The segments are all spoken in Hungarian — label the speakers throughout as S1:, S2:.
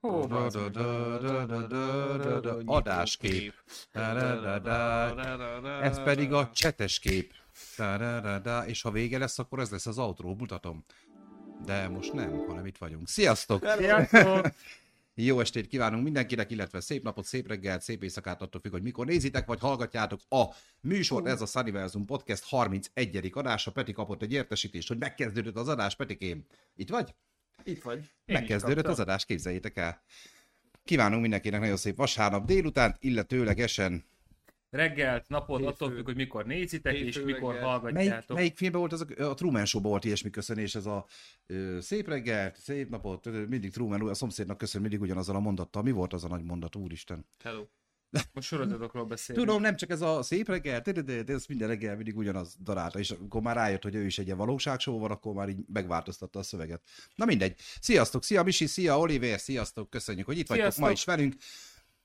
S1: Hó, bazd meg.
S2: Adáskép. Ez pedig a csetes kép. És ha vége lesz, akkor ez lesz az autó, mutatom. De most nem, hanem itt vagyunk. Sziasztok!
S1: Sziasztok!
S2: Jó estét kívánunk mindenkinek, illetve szép napot, szép reggelt, szép éjszakát, attól függ, hogy mikor nézitek, vagy hallgatjátok a műsort. Ez a Sunnyversum Podcast 31. adása. Peti kapott egy értesítést, hogy megkezdődött az adás. Petikém, itt vagy?
S1: Itt vagy. Én is
S2: Megkezdődött
S1: kaptam.
S2: az adás, képzeljétek el. Kívánunk mindenkinek nagyon szép vasárnap délutánt, illetőlegesen.
S3: reggelt, napot,
S1: Hétfő.
S3: attól függ, hogy mikor nézitek és
S1: Hétfő
S3: mikor
S1: reggel.
S2: Melyik,
S3: hallgatjátok.
S2: melyik filmben volt az a, a Truman Show-ban volt ilyesmi köszönés, ez a ö, szép reggelt, szép napot, ö, mindig Truman, úr, a szomszédnak köszön mindig ugyanazzal a mondattal. Mi volt az a nagy mondat, úristen?
S1: Hello.
S3: Most sorozatokról beszélünk.
S2: Tudom, nem csak ez a szép reggel, de, de, de, de ez minden reggel mindig ugyanaz darálta, és akkor már rájött, hogy ő is egy ilyen valóságshow van, akkor már így megváltoztatta a szöveget. Na mindegy. Sziasztok, szia Misi, szia Oliver, sziasztok, köszönjük, hogy itt vagytok ma
S3: Sziasztok.
S2: is velünk.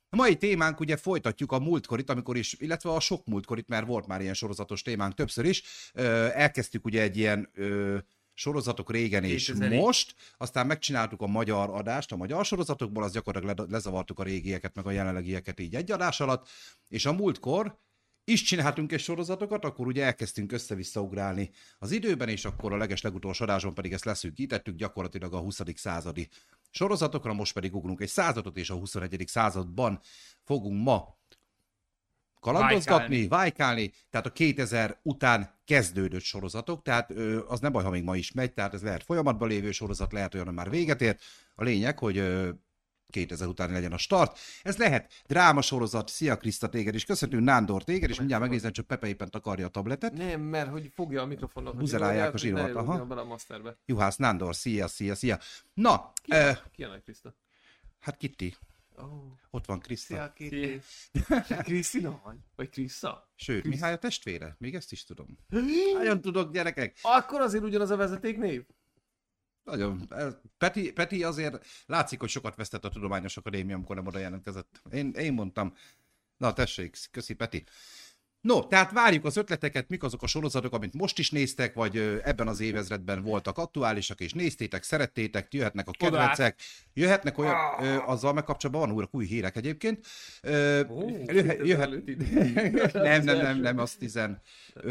S2: A mai témánk ugye folytatjuk a múltkorit, amikor is, illetve a sok múltkorit, mert volt már ilyen sorozatos témánk többször is. Ö, elkezdtük ugye egy ilyen ö, sorozatok régen és
S3: 2000-ig.
S2: most, aztán megcsináltuk a magyar adást a magyar sorozatokból, az gyakorlatilag le- lezavartuk a régieket, meg a jelenlegieket így egy adás alatt, és a múltkor is csináltunk egy sorozatokat, akkor ugye elkezdtünk össze-visszaugrálni az időben, és akkor a leges legutolsó adáson pedig ezt leszűkítettük gyakorlatilag a 20. századi sorozatokra, most pedig ugrunk egy századot, és a 21. században fogunk ma kalandozgatni, vájkálni, tehát a 2000 után kezdődött sorozatok, tehát ö, az nem baj, ha még ma is megy, tehát ez lehet folyamatban lévő sorozat, lehet olyan, ami már véget ért. A lényeg, hogy ö, 2000 után legyen a start. Ez lehet dráma sorozat, Szia Kriszta téged is, köszöntünk Nándor téged, és mindjárt megnézem, csak Pepe éppen takarja a tabletet.
S1: Nem, mert hogy fogja a mikrofonnak.
S2: Buzerálják a zsíromat, aha.
S1: aha. bele a masterbe.
S2: Juhász Nándor, szia, szia, szia. Na,
S1: Ki,
S2: ö,
S1: ki a nagy Kriszta?
S2: hát Kitti,
S1: Oh,
S2: ott van Kriszta.
S1: szia, Kitty. Krisztina vagy? Vagy Kriszta?
S2: Sőt,
S1: Kriszt-
S2: Mihály a testvére, még ezt is tudom. Nagyon tudok, gyerekek.
S1: Akkor azért ugyanaz a vezetéknév?
S2: Nagyon. Ez- Peti, Peti azért látszik, hogy sokat vesztett a Tudományos Akadémia, amikor nem oda jelentkezett. Én, én mondtam. Na tessék, köszi Peti. No, tehát várjuk az ötleteket, mik azok a sorozatok, amit most is néztek, vagy ö, ebben az évezredben voltak aktuálisak, és néztétek, szerettétek, jöhetnek a
S3: Oda át.
S2: kedvencek, jöhetnek olyan, ö, azzal meg kapcsolatban van újra új hírek egyébként. Ö, jöhet, jöhet, nem, nem, nem, nem, az 15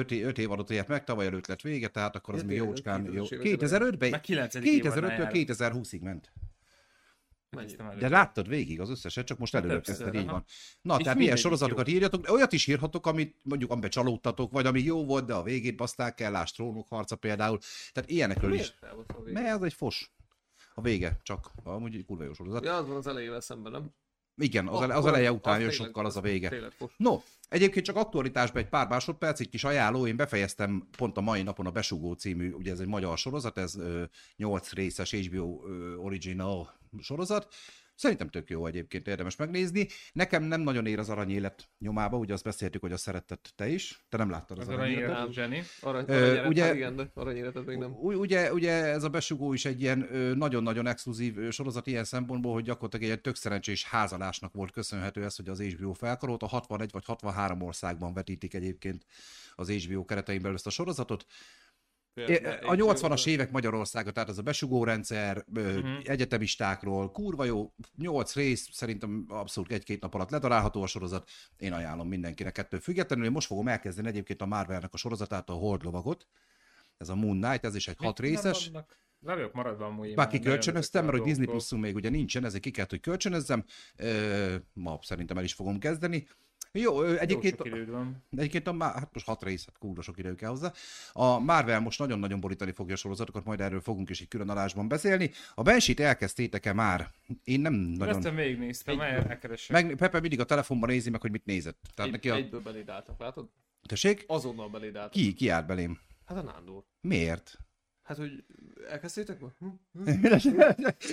S2: é- öt év alatt élt meg, tavaly előtt lett vége, tehát akkor az
S1: Ja,
S2: még
S1: tényleg,
S2: jócskán jó.
S1: 2000-es években.
S2: 2005-ben?
S3: Már 9.
S2: 2005-től 2020-ig ment. De láttad végig az összeset, csak most előrökezted,
S3: Többször,
S2: így
S3: aha.
S2: van. Na, tehát
S3: És
S2: milyen
S3: mindegyik
S2: sorozatokat írjatok, de olyat is írhatok, amit mondjuk amiben csalódtatok, vagy ami jó volt, de a végét baszták el, lásd trónok harca például. Tehát ilyenekről is.
S1: Miért távozol végig?
S2: Mert ez egy fos. A vége, csak amúgy egy kurva jó sorozat.
S1: Ja, az van az elejével szemben, nem?
S2: Igen, az,
S1: Ah,
S2: ele, az
S1: akkor-
S2: eleje után
S1: az
S2: jön
S1: tényleg-
S2: sokkal az a vége.
S1: Tényleg fos.
S2: No, egyébként csak aktualitásban egy pár másodperc, egy kis ajánló, én befejeztem pont a mai napon a Besugó című, ugye ez egy magyar sorozat, ez ö, 8 részes HBO ö, original sorozat, Szerintem tök jó egyébként, érdemes megnézni. Nekem nem nagyon ér az aranyélet nyomába, ugye azt beszéltük, hogy azt szeretted te is. Te nem láttad az,
S3: Az
S2: az
S3: arany
S2: aranyéletet.
S3: élet, Zseni.
S1: Arany,
S2: Ö,
S1: aranyélet,
S2: ugye-
S1: hát igen, de aranyéletet még nem.
S2: U- Ugye, ugye ez a besugó is egy ilyen ö, nagyon-nagyon exkluzív ö, sorozat ilyen szempontból, hogy gyakorlatilag egy ilyen tök szerencsés házalásnak volt köszönhető ez, hogy az HBO felkarolt. A 61 vagy 63 országban vetítik egyébként az HBO keretein belül ezt a sorozatot. É, A 80-as évek Magyarországa, tehát ez a besugórendszer, uh-huh.
S3: Mhm.
S2: egyetemistákról, kurva jó, 8 rész, szerintem abszolút egy-két nap alatt ledarálható a sorozat, én ajánlom mindenkinek ettől függetlenül. Én most fogom elkezdeni egyébként a Marvelnek a sorozatát, a Hordlovagot, ez a Moon Knight, ez is egy hat részes.
S3: Le vagyok maradva amúgy. én
S2: Bár
S3: már
S2: kikölcsönöztem, mert hogy
S3: nagyon
S2: Disney
S3: dolgok.
S2: pluszunk még ugye nincsen, ezért ki kellett, hogy kölcsönözzem. Ö, ma szerintem el is fogom kezdeni. Jó, ö,
S3: Jó
S2: egyébként,
S3: sok időd van.
S2: egyébként a, Mar- hát most hat rész, hát kúra sok idő kell hozzá. A Marvel most nagyon-nagyon borítani fogja a sorozatokat, majd erről fogunk is egy külön alásban beszélni. A Bensit elkezdtétek-e már? Én nem nagyon...
S3: Ezt végignéztem, el- elkeresem.
S2: Meg, Pepe mindig a telefonban nézi meg, hogy mit nézett. Tehát
S1: Egy,
S2: neki a...
S1: Egyből beléd álltak, látod?
S2: Tessék?
S1: Azonnal beléd álltak.
S2: Ki, ki áll belém?
S1: Hát a Nándor.
S2: Miért?
S1: Hát, hogy elkezdtétek ma? Hm? Hm?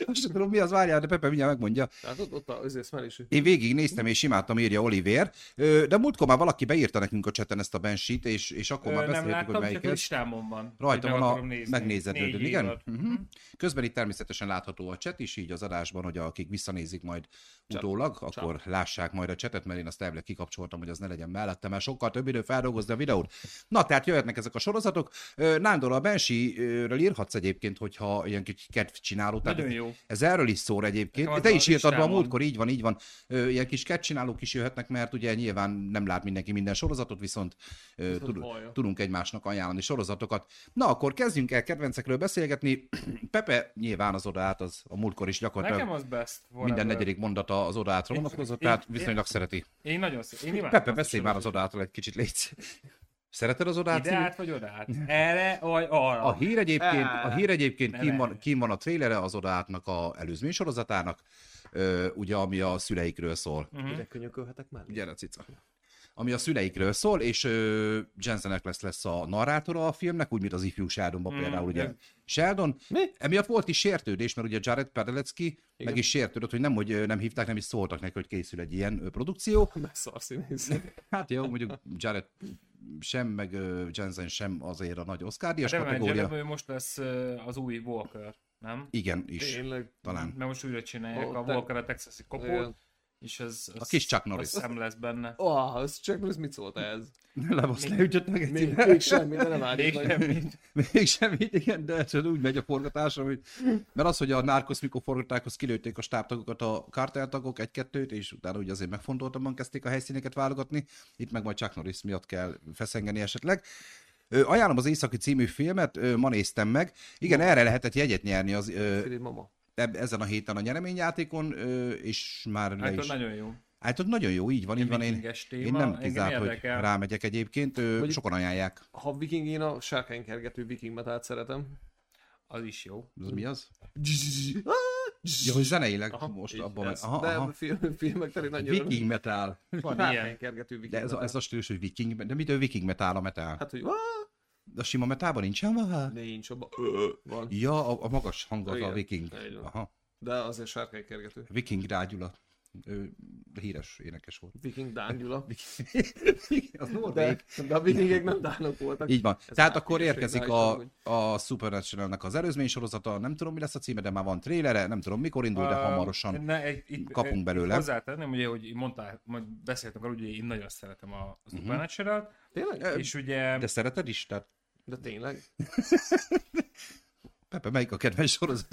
S2: Azt sem tudom, mi az, várjál, de Pepe mindjárt megmondja.
S1: Látod, ott az azért már is.
S2: Én végignéztem és imádtam, írja Oliver, Ö, de múltkor már valaki beírta nekünk a cseten ezt a bensit, és, és akkor
S3: Ö,
S2: már
S3: Nem
S2: beszéltük, hogy
S3: láttam,
S2: melyik
S3: csak
S2: ez.
S3: listámon van.
S2: Rajta
S3: hogy meg
S2: van a
S3: akarom nézni.
S2: megnézedődön,
S3: Négy
S2: igen?
S3: évad.
S2: Mhm. Közben itt természetesen látható a chat is, így az adásban, hogy akik visszanézik majd utólag, akkor lássák majd a chatet, mert én azt elvileg kikapcsoltam, hogy az ne legyen mellettem, mert sokkal több idő feldolgozni a videót. Na, tehát jöhetnek ezek a sorozatok. Ö, Nándor a bensi erről írhatsz egyébként, hogyha ilyen kicsi kedv csináló. Tehát
S3: Nagyon
S2: ez-
S3: jó.
S2: Ez erről is szól egyébként.
S3: Nekem
S2: Te
S3: az
S2: is
S3: a
S2: írtad be a
S3: listámon.
S2: múltkor, így van, így van. Ö, Ilyen kis kedv csinálók is jöhetnek, mert ugye nyilván nem lát mindenki minden sorozatot, viszont ö,
S1: Viszont
S2: tud,
S1: hallja.
S2: tudunk egymásnak ajánlani sorozatokat. Na akkor kezdjünk el kedvencekről beszélgetni. Pepe nyilván az odát, az a múltkor is gyakorlatilag
S3: Nekem az best. volna
S2: minden
S3: ebből.
S2: negyedik mondata az odát vonatkozott,
S3: én-
S2: tehát
S3: én-
S2: viszonylag szereti.
S3: Én nagyon szép. Én imádom.
S2: Pepe,
S3: azt a
S2: beszélj már az
S3: sorozatot.
S2: odától egy kicsit, légy. Szereted az odát?
S3: Ide át vagy oda át? Erre vagy arra?
S2: A hír egyébként, a hír egyébként
S3: Ne,
S2: kim,
S3: ne.
S2: van, kim van a trailere az odátnak a előzmény sorozatának, ö, ugye ami a szüleikről szól.
S3: Mhm.
S1: Ide könyökölhetek már?
S2: Gyere, cica. Ami a szüleikről szól, és ö, Jensen Ackles lesz a narrátora a filmnek, úgy, mint az ifjú Sheldonban
S3: Mm,
S2: például, ugye
S3: ez-
S2: Sheldon.
S1: Mi?
S2: Emiatt volt is sértődés, mert ugye Jared Padalecki meg is sértődött, hogy nem, hogy ö, nem hívták, nem is szóltak neki, hogy készül egy ilyen ö, produkció.
S1: Már szarszínész.
S2: Hát jó, mondjuk Jared sem, meg ö, Jensen sem azért a nagy oszkárdias
S1: Hát
S3: De
S2: kategória.
S3: Evangeliből most lesz ö, az új Walker, nem?
S2: Igen, is,
S1: Tényleg.
S2: talán.
S3: Mert most újra csinálják
S1: Ó,
S3: a
S1: te-
S3: Walker a texasi
S1: Igen.
S3: kopót, és ez, ez
S2: A kis Chuck Norris.
S3: szem lesz benne.
S1: Ó, az Ah, csak Norris mit szólt ez?
S2: Lebasz, leütött meg egy
S1: Még,
S2: cipet.
S1: még semmi, de nem
S3: Még
S1: állít nagy.
S3: nem,
S2: Még semmit, igen, de ez úgy megy a forgatás, hogy... Mert az, hogy a Narcos mikor forgatták, az kilőtték a stábtagokat, a kárteltagok egy-kettőt, és utána ugye azért megfontoltabban kezdték a helyszíneket válogatni. Itt meg majd Chuck Norris miatt kell feszengeni esetleg. Ö, ajánlom az Északi című filmet, ö, ma néztem meg. Igen, erre lehetett jegyet nyerni az, ö,
S1: Filip mama.
S2: eb- ezen a héten a nyereményjátékon, ö, és már le
S3: Hát
S2: is...
S3: ott nagyon jó.
S2: Hát ott nagyon jó, így van, így van. Én,
S3: vikinges
S2: én
S3: téma,
S2: nem
S3: engem
S2: kizárt, hogy
S3: érdekel.
S2: rámegyek egyébként. Ö,
S1: Vagy-
S2: sokan ajánlják.
S1: Ha viking, én a sárkány kergető viking metát szeretem.
S3: Az is jó.
S2: Az mi az? Ja, hogy zeneileg aha, most
S1: Így,
S2: abban
S1: ez.
S2: Aha,
S1: De
S2: aha.
S1: film, filmek terén nagy öröm.
S2: Viking metal.
S3: Van
S1: Sárkány
S3: ilyen.
S1: kergető viking
S2: De ez a,
S1: metal.
S2: ez a stílus, hogy viking, de mitől viking metal a metal?
S1: Hát, hogy "Á,
S2: A sima metálban nincsen vaha?
S1: nincs abban. Ö, Van.
S2: Ja, a, a magas hang az a
S1: Igen,
S2: viking.
S1: így van.
S2: Aha.
S1: De azért sárkány kergető.
S2: Viking Rágyula. Ő híres énekes volt.
S1: Viking Dángula.
S2: Az
S1: De,
S2: norvég.
S1: de a vikingek nem dánok voltak.
S2: Így van.
S1: Hát, Ez
S2: Tehát
S1: már
S2: akkor
S1: híres,
S2: érkezik
S1: hogy nálam
S2: a,
S1: is
S2: a Supernatural-nek az előzmény sorozata, nem tudom mi lesz a címe, de már van trélere, nem tudom mikor indul, de hamarosan.
S3: ne, egy, itt,
S2: kapunk
S3: itt
S2: belőle.
S3: Hozzátenném, ugye, hogy mondtál, majd beszéltünk arról, hogy én nagyon szeretem a
S2: Mhm.
S3: supernatural uh-huh.
S1: Tényleg?
S3: és ugye
S2: De szereted is? Tehát
S1: De tényleg?
S2: Pepe, melyik a kedvenc sorozat?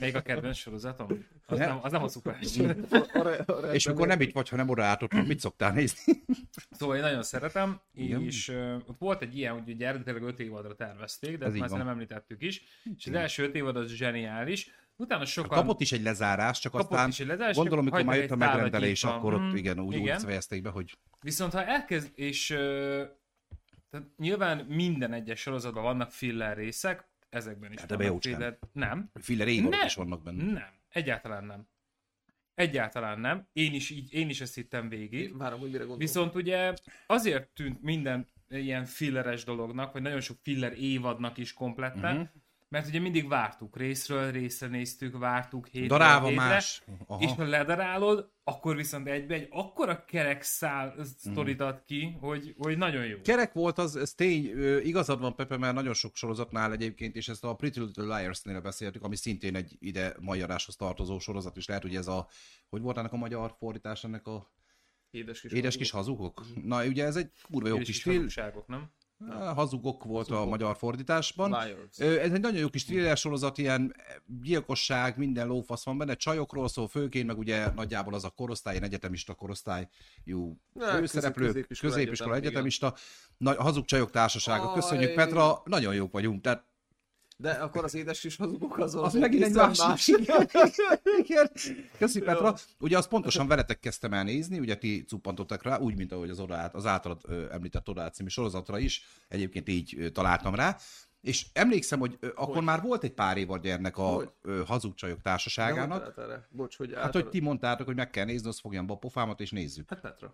S3: melyik a kedvenc sorozatom? Az,
S2: Ne?
S3: nem, az nem a supernatural.
S1: A- a- a- a-
S2: És
S1: a-
S2: mikor nem itt vagy, hanem oda át otthon, mit szoktál nézni?
S3: Szóval én nagyon szeretem,
S2: Igen.
S3: és ö, ott volt egy ilyen, hogy ugye eredetileg 5 évadra tervezték, de
S2: Ez
S3: ezt
S2: így
S3: már
S2: van.
S3: nem említettük is, és az első 5 évad az zseniális, utána
S2: Hát
S3: sokan
S2: Kapott is egy lezárás, csak
S3: Kapott
S2: aztán
S3: is egy lezárás,
S2: gondolom, mikor
S3: hagytak
S2: már
S3: egy
S2: jött a
S3: tálat
S2: megrendelés,
S3: nyitva.
S2: akkor ott
S3: Mm,
S2: igen, úgy,
S3: igen.
S2: úgy fejezték be, hogy
S3: Viszont ha elkezd, és ö, tehát nyilván minden egyes sorozatban vannak filler részek, ezekben is
S2: Hát ebbe
S3: vannak
S2: jócskán.
S3: filler. Nem,
S2: filler évadok
S3: Ne!
S2: is vannak benne.
S3: nem, egyáltalán nem. Egyáltalán nem. Én is, így, én is ezt hittem végig.
S1: Várom, hogy mire gondolom.
S3: Viszont ugye azért tűnt minden ilyen filleres dolognak, vagy nagyon sok filler évadnak is kompletten,
S2: Mhm.
S3: uh-huh. mert ugye mindig vártuk, részről részre néztük, vártuk hétről
S2: Darálva
S3: hétre,
S2: más. Aha.
S3: Aha. és ha ledarálod, akkor viszont egybe egy akkora kerek szál sztorit
S2: Mhm.
S3: ad ki, hogy, hogy nagyon jó.
S2: Kerek volt az, ez tény, ö, igazad van Pepe, mert nagyon sok sorozatnál egyébként, és ezt a Pretty Little Liars-nél beszéltük, ami szintén egy ide mai adáshoz tartozó sorozat, és lehet, hogy ez a, hogy volt ennek a magyar fordítás, ennek a
S1: Édes kis
S2: édes kis hazugok? Na, ugye ez egy kurva jó
S3: És
S2: kis
S3: is
S2: film,
S3: hazugságok, nem?
S2: Á, Hazugok volt a magyar fordításban.
S1: Liars.
S2: Ö, Ez egy nagyon jó kis thriller sorozat, ilyen eh, gyilkosság, minden lófasz van benne, csajokról szól főként, meg ugye nagyjából az a korosztály, én egyetemista korosztály, jó
S1: Ne,
S2: főszereplő,
S1: hát közép- középiskola,
S2: középiskola, középiskola
S1: egyetem,
S2: egyetemista, nagy, hazug csajok társasága. Köszönjük
S1: Aj.
S2: Petra, nagyon jók vagyunk, tehát
S1: De akkor az édes kis hazugok azon.
S2: az megint egy másik. Igen, igen. Köszi Petra. Ugye azt pontosan veletek kezdtem el nézni, ugye ti cuppantottak rá, úgy, mint ahogy az, odát, az általad ö, említett odát című sorozatra is, egyébként így ö, találtam rá. És emlékszem, hogy ö, akkor
S1: Hogy?
S2: már volt egy pár évadja ennek
S1: Hogy?
S2: a ö, hazug csajok társaságának.
S1: Erre. Bocs, hogy
S2: Hát, hogy ti mondtátok, hogy meg kell nézni, az fogjam be a pofámat, és nézzük.
S1: Hát Petra.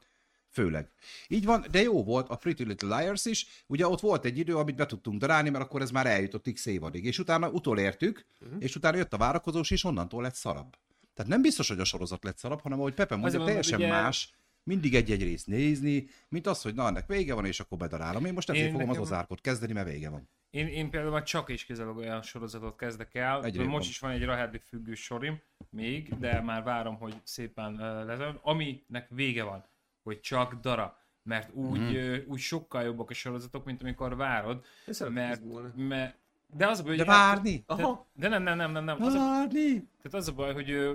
S2: Főleg. Így van, de jó volt a Pretty Little Liars is, ugye ott volt egy idő, amit be tudtunk darálni, mert akkor ez már eljutott x évadig, és utána utolértük,
S3: Mhm.
S2: uh-huh. és utána jött a várakozós, és onnantól lett szarabb. Tehát nem biztos, hogy a sorozat lett szarabb, hanem ahogy Pepe mondja,
S3: Azért mondom,
S2: teljesen ugye...
S3: ugye-
S2: más, mindig egy-egy részt nézni, mint az, hogy na, ennek vége van, és akkor bedarálom. Én most ezért
S3: Én
S2: fogom
S3: nekem-
S2: az ozárkot kezdeni, mert vége van.
S3: Én, én például már csak és kizárólag olyan sorozatot kezdek el.
S2: Egyre
S3: Egyre most
S2: jobban.
S3: is van egy Rahedli függő sorim még, de már várom, hogy szépen uh, lezárjon. Aminek vége van, hogy csak dara.
S2: Mhm.
S3: Mert úgy, mm. úgy sokkal jobbak a sorozatok, mint amikor várod.
S1: Én szeretem
S3: mert,
S1: izgulni.
S3: mert De az a baj,
S2: De
S3: hogy...
S2: várni?
S3: Aha. De nem, nem, nem, nem, nem. hát Az a,
S2: Várni!
S3: tehát az a baj, hogy ö,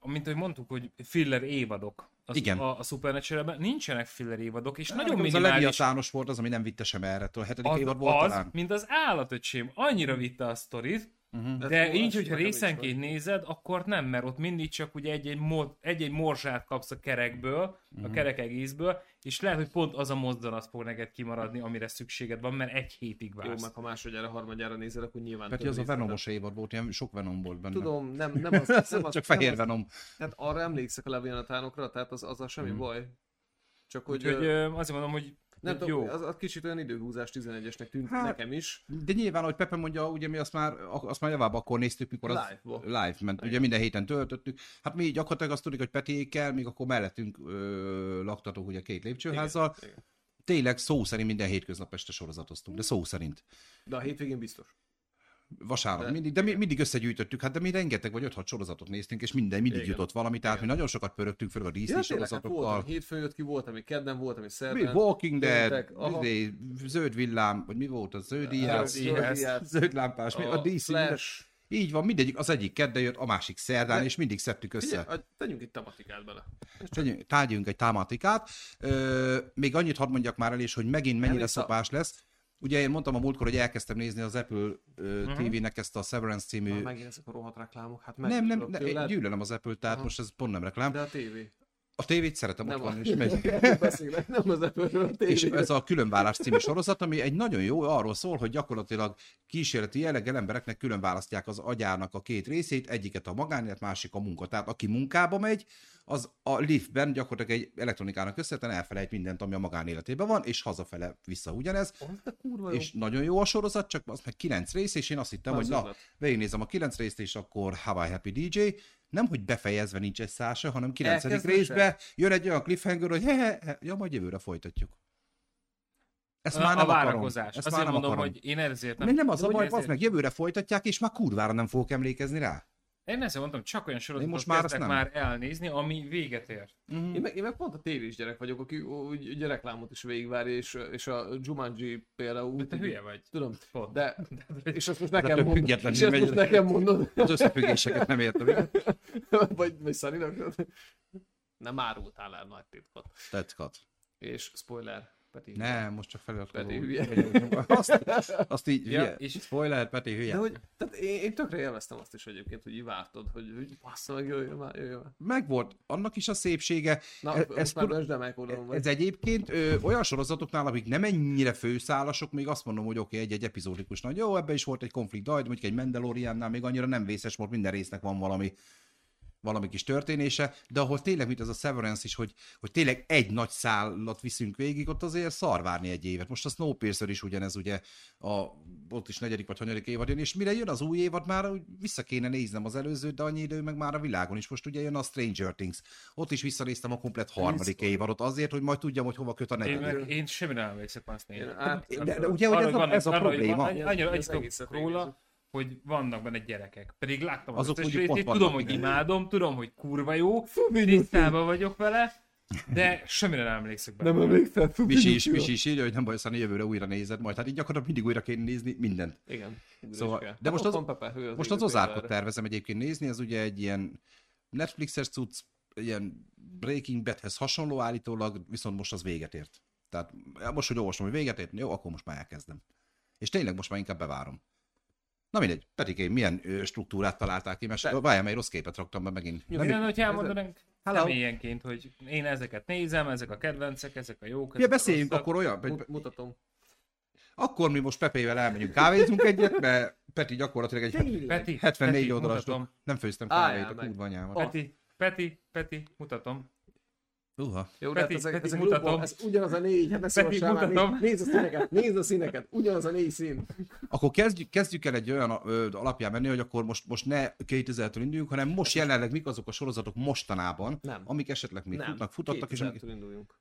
S3: mint ahogy mondtuk, hogy filler évadok. Az,
S2: Igen. Hát,
S3: A, a supernatural nincsenek filler évadok, és nagyon
S2: Az a
S3: minimális.
S2: Leviatános volt az, ami nem vitte sem erre. A hetedik
S3: Az,
S2: évad volt
S3: az,
S2: talán. Mhm.
S3: mint az állatöcsém. Annyira vitte a sztorit,
S1: Ez
S3: De
S1: jó,
S3: így,
S1: ez
S3: hogyha
S1: nekem is
S3: részenként nézed, akkor nem, mert ott mindig csak ugye egy-egy, mo- egy-egy morzsát kapsz a kerekből,
S2: Mhm.
S3: a kerek egészből, és lehet, hogy pont az a mozdulat fog neked kimaradni, amire szükséged van, mert egy hétig
S1: van. Jó,
S3: vársz.
S1: meg ha másodjára, harmadjára nézel, akkor nyilván
S2: Peti,
S1: több
S2: az a
S1: részlet lesz.
S2: Venomos évad volt, ilyen sok Venom volt benne.
S1: Tudom, nem, nem az, nem az nem
S2: Csak
S1: az-
S2: fehér Venom.
S1: Tehát arra emlékszek a leviatánokra, tehát az, az a semmi
S2: Mhm.
S1: baj. Csak hogy,
S3: Úgyhogy
S1: hogy
S3: ö, azért mondom, hogy
S1: nem
S3: hogy
S1: tudom,
S3: jó.
S1: az, az kicsit olyan időhúzás 11-esnek tűnt
S2: Hát,
S1: nekem is.
S2: De nyilván, ahogy Pepe mondja, ugye mi azt már, azt már javába akkor néztük, mikor az
S1: Live-ba.
S2: live ment. Ugye minden héten töltöttük. Hát mi gyakorlatilag azt tudjuk, hogy Petiékkel, még akkor mellettünk ö, laktatók ugye két lépcsőházzal.
S1: Igen, igen.
S2: Tényleg szó szerint minden hétköznap este sorozatoztunk, de szó szerint.
S1: De a hétvégén biztos.
S2: Vasárnap
S1: De-
S2: de, mindig, de mi, mindig összegyűjtöttük, hát de mi rengeteg vagy 5-6 sorozatot néztünk, és minden mindig
S1: Igen.
S2: igen. jutott valami, tehát
S1: Igen.
S2: mi nagyon sokat pörögtünk, főleg a DC
S1: Ja, tényleg, hát volt, ami
S2: sorozatokkal.
S1: hétfőn jött ki, volt, ami kedden volt, ami
S2: Mi,
S1: szerdán.
S2: Walking Dead,
S1: Jöttek, aha.
S2: izé, zöld villám, vagy mi volt az zöld
S1: Zöld
S2: íjás,
S1: íjás.
S2: zöld lámpás, mi, a DC, minden,
S1: Flash.
S2: így van, mindegyik, az egyik kedden jött, a másik szerdán,
S1: De-
S2: és mindig szedtük össze.
S1: Figyelj, a- tegyünk egy tematikát bele.
S2: Tegyünk- Tárgyunk egy támatikát. Ö, még annyit hadd mondjak már el is, hogy megint mennyire
S1: Elég szab-
S2: szopás lesz. Ugye én mondtam a múltkor, hogy elkezdtem nézni az Apple uh-huh.
S1: Mhm.
S2: TV-nek ezt a Severance című...
S1: Már Hát megint ezek a rohadt reklámok, hát meg
S2: nem, nem,
S1: tudok
S2: ne, én
S1: Ah, tőled,
S2: gyűlölem az Apple, tehát
S1: Aha.
S2: most ez pont nem reklám.
S1: De a tévé.
S2: A tévét szeretem,
S1: Nem
S2: ott van,
S1: a-
S2: és megy.
S1: Beszélek, nem az Apple-ről, a tévé.
S2: És ez a különvállás című sorozat, ami egy nagyon jó, arról szól, hogy gyakorlatilag kísérleti jelleggel embereknek külön választják az agyának a két részét, egyiket a magánélet, másik a munka. Tehát aki munkába megy, az a liftben gyakorlatilag egy elektronikának köszönhetően elfelejt mindent, ami a magánéletében van, és hazafele vissza ugyanez.
S1: Az de kurva jó.
S2: És nagyon jó a sorozat, csak az meg kilenc rész, és én azt hittem,
S1: Na,
S2: hogy
S1: az
S2: na,
S1: ötlet.
S2: végignézem a kilenc részt, és akkor Hawaii Happy DJ, nem, hogy befejezve nincs egy szása, hanem kilencedik
S1: Elkezdve se.
S2: részbe jön egy olyan cliffhanger, hogy he, he, he, ja, majd jövőre folytatjuk. Ezt
S3: A-
S2: már
S3: a
S2: nem akarom.
S3: várakozás.
S2: Ezt
S3: Azért
S2: már nem
S3: mondom,
S2: akarom.
S3: hogy én ezért nem.
S2: Nem, nem az
S3: De
S2: a
S3: hogy
S2: baj,
S3: ezért-
S2: az meg jövőre folytatják, és már kurvára nem fogok emlékezni rá.
S3: Én ezért mondtam, csak olyan sorozatot
S2: most
S3: most
S2: már
S3: már
S2: azt
S3: kezdek
S2: nem.
S3: már elnézni, ami véget ért.
S1: Én meg, én meg pont a tévés gyerek vagyok, aki úgy ugye reklámot is végigvárja, és, és a Jumanji például...
S2: Hát
S3: De te hülye vagy.
S1: Tudom,
S3: Pont.
S1: de... És azt most nekem
S2: tök
S1: mondod.
S2: függetlenül
S1: És ezt
S2: megy
S1: most
S2: le.
S1: nekem mondod.
S2: Az összefüggéseket nem értem. igen.
S1: vagy, vagy Szaninak. Nem árultál el nagy titkot.
S2: Tetszkat.
S1: És spoiler, Peti.
S2: Nem, most csak feliratkozó.
S1: Peti hülye.
S2: vagyok. Azt, azt így,
S3: Ja,
S2: hülye.
S3: és-
S2: Spoiler, Peti hülye.
S1: De hogy, tehát én, én tökre élveztem azt is egyébként, hogy így vártod, hogy, hogy bassza meg, jöjjön már, jöjjön már.
S2: Megvolt annak is a szépsége.
S1: Na,
S2: E-
S1: e, ezt már
S2: tud-
S1: tud... el kódolom, vagy.
S2: Ez egyébként ö, olyan sorozatoknál, amik nem ennyire főszálasok, még azt mondom, hogy oké, okay, egy-egy epizódikus nagy. Jó, ebbe is volt egy konflikt, de mondjuk egy Mandaloriannál még annyira nem vészes volt, minden résznek van valami valami kis történése, de ahol tényleg, mint ez a Severance is, hogy, hogy tényleg egy nagy szállat viszünk végig, ott azért szarvárni egy évet. Most a Snowpiercer is ugyanez, ugye, a, ott is negyedik vagy hanyadik évad jön, és mire jön az új évad, már úgy vissza kéne néznem az előzőt, de annyi idő meg már a világon is. Most ugye jön a Stranger Things. Ott is visszanéztem a komplet harmadik évadot azért, hogy majd tudjam, hogy hova köt a
S3: Én,
S2: negyedik.
S3: meg, én semmire nem emlékszek már azt nézni.
S1: Én hát, át-
S2: de- de ugye, hogy ez a- ez a probléma.
S1: Ez
S3: Annyira egy
S1: egészet
S3: tudok
S1: végig.
S3: róla, hogy vannak benne gyerekek. Pedig láttam az
S2: Azok
S3: összes
S2: mondjuk
S3: részét,
S2: pont
S3: tudom,
S2: vannak,
S3: hogy
S2: igen.
S3: imádom, tudom, hogy kurva jó, tisztában vagyok vele, de semmire nem emlékszek benne.
S1: Nem emlékszel? Fú,
S2: Misi is,
S1: fú,
S2: Misi is írja, hogy nem baj, aztán jövőre újra nézed majd. Hát így gyakorlatilag mindig újra kéne nézni mindent.
S1: Igen. ugrás
S2: Szóval-
S1: kell.
S2: de most
S1: Hát
S2: az-
S1: ott van Pepe, ő
S2: Most
S1: égő
S2: az ozárkot
S1: példára.
S2: tervezem egyébként nézni, ez ugye egy ilyen Netflixes cucc, ilyen Breaking Badhez hasonló állítólag, viszont most az véget ért. Tehát ja, most, hogy olvasom, hogy véget ért, jó, akkor most már elkezdem. És tényleg most már inkább bevárom. Na mindegy, Petikém, milyen ö, struktúrát találták ki, mert
S1: Te-
S2: várjál, mert rossz képet raktam be megint.
S1: Jó,
S3: Mi
S2: Nem,
S3: lenne, hogyha elmondanánk
S2: Hello.
S3: személyenként, hogy én ezeket nézem, ezek a kedvencek, ezek a jók, ezek
S2: ja,
S3: a
S2: beszéljünk
S3: rosszak.
S2: akkor olyan, hogy
S1: Mut- Mutatom.
S2: akkor mi most Pepével elmegyünk kávézunk egyet, mert Peti gyakorlatilag egy
S3: Peti,
S2: 74
S3: Peti,
S2: oldalas.
S3: mutatom.
S2: Nem főztem
S1: Álljál
S2: kávét a
S1: meg.
S2: kurva anyámat.
S3: Peti, Peti, Peti, mutatom.
S2: Uha.
S1: Jó,
S3: Peti,
S1: Peti, ezek,
S3: Peti,
S1: ezek
S3: mutatom.
S1: lupol, ez ugyanaz a négy, hát ne
S3: Peti,
S1: szívassál már,
S3: mutatom.
S1: nézd- nézd a színeket, nézd a színeket, ugyanaz a négy szín.
S2: Akkor kezdjük, kezdjük el egy olyan ö, alapján menni, hogy akkor most, most ne 2000-től induljunk, hanem most jelenleg mik azok a sorozatok mostanában,
S1: Nem.
S2: amik esetleg még
S1: Nem,
S2: futnak, futottak, és amik...
S1: 2000-től induljunk.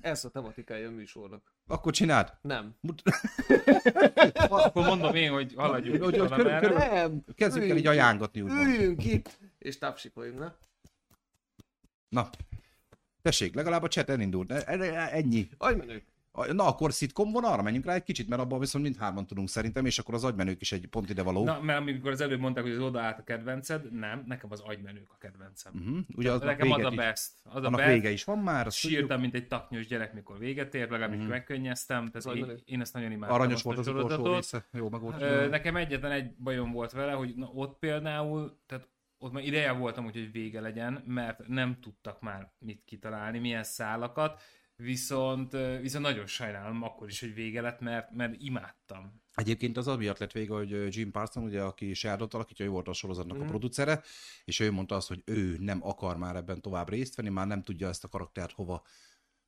S1: Ez a tematikája a műsornak.
S2: akkor csináld.
S1: Nem.
S2: Mut...
S3: Akkor mondom én, hogy haladjunk.
S2: Hogy- hogy
S3: valamelyre.
S2: körül-
S1: Nem.
S2: Kezdjük el
S1: Üljünk
S2: így ajánlgatni,
S1: itt,
S2: úgymond.
S1: Üljünk itt, és tapsikoljunk, na.
S2: Na, tessék, legalább a chat elindult. E- e- e- Ennyi.
S1: Aj menő.
S2: Na, akkor szitkom vonalra menjünk rá egy kicsit, mert abban viszont mindhárman tudunk szerintem, és akkor az agymenők is egy pont ide való.
S3: Na, mert amikor az előbb mondták, hogy az oda állt a kedvenced, nem, nekem az agymenők a kedvencem.
S2: Mhm. Ugye az
S3: nekem az a
S2: is,
S3: best. Az a
S2: annak
S3: best.
S2: vége is van már, azt tudjuk.
S3: Sírtam, mint egy taknyos gyerek, mikor véget ért, legalábbis mm-hmm. megkönnyeztem, tehát én,
S1: Agymenő.
S3: én ezt nagyon imádtam.
S2: Aranyos
S3: azt
S2: volt
S3: a
S2: az utolsó
S3: sorozatot.
S2: része. Jó, meg volt.
S3: Ö, Nekem egyetlen egy bajom volt vele, hogy na, ott például, tehát ott már ideje voltam, úgy, hogy vége legyen, mert nem tudtak már mit kitalálni, milyen szálakat, viszont, ö, viszont nagyon sajnálom akkor is, hogy vége lett, mert, mert imádtam.
S2: Egyébként az amiatt lett vége, hogy ö, Jim Parsons, ugye, aki Sheldon alakítja, ő volt a sorozatnak
S3: Mhm.
S2: a producere, és ő mondta azt, hogy ő nem akar már ebben tovább részt venni, már nem tudja ezt a karaktert hova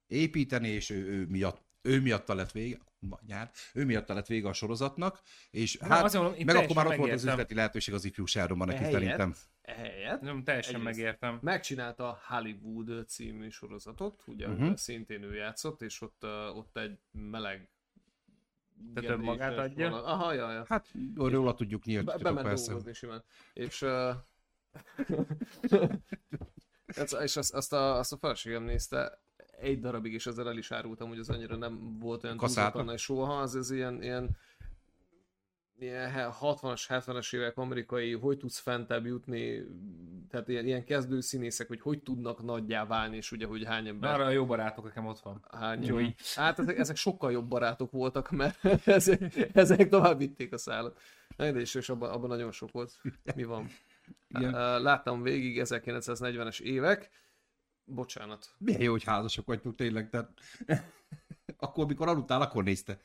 S2: építeni, és ő, ő miatt ő miatta lett vége, ma nyár, ő miatta lett vége a sorozatnak, és
S3: Na,
S2: hát,
S3: azt mondom, én
S2: meg akkor
S3: teljesen
S2: már ott volt az
S3: megértem.
S2: üzleti lehetőség az ifjú Sheldonban, neki
S1: Ehelyett-
S2: szerintem.
S1: Ehelyett
S3: Nem, teljesen
S1: Egyrészt.
S3: megértem.
S1: e megcsinálta a Hollywood című sorozatot, ugye,
S2: Mhm.
S1: uh-huh. szintén ő játszott, és ott, ö, ott egy meleg
S3: Tehát önmagát
S1: gedéses
S3: adja?
S1: vonal- Aha, jaj, jaj.
S2: Hát róla tudjuk nyílt,
S1: Be-
S2: titok,
S1: bement
S2: persze.
S1: dolgozni simán. És, uh... és azt, azt, a, azt a feleségem nézte egy darabig, és ezzel el is árultam, hogy az annyira nem volt olyan
S2: Kaszálta?
S1: túlzottan nagy soha, az ez ilyen, ilyen, ilyen he- 60-as, 70-es évek amerikai, hogy tudsz fentebb jutni, tehát ilyen, ilyen kezdő színészek, hogy hogy tudnak nagyjá válni, és ugye, hogy hány
S3: Na,
S1: ember
S3: arra a jó barátok nekem ott van.
S1: Hány?
S3: Jó.
S1: Hát ezek, ezek sokkal jobb barátok voltak, mert ezek, ezek tovább vitték a szállat. Na, de is, és abban, abban nagyon sok volt. Mi van?
S2: Igen.
S1: Igen. Láttam végig 1940-es évek. Bocsánat.
S2: Milyen jó, hogy házasok vagytok tényleg, tehát akkor, mikor aludtál, akkor nézte.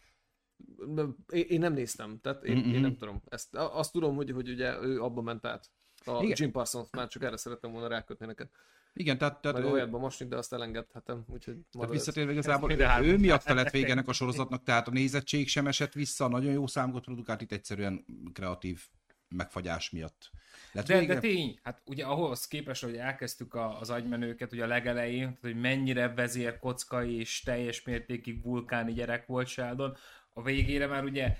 S1: Nem, Én én nem néztem, tehát én,
S2: Mhm.
S1: én nem tudom. Ezt, a- azt tudom, hogy, hogy ugye ő abba ment át. A
S2: Igen.
S1: Jim Parsons már csak erre szerettem volna rákötni neked.
S2: Igen, tehát, tehát
S1: Meg
S2: ö,
S1: olyatban mosni, de azt elengedhetem, úgyhogy
S2: Hát Tehát
S1: marad ez.
S2: visszatérve igazából,
S3: mind a
S2: ő,
S3: három.
S2: ő miatta lett vége ennek a sorozatnak, tehát a nézettség sem esett vissza, nagyon jó számokat produkált, itt egyszerűen kreatív megfagyás miatt lett
S3: De,
S2: vége.
S3: de tény, hát ugye ahhoz képest, hogy elkezdtük a, az agymenőket ugye a legelején, tehát hogy mennyire vezérkockai és teljes mértékig vulkáni gyerek volt Sheldon, a végére már ugye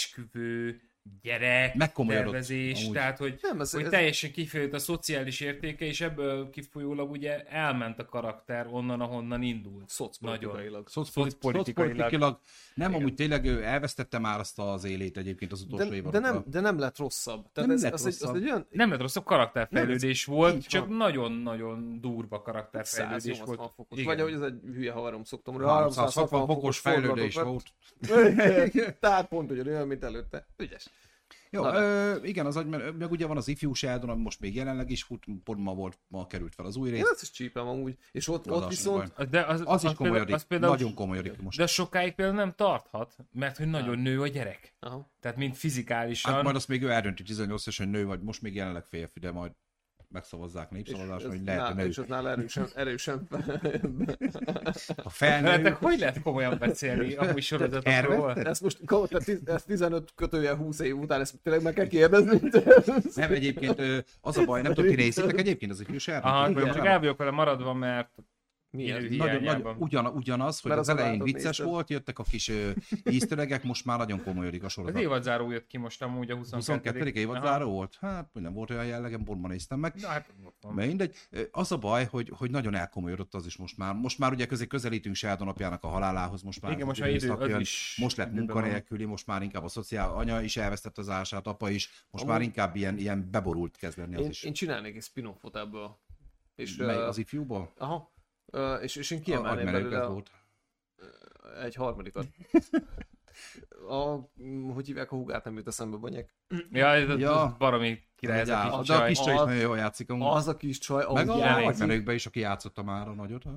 S3: esküvő, gyerek,
S2: Megkomolyodott,
S3: tervezés,
S2: amúgy.
S3: tehát hogy,
S1: Nem, ez-
S3: hogy
S1: ez-
S3: teljesen kifejlődött a szociális értéke, és ebből kifolyólag ugye elment a karakter onnan, ahonnan indult. Nagyon.
S1: Szocpolitikailag.
S2: Szocpoliti-
S3: szocpolitikailag.
S2: szocpolitikailag. Nem, amúgy tényleg ő elvesztette már azt az élét egyébként az utolsó
S1: De,
S2: évadokra.
S1: de, nem, de nem lett rosszabb. Tehát
S2: Nem
S1: ez,
S2: lett
S1: az, Egy,
S2: rosszabb.
S1: az egy olyan
S3: Nem lett rosszabb karakterfejlődés volt,
S2: így
S3: csak
S2: van.
S3: nagyon-nagyon durva karakterfejlődés
S1: 180
S3: volt.
S1: fokos.
S3: Igen.
S1: Vagy ahogy ez egy hülye havarom szoktam,
S2: 360 fokos fejlődés volt.
S1: volt. Tehát pont ugyanolyan, mint előtte. Ügyes.
S2: Jó,
S1: Na de.
S2: ö, igen, az agy, mert meg ugye van az ifjú Sheldon, ami most még jelenleg is fut, pont ma volt, ma került fel az új
S1: Én
S2: rész.
S1: ezt is csípem amúgy. És ott,
S2: Oda
S1: ott
S2: sem
S1: viszont...
S2: baj.
S3: De az,
S2: Az is
S3: például-
S2: komolyodik,
S3: az például
S2: nagyon komolyodik most.
S3: De sokáig például nem tarthat, mert hogy nagyon nő a gyerek.
S1: Aha.
S3: Tehát mind fizikálisan.
S2: Hát majd azt még ő eldönti 18 hogy nő vagy, most még jelenleg férfi, de majd megszavazzák népszavazáson,
S1: ez
S2: hogy lehet,
S1: nála,
S2: nő.
S1: és ez nála erősen, erősen
S2: Ha
S3: Veletek
S2: felnő,
S3: Hát, hogy lehet komolyan beszélni amúgy sorozatokról?
S2: Elvetted?
S1: ezt most tehát tiz- ezt 15 kötője 20 év után, ezt tényleg meg kell kérdezni.
S2: Nem, egyébként ö, az a baj, nem tudom, ti nézitek egyébként az ifjú Sheldon?
S3: Aha, akkor
S2: Igen.
S3: csak el vagyok vele maradva, mert
S1: Miért?
S3: Idő
S2: nagyon,
S3: hiányában.
S2: nagyon, ugyan, ugyanaz, hogy
S1: Mert
S2: az
S1: az a
S2: elején
S1: látod,
S2: vicces
S1: nézted.
S2: volt, jöttek a kis ö, íztöregek, most már nagyon komolyodik a
S3: az
S2: sorozat.
S3: évadzáró jött ki most amúgy a 22.
S2: 22. évad
S3: Aha.
S2: záró volt? Hát nem volt olyan jellegem, borban néztem meg.
S3: Na, hát, ott van.
S2: Mindegy. Ö, Az a baj, hogy, hogy nagyon elkomolyodott az is most már. Most már ugye közé közelítünk Sheldon apjának a halálához, most már
S3: Igen,
S2: ez
S3: most
S2: az
S3: már idő,
S2: időszak
S3: az
S2: jön.
S3: is
S2: most lett
S3: időben van.
S2: munkanélküli, most már inkább a szociál anya is elvesztett az ását, apa is, most már
S1: Amúgy-
S2: inkább ilyen, ilyen beborult kezd lenni az
S1: Én,
S2: is.
S1: én csinálnék egy spin-offot ebből. És,
S2: Mely,
S1: ö,
S2: az ifjúból?
S1: Aha. Ö, És, és én
S2: Agy
S1: kiemelném
S2: merő
S1: belőle
S2: köz
S1: a-
S2: volt.
S1: Egy harmadikat. A, m, hogy hívják a húgát, nem jut eszembe, bonyek.
S3: Ja, ez az,
S2: Ja.
S3: az baromi király ez
S2: Egy
S3: a
S2: áll-
S3: kis
S2: de a
S3: csaj.
S2: kis csaj is
S1: Az-
S2: nagyon jól játszik amúgy.
S1: Az a kis csaj,
S2: Meg
S1: ahogy
S2: a
S1: játszik.
S2: agymenőkben is, aki játszotta már a nagyot. ha?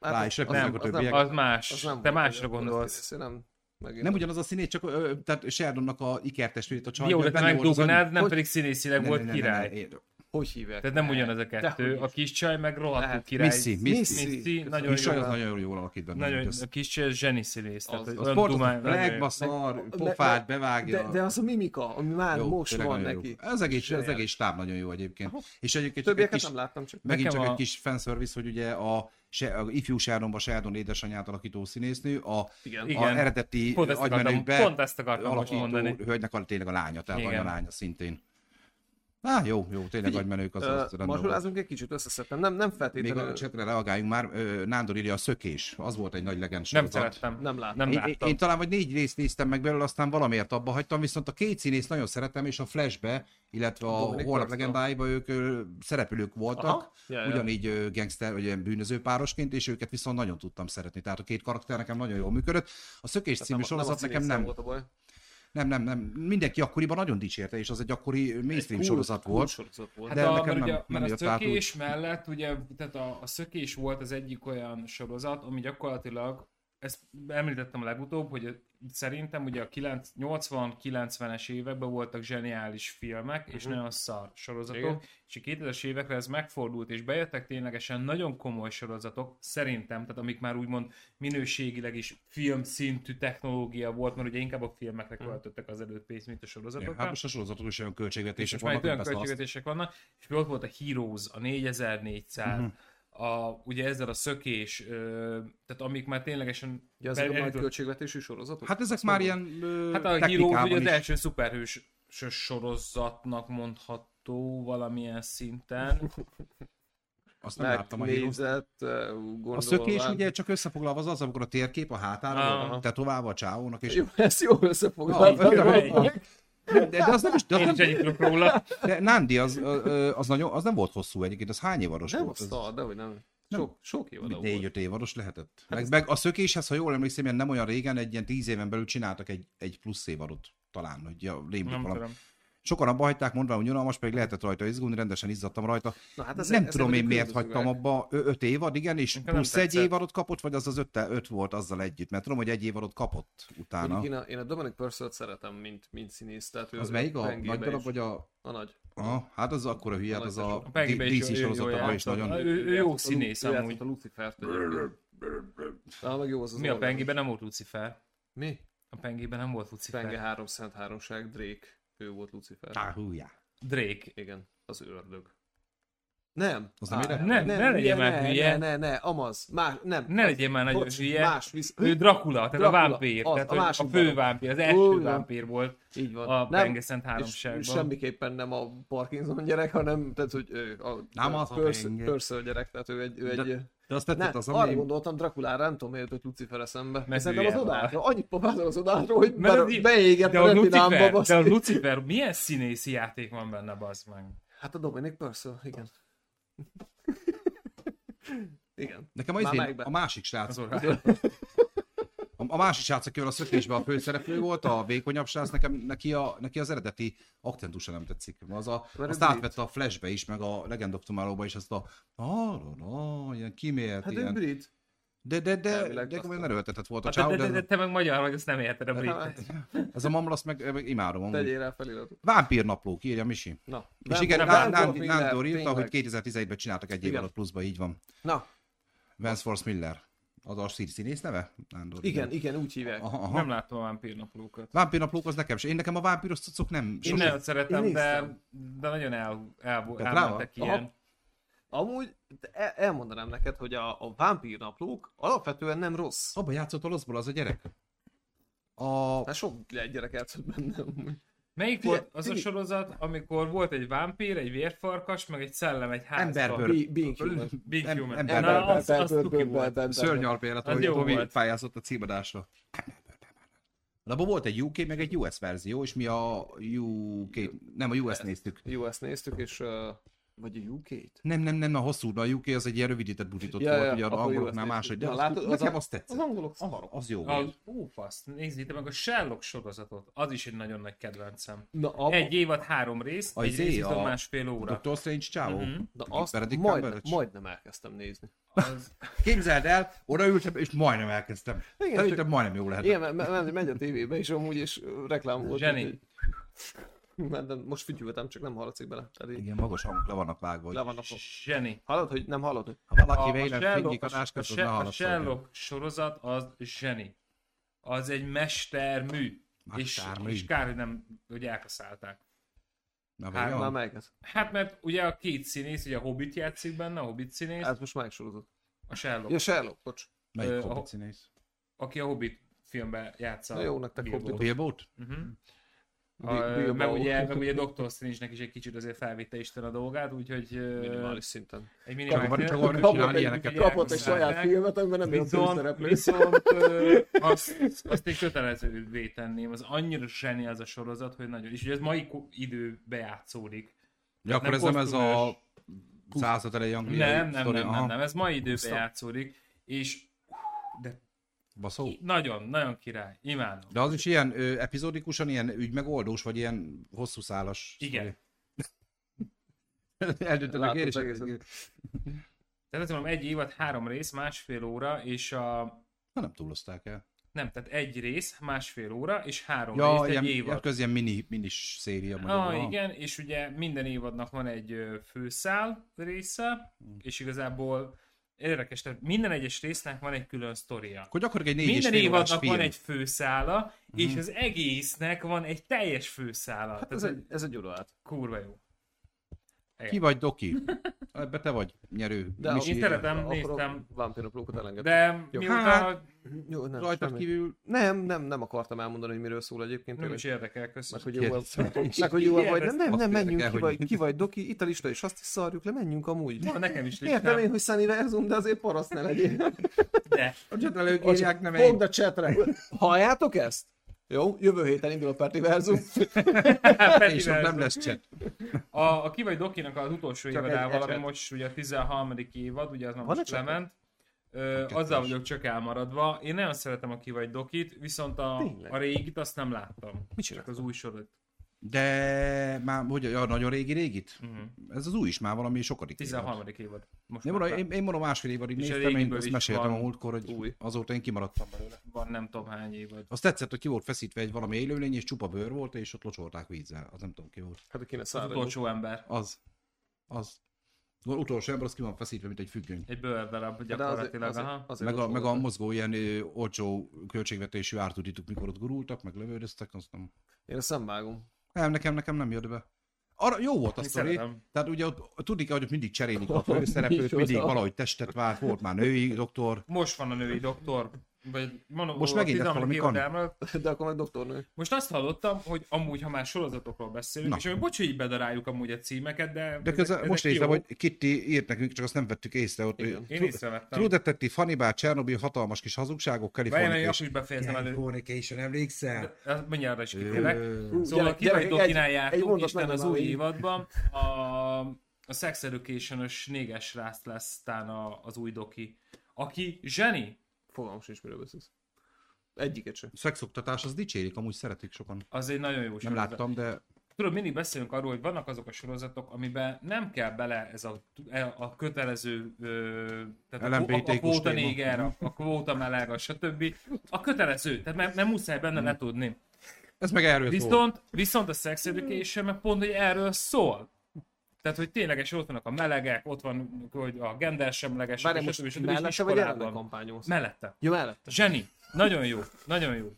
S1: Hát
S2: rá
S1: az-
S2: is
S1: az
S2: raknak
S1: nem-
S2: a
S1: az nem-
S2: többiek.
S3: Az
S1: az
S3: más.
S1: nem
S3: Te
S1: volt,
S3: másra
S1: akkor ezt-
S3: gondolsz.
S1: ezt én nem, megint
S2: Nem ugyanaz a színét, csak ö, ö, tehát Sheldonnak a ikertestvérét, a csaj.
S3: Jó,
S2: ő
S3: de te
S2: benne volt az anyag-
S3: megdugnád, nem
S1: Hogy-
S3: pedig színészileg
S2: Ne, ne,
S3: volt
S2: ne, ne,
S3: király.
S2: ne, én-
S1: Hogy hívják?
S3: Tehát nem ugyanaz a kettő.
S1: Dehogy
S3: A
S1: is.
S3: kis csaj meg rohadtul
S1: Lehet.
S3: király.
S2: Missy, Missy.
S1: Missy.
S3: Missy,
S1: Köszönöm.
S3: nagyon
S2: Kis
S3: jó.
S2: csaj az nagyon jól alakít benne.
S3: Nagyon,
S2: az,
S3: a kis csaj, zseni színész, tehát
S1: Az-
S3: hogy
S2: az
S3: olyan
S2: sportot,
S3: dumány-
S2: a legba
S1: Meg-
S2: szar,
S1: meg-
S2: pofát
S1: De,
S2: bevágja.
S1: de az a mimika, ami már
S2: Jó,
S1: most
S2: tényleg
S1: van
S2: nagyon jó.
S1: neki.
S2: Az egész, az
S1: Zseniális.
S2: egész stáb nagyon jó egyébként. És egyébként csak egy
S1: Többieket
S2: kis,
S1: nem láttam, csak
S2: megint
S3: Nekem
S2: csak egy
S3: a-
S2: kis fanservice, hogy ugye a, se, a ifjú Sárdomba Sárdon édesanyját alakító színésznő, a,
S1: igen.
S2: a
S3: Igen.
S2: eredeti
S3: Pont ezt akartam-
S2: agymenőkbe
S3: pont ezt akartam most
S2: alakító
S3: mondani.
S2: hölgynek a tényleg a lánya, tehát
S3: Igen.
S2: anya lánya szintén. Á, jó, jó, tényleg agymenők az, az rendben volt.
S1: Mazsolázunk egy kicsit, összeszedtem. Nem, nem
S2: Még
S1: feltétlenül.
S2: a csetre reagáljunk már, ö, Nándor írja a szökés, az volt egy nagy legend
S3: Nem
S2: sorozat.
S3: szerettem.
S1: Nem láttam.
S3: Nem
S2: Én,
S3: láttam.
S2: én, én talán vagy négy részt néztem meg belőle, aztán valamiért abba hagytam, viszont a két színészt nagyon szeretem, és a Flashbe, illetve a
S1: Dominic
S2: Holnap
S1: Webster.
S2: legendáiba ők ö, szereplők voltak,
S1: Aha. Ja, ja.
S2: ugyanígy ö, gangster, vagy ilyen bűnöző párosként, és őket viszont nagyon tudtam szeretni. Tehát a két karakter nekem nagyon jól működött. A Szökés című
S1: a-
S2: sorozat
S1: a
S2: nekem
S1: színésszel
S2: nem,
S1: Volt a baj.
S2: nem, nem, nem, mindenki akkoriban nagyon dicsérte, és az egy akkori ö, mainstream
S1: Cool-
S2: sorozat
S1: cool
S2: volt.
S1: sorozat volt.
S3: Hát
S1: De
S2: de
S3: a,
S2: nekem
S3: mert,
S2: nem-
S3: ugye,
S2: nem
S3: mert a
S2: jött át úgy.
S3: szökés mellett, ugye, tehát a, a szökés volt az egyik olyan sorozat, ami gyakorlatilag, ezt említettem legutóbb, hogy szerintem ugye a 9 80-90-es években voltak zseniális filmek, és
S1: Mhm.
S3: nagyon szar sorozatok,
S1: Igen.
S3: és a 2000-es évekre ez megfordult, és bejöttek ténylegesen nagyon komoly sorozatok, szerintem, tehát amik már úgymond minőségileg is filmszintű technológia volt, mert ugye inkább a filmekre költöttek az előtt pénzt, mint a sorozatokra.
S2: Mhm. Hát most a sorozatok is olyan
S3: És
S2: költségvetések
S3: most
S2: vannak,
S3: már itt olyan
S2: hogy persze azt-
S3: költségvetések vannak, és ott volt a Heroes, a 4400,
S1: Mhm.
S3: a, ugye ezzel a szökés, ö, tehát amik már ténylegesen...
S1: Ugye ezek a
S3: elindult-
S1: nagy költségvetésű sorozatok?
S2: Hát ezek
S1: Azt
S2: már
S1: mondod?
S2: ilyen ö,
S3: hát a Heroes
S2: technikában
S3: ugye az
S2: is.
S3: első szuperhős sorozatnak mondható valamilyen szinten.
S2: Azt nem láttam a Heroes
S1: Megnézett, eh,
S2: A
S1: gondolván.
S2: szökés ugye csak összefoglalva az az, amikor a térkép a hátára,
S3: Aha.
S2: van, tetoválva a csávónak, és...
S1: Jó, ezt jól összefoglaltad.
S2: Na,
S1: Jó,
S2: jó,
S1: jó.
S2: De, de az nem is... De, az
S3: Én
S2: nem,
S3: is ennyit tudok róla.
S2: de Nandi, az, ö, ö, az, nagyon, az nem volt hosszú egyébként, az hány évaros
S1: Nem a
S2: volt?
S1: szar, de hogy nem. Sok, sok évadó volt. Hát
S2: Négy-öt évaros lehetett. Meg, meg a szökéshez, ha jól emlékszem, ilyen nem olyan régen, egy ilyen tíz éven belül csináltak egy, egy plusz évadot talán, hogy ja, rémlik
S3: Nem
S2: valami.
S3: tudom.
S2: Sokan abba hagyták, mondva, hogy unalmas, pedig lehetett rajta izgulni, rendesen izzadtam rajta.
S1: Na, hát ezek-
S2: nem
S1: ezek
S2: tudom
S1: ugye
S2: én miért
S1: különbözőek.
S2: hagytam abba, Ö- öt évad, igen, és
S3: Nekem nem
S2: plusz egy
S3: tetszett.
S2: évadot kapott, vagy az az öt, öt volt azzal együtt, mert tudom, hogy egy évadot kapott utána.
S1: Mondjuk Én a, én a Dominic purcell szeretem, mint, mint színész. Tehát ő
S2: Az melyik a
S1: pengébe
S2: nagy darab,
S1: is-
S2: vagy a...
S1: A nagy.
S2: Aha, hát az akkor a hülyát, az a
S1: A
S3: A is
S2: D- DC
S3: jó- jó
S2: sorozatokban is
S3: játszott.
S2: nagyon...
S3: Ő, ő jó
S1: játszott a
S3: színész
S1: Lu- ő játszott
S3: amúgy.
S1: a Lucifert. egyébként. Na, meg jó az az
S3: Mi a
S1: oldal.
S3: pengében nem volt Lucifer?
S1: Mi?
S3: A pengében nem volt Lucifer.
S1: Penge három szent háromság, Drake. Ő volt Lucifer.
S2: Á, hújá.
S1: Hát-
S3: Drake.
S1: Igen, az ördög. Nem.
S2: Az nem ördög?
S3: Nem, ne legyél már
S1: ne,
S3: hülye.
S1: Ne, ne, ne, amaz. Más, nem.
S3: Ne legyél már nagyon
S1: Bocs,
S3: hülye.
S1: Más, visz...
S3: Ő Dracula, tehát Dracula,
S1: Dracula,
S3: a vámpír,
S1: az,
S3: tehát
S1: a
S3: a, a
S1: másik
S3: fő
S1: darab.
S3: vámpír, az első
S1: Úgy van.
S3: vámpír volt
S1: Így van.
S3: a
S1: Nem,
S3: Pengeszent háromságban.
S1: És, és semmiképpen nem a Parkinson gyerek, hanem tehát, hogy ő a,
S2: Nem az a penge.
S1: Purcell gyerek, tehát ő egy, ő egy
S2: De- De azt
S1: Ne,
S2: tetszett
S1: az
S2: az,
S1: arra
S2: ami...
S1: gondoltam Draculára, nem tudom miért jött Lucifer eszembe.
S3: Mert
S1: Szerintem az
S3: hülye vagy.
S1: odától, annyit papázol az odától, hogy
S3: Mert
S1: be,
S3: az-
S1: beégett
S3: de,
S1: a
S3: a
S1: retinámba,
S3: Lucifer, de a
S1: basszus.
S3: Lucifer, milyen színészi játék van benne, bazd meg?
S1: Hát a Dominic Purcell, igen. igen.
S2: Nekem
S1: Már
S2: az én,
S1: melyikbe?
S2: a másik srác,
S3: Az
S2: a,
S3: orrá.
S2: a másik srác, akivel a szökésben a főszereplő volt, a vékonyabb srác, nekem, neki, a, neki az eredeti akcentusa nem tetszik. Az a,
S1: Mert
S2: azt
S1: ő brit.
S2: átvette a flashbe is, meg a Legend of Tomorrow-ba is azt a na, na, na, ilyen kimért,
S1: Hát ő
S2: ilyen.
S1: brit.
S2: De, de, de, de,
S1: Elvileg
S2: de
S1: azt
S2: komolyan
S1: a-
S2: erőltetett volt a
S3: Hát, de,
S2: csáó,
S3: de, de,
S2: de
S3: te meg magyar vagy, azt nem érted a
S1: Hát,
S3: brit.
S2: ez a mamlasz, meg, eh, meg imádom. amúgy.
S1: Tegyél rá feliratot.
S2: Vámpírnapló, írja Misi.
S1: Na.
S2: És igen,
S3: nem,
S2: Ná-
S3: nem
S2: Ná-
S1: Miller,
S2: Nándor írta,
S1: tényleg.
S2: hogy 2011-ben csináltak egy
S1: Igen.
S2: évadot pluszba, így van.
S1: Na,
S2: Vance Force Miller. Az a szín- színész neve? Nándor.
S1: igen, igen, úgy hívják.
S2: Aha, aha.
S3: Nem láttam a vámpírnaplókat.
S2: Vámpírnaplók az nekem se. Én nekem a vámpíros cuccok nem.
S3: Én
S2: Sose.
S3: nagyon szeretem,
S1: Én
S3: de,
S1: néztem.
S3: de nagyon el, el,
S2: Dracula?
S3: elmentek
S1: Aha.
S3: ilyen.
S1: Amúgy de el- elmondanám neked, hogy a, a vámpírnaplók alapvetően nem rossz.
S2: Abba játszott olaszból az a gyerek. A...
S1: Hát sok gyerek játszott benne. amúgy.
S3: Melyik
S1: Figyelj,
S3: volt az a
S1: Tibi-
S3: sorozat, amikor volt egy vámpír, egy vérfarkas, meg egy szellem egy házba?
S2: Emberbőr.
S1: Be- Being human.
S3: Big
S2: Em-
S3: Human.
S2: ember-
S3: Na, az, az
S1: Ember-
S3: tuki volt.
S1: ember-
S2: Szörnyalpélet,
S3: Az
S2: hogy
S3: jó
S2: Tomi
S3: volt.
S2: pályázott a címadásra. De abban volt egy UK, meg egy US verzió, és mi a UK, nem a US néztük.
S1: Jó, ezt néztük, és... ö, Vagy a UK-t?
S2: Nem, nem, nem, a hosszú, de a UK az egy ilyen rövidített butított
S1: Ja,
S2: volt,
S1: ja,
S2: ugye a
S1: akkor jó, azt
S2: angoloknál
S1: néztük.
S2: máshogy, de
S1: Na,
S2: az,
S1: látod, az
S2: nekem
S1: a-
S2: az tetszett.
S1: Az angolok
S2: Aha,
S1: szarok.
S2: az jó
S3: A,
S2: volt.
S3: ó, fasz, nézzétek meg a Sherlock sorozatot, az is egy nagyon nagy kedvencem.
S1: Na, a,
S3: Egy évad három rész,
S2: A
S3: egy
S2: izé,
S3: rész
S2: a-
S3: viszont másfél óra.
S2: Dr. Strange Csávó.
S3: Mhm.
S1: na azt
S2: Benedict
S1: majd,
S2: Cumberbatch.
S1: majdnem elkezdtem nézni.
S3: Az,
S2: Képzeld el, odaültem, és majdnem elkezdtem.
S1: Igen,
S2: Szerintem
S1: csak-
S2: majdnem jó lehet.
S1: Igen, mert me- me- megy a tévébe is amúgy, és ö, reklám volt.
S3: Zseni.
S1: úgyhogy- Mert nem- most fütyültem, csak nem hallatszik bele. Tehát így
S2: Igen, magas hangok le vannak vágva.
S1: le
S2: Hogy
S1: vannak.
S3: zseni.
S1: Hallod, hogy nem hallod? Hogy...
S2: ha valaki véletlen
S3: Sherlock-
S2: fingik a
S3: a,
S2: náskát, az ne
S3: Se- a
S2: hallatszoljon.
S3: Sherlock sorozat az zseni. Az egy mestermű.
S2: Mestermű.
S3: És, és kár, hogy nem, hogy elkaszálták.
S2: Na, vagy
S1: Hát,
S2: jó?
S1: már melyiket?
S3: Hát mert ugye a két színész, ugye a Hobbit játszik benne, a Hobbit színész,
S1: Hát most melyik sorozott?
S3: a Sherlock,
S1: Ja, Sherlock, bocs.
S2: Melyik
S3: Ö,
S2: hobbit
S3: a-
S2: színész?
S3: aki a Hobbit filmben játsza.
S1: Na jó, nektek
S3: Bilbo-t.
S1: Hobbit.
S2: Bilbo-t?
S3: Mhm. A,
S1: Bi-
S3: meg,
S1: Bilbao.
S3: ugye, meg ugye Dr. Strange-nek is egy kicsit azért felvitte Isten a dolgát, úgyhogy... ö,
S1: minimális szinten.
S3: Egy minimális...
S2: Kapott-
S3: szinten-
S2: kapott-
S1: kapott
S3: egy-
S2: ilyeneket.
S3: egy-
S1: Kapott egy
S3: elhúzzák.
S1: saját filmet, amiben nem jön
S3: Viszont,
S1: főszereplő.
S3: viszont ö, azt, azt én kötelezővé tenném. Az annyira zseni az a sorozat, hogy nagyon... És ugye ez mai ko- időbe játszódik.
S2: Ja, akkor
S3: Nem
S2: ez nem ez a
S3: kosztümös.
S2: század elejé
S3: Nem,
S2: angliai
S3: nem, nem,
S2: sztori,
S3: nem,
S2: aha.
S3: nem, nem, ez mai időbe
S2: Biztos.
S3: játszódik, és
S2: Baszó.
S3: nagyon, nagyon király, imádom.
S2: De az is ilyen ö, epizódikusan, ilyen ügymegoldós, vagy ilyen hosszú szálas.
S3: Igen.
S2: Eldöntöttek
S1: Látod
S2: én is.
S1: az egészet.
S3: Tehát azt mondom, egy évad, három rész, másfél óra, és a...
S2: Na, nem túlozták el.
S3: Nem, tehát egy rész, másfél óra, és három
S2: Ja,
S3: rész,
S2: ilyen,
S3: egy
S2: ilyen
S3: évad.
S2: köz, ilyen mini, minis széria. mondjuk.
S3: Ah,
S2: Aha.
S3: igen, és ugye minden évadnak van egy ö, főszál része, és igazából érdekes, tehát minden egyes résznek van egy külön sztoria.
S2: Akkor gyakorlatilag egy négy
S3: Minden
S2: és fél órás
S3: évadnak
S2: film.
S3: van egy főszála, és az egésznek van egy teljes főszála. Hát
S1: Ez
S3: ez egy
S1: egy, ez egy uralát.
S3: kurva jó.
S2: Ki vagy Doki? Ebbe te vagy nyerő.
S1: De
S2: Misi.
S3: Én szeretem,
S1: Akkor
S3: néztem,
S1: a Vámpíroplókat elengedtem.
S3: de
S1: Jó.
S3: miután a-
S1: Jó, nem,
S2: Rajtad
S1: semmi.
S2: kívül
S1: Nem, nem, nem akartam elmondani, hogy miről szól egyébként.
S3: nem
S1: tényleg.
S3: is érdekel,
S1: Meg
S3: köszönöm.
S1: hogy jó,
S2: Kérdezem is.
S1: meg, hogy jó vagy.
S3: Kérdezem.
S1: Nem, nem,
S2: Azt
S1: nem, menjünk,
S2: érdekel,
S1: ki
S2: hogy-
S1: vagy, ki vagy, Doki, itt a lista is, azt is szarjuk le, menjünk amúgy.
S3: Na, nekem is
S1: Értem
S3: listám,
S1: én, hogy Sunnyverzum, de azért paraszt ne legyél.
S3: de
S2: a csetlelők írják, nem
S1: Fogd a
S2: egy.
S1: csetre. Halljátok ezt? Jó, jövő héten indul a Pertiverzum.
S3: Peti
S2: És ott nem
S3: Verzum.
S2: lesz cset.
S3: A, a ki vagy Dokinak az utolsó
S1: Csak
S3: évadával,
S1: egy- egy
S3: ami
S1: lett.
S3: most ugye a 13. évad, ugye az már
S1: Van
S3: most
S1: egy csapat?
S3: lement, ö,
S2: Kettős.
S3: azzal vagyok csak elmaradva. Én nagyon szeretem a ki vagy Dokit, viszont a,
S1: Tényleg?
S3: a régit azt nem láttam.
S1: Mit
S3: Csak
S1: csinálsz?
S3: az új sorot.
S2: De már, hogy ja, nagyon régi régit?
S3: Mhm.
S2: Ez az új is már valami sokadik. évad.
S3: 13. évad. Most
S2: Én
S3: már
S2: mondom, én, én mondom másfél évadig
S3: És a
S2: néztem, én
S3: régiből
S2: azt
S3: is
S2: meséltem a
S3: van
S2: múltkor, hogy
S1: új.
S2: azóta én kimaradtam belőle.
S3: van nem tudom hány évad.
S2: Azt tetszett, hogy ki volt feszítve egy valami élőlény, és csupa bőr volt, és ott locsolták vízzel. Az nem tudom ki volt.
S1: Hát kéne
S3: Az
S1: szállni.
S3: utolsó ember.
S2: Az. Az. Az utolsó ember, az ki van feszítve, mint egy függöny.
S3: Egy bőrdarab gyakorlatilag. Aha.
S2: Meg a, meg a mozgó ilyen ö, olcsó költségvetésű ártudituk, mikor ott gurultak, meg lövődöztek, azt nem.
S1: Én ezt nem vágom.
S2: Nem, nekem, nekem nem jött be. Arra jó volt a
S3: Én
S2: sztori.
S3: szeretem.
S2: Tehát ugye ott tudni kell, hogy ott mindig cserélik a
S1: Hogy
S2: főszereplőt,
S1: micsoda.
S2: mindig valahogy testet vált, volt már női doktor.
S3: Most van a női doktor. Vagy mondom,
S2: Most
S3: a
S2: megint lett
S3: 13.
S2: valami
S3: évad
S2: kan-
S3: elmaradt.
S1: De akkor meg doktornő.
S3: Most azt hallottam, hogy amúgy, ha már sorozatokról beszélünk,
S2: Na.
S3: és amúgy bocs, hogy így bedaráljuk amúgy a címeket, de...
S2: De
S3: ezek-
S2: közben
S3: ezek
S2: most nézem,
S3: jók.
S2: hogy Kitty írt nekünk, csak azt nem vettük észre. Ott,
S1: Igen.
S3: Én
S2: True-
S3: észrevettem.
S2: True Detective, Hannibal, Csernobyl, hatalmas kis hazugságok,
S3: Várjál, hogy
S2: California
S3: akkor is befejezem elő.
S4: Fornication, emlékszel?
S3: Azt Mondja arra is kitérek.
S1: Hú,
S3: Szóval
S1: gyerek-
S3: ki vagy
S1: gyerekek,
S3: Dokinál
S1: egy- egy
S3: jártunk,
S1: mondat
S3: Isten
S1: nagyon
S3: az új
S1: állít.
S3: évadban. A, a Sex Education-ös néges rászt lesz tán a, az új Doki. Aki zseni.
S1: Fogalmam sincs, miről beszélsz. Egyiket sem.
S2: Szexoktatás, az dicsérik, amúgy szeretik sokan.
S3: Az egy nagyon jó
S2: Nem
S3: sorozat.
S2: láttam, de
S3: Tudod, mindig beszélünk arról, hogy vannak azok a sorozatok, amiben nem kell bele ez a, e, a kötelező, ö, tehát a, a, a
S2: LMBTQ-s
S3: kvóta
S2: téma.
S3: néger, a, a kvóta meleg, a stb. A kötelező, tehát nem, nem muszáj benne letudni.
S2: Mm. ez meg erről szól.
S3: Viszont, viszont a Sex Education meg pont, hogy erről szól. Tehát, hogy tényleges ott vannak a melegek, ott van hogy a gender semleges,
S1: Várj, most mellette vagy ellene kampányolsz?
S3: Mellette.
S1: Jó, mellette.
S3: Zseni. Nagyon jó. Nagyon jó.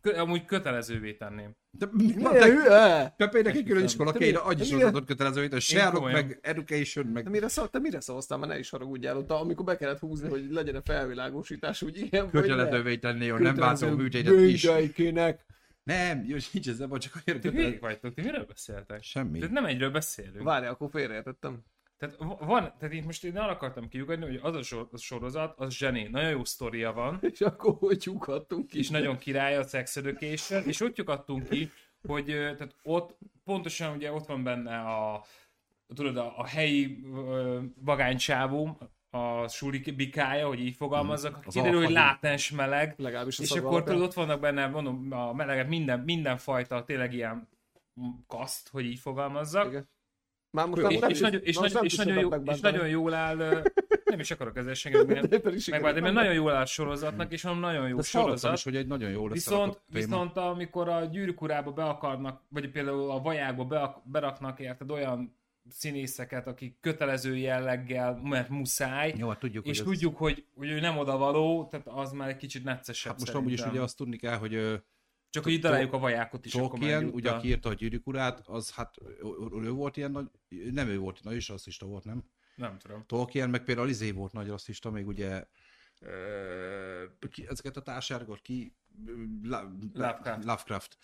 S3: Kö, amúgy kötelezővé tenném.
S2: De mi van
S1: Te
S2: te-
S1: hülye!
S2: Pepe-nek egy külön iskola,
S1: te
S2: kéne
S1: mi-
S2: annyi
S1: te mi-
S2: sorozatot kötelező, mint a Sherlock,
S3: komolyan.
S2: meg Education,
S1: Te
S2: meg...
S1: mire, szav, te mire szavaztál, mert ne is haragudjál ott, amikor be kellett húzni, hogy legyen a felvilágosítás, úgy ilyen vagy ne.
S2: Kötelezővé tenni, hogy nem váltó
S1: Kötelező
S2: műtétet is.
S1: bőgyeikének.
S2: Nem, jó, nincs ez ebben, csak olyan
S3: Ti hülyék
S2: kötelező.
S3: vagytok? Ti miről beszéltek?
S2: Semmi.
S3: Tehát nem egyről beszélünk.
S1: Várjál, akkor félreértettem.
S3: Tehát va- van, tehát itt most én arra akartam kiugadni, hogy az a sor- az sorozat, az zseni, nagyon jó sztoria van,
S1: És akkor hogy lyukadtunk ki?
S3: és nagyon király a Sex Education, és ott lyukadtunk ki, hogy ö, tehát ott pontosan ugye ott van benne a tudod, a, a helyi ö, vagánycsávó, a suli bikája, hogy így fogalmazzak, aki
S2: Az
S3: kiderül, hogy
S2: alfa hím.
S3: látens meleg,
S1: Legalábbis a
S3: és
S1: szag
S3: akkor
S1: alapján.
S3: tudod, ott vannak benne, mondom, a melegek, minden, mindenfajta, tényleg ilyen kaszt, hogy így fogalmazzak,
S1: Igen. Már most
S2: Jó,
S1: nem
S3: és,
S1: nem
S3: és, nagyon, és,
S1: most
S3: nagyon,
S1: nem
S3: és,
S1: tudsz
S3: nagyon,
S1: többet
S3: jó, és
S1: megbántani.
S3: nagyon jól áll, ö, nem is akarok ezzel senki
S1: De pedig sikerült.
S3: megválni, mert nagyon jól áll a sorozatnak, és van nagyon jó
S2: Ezt hallottam
S3: sorozat.
S2: is, hogy egy nagyon jó
S3: Viszont,
S2: összerakott téma.
S3: viszont amikor a gyűrűkurába be akarnak, vagy például a vajákba be, beraknak érted olyan színészeket, akik kötelező jelleggel, mert muszáj,
S2: Jó, hát tudjuk,
S3: és
S2: hogy ez-
S3: tudjuk, hogy, hogy ő nem oda való, tehát az már egy kicsit neccesebb
S2: Hát most amúgy is ugye
S3: szerintem.
S2: azt tudni kell, hogy ö,
S3: Csak hogy itt találjuk a vajákot is, akkor már
S2: Tolkien, ugye
S3: egyúttal.
S2: aki írta a gyűrűk urát, az hát ő- ő volt ilyen nagy, nem ő volt nagy és rasszista volt, nem?
S3: Nem tudom.
S2: Tolkien, meg például Izé volt nagy rasszista, még ugye ö, ki, ezeket a társágokat ki... Lovecraft.
S3: Lovecraft.
S2: Lovecraft.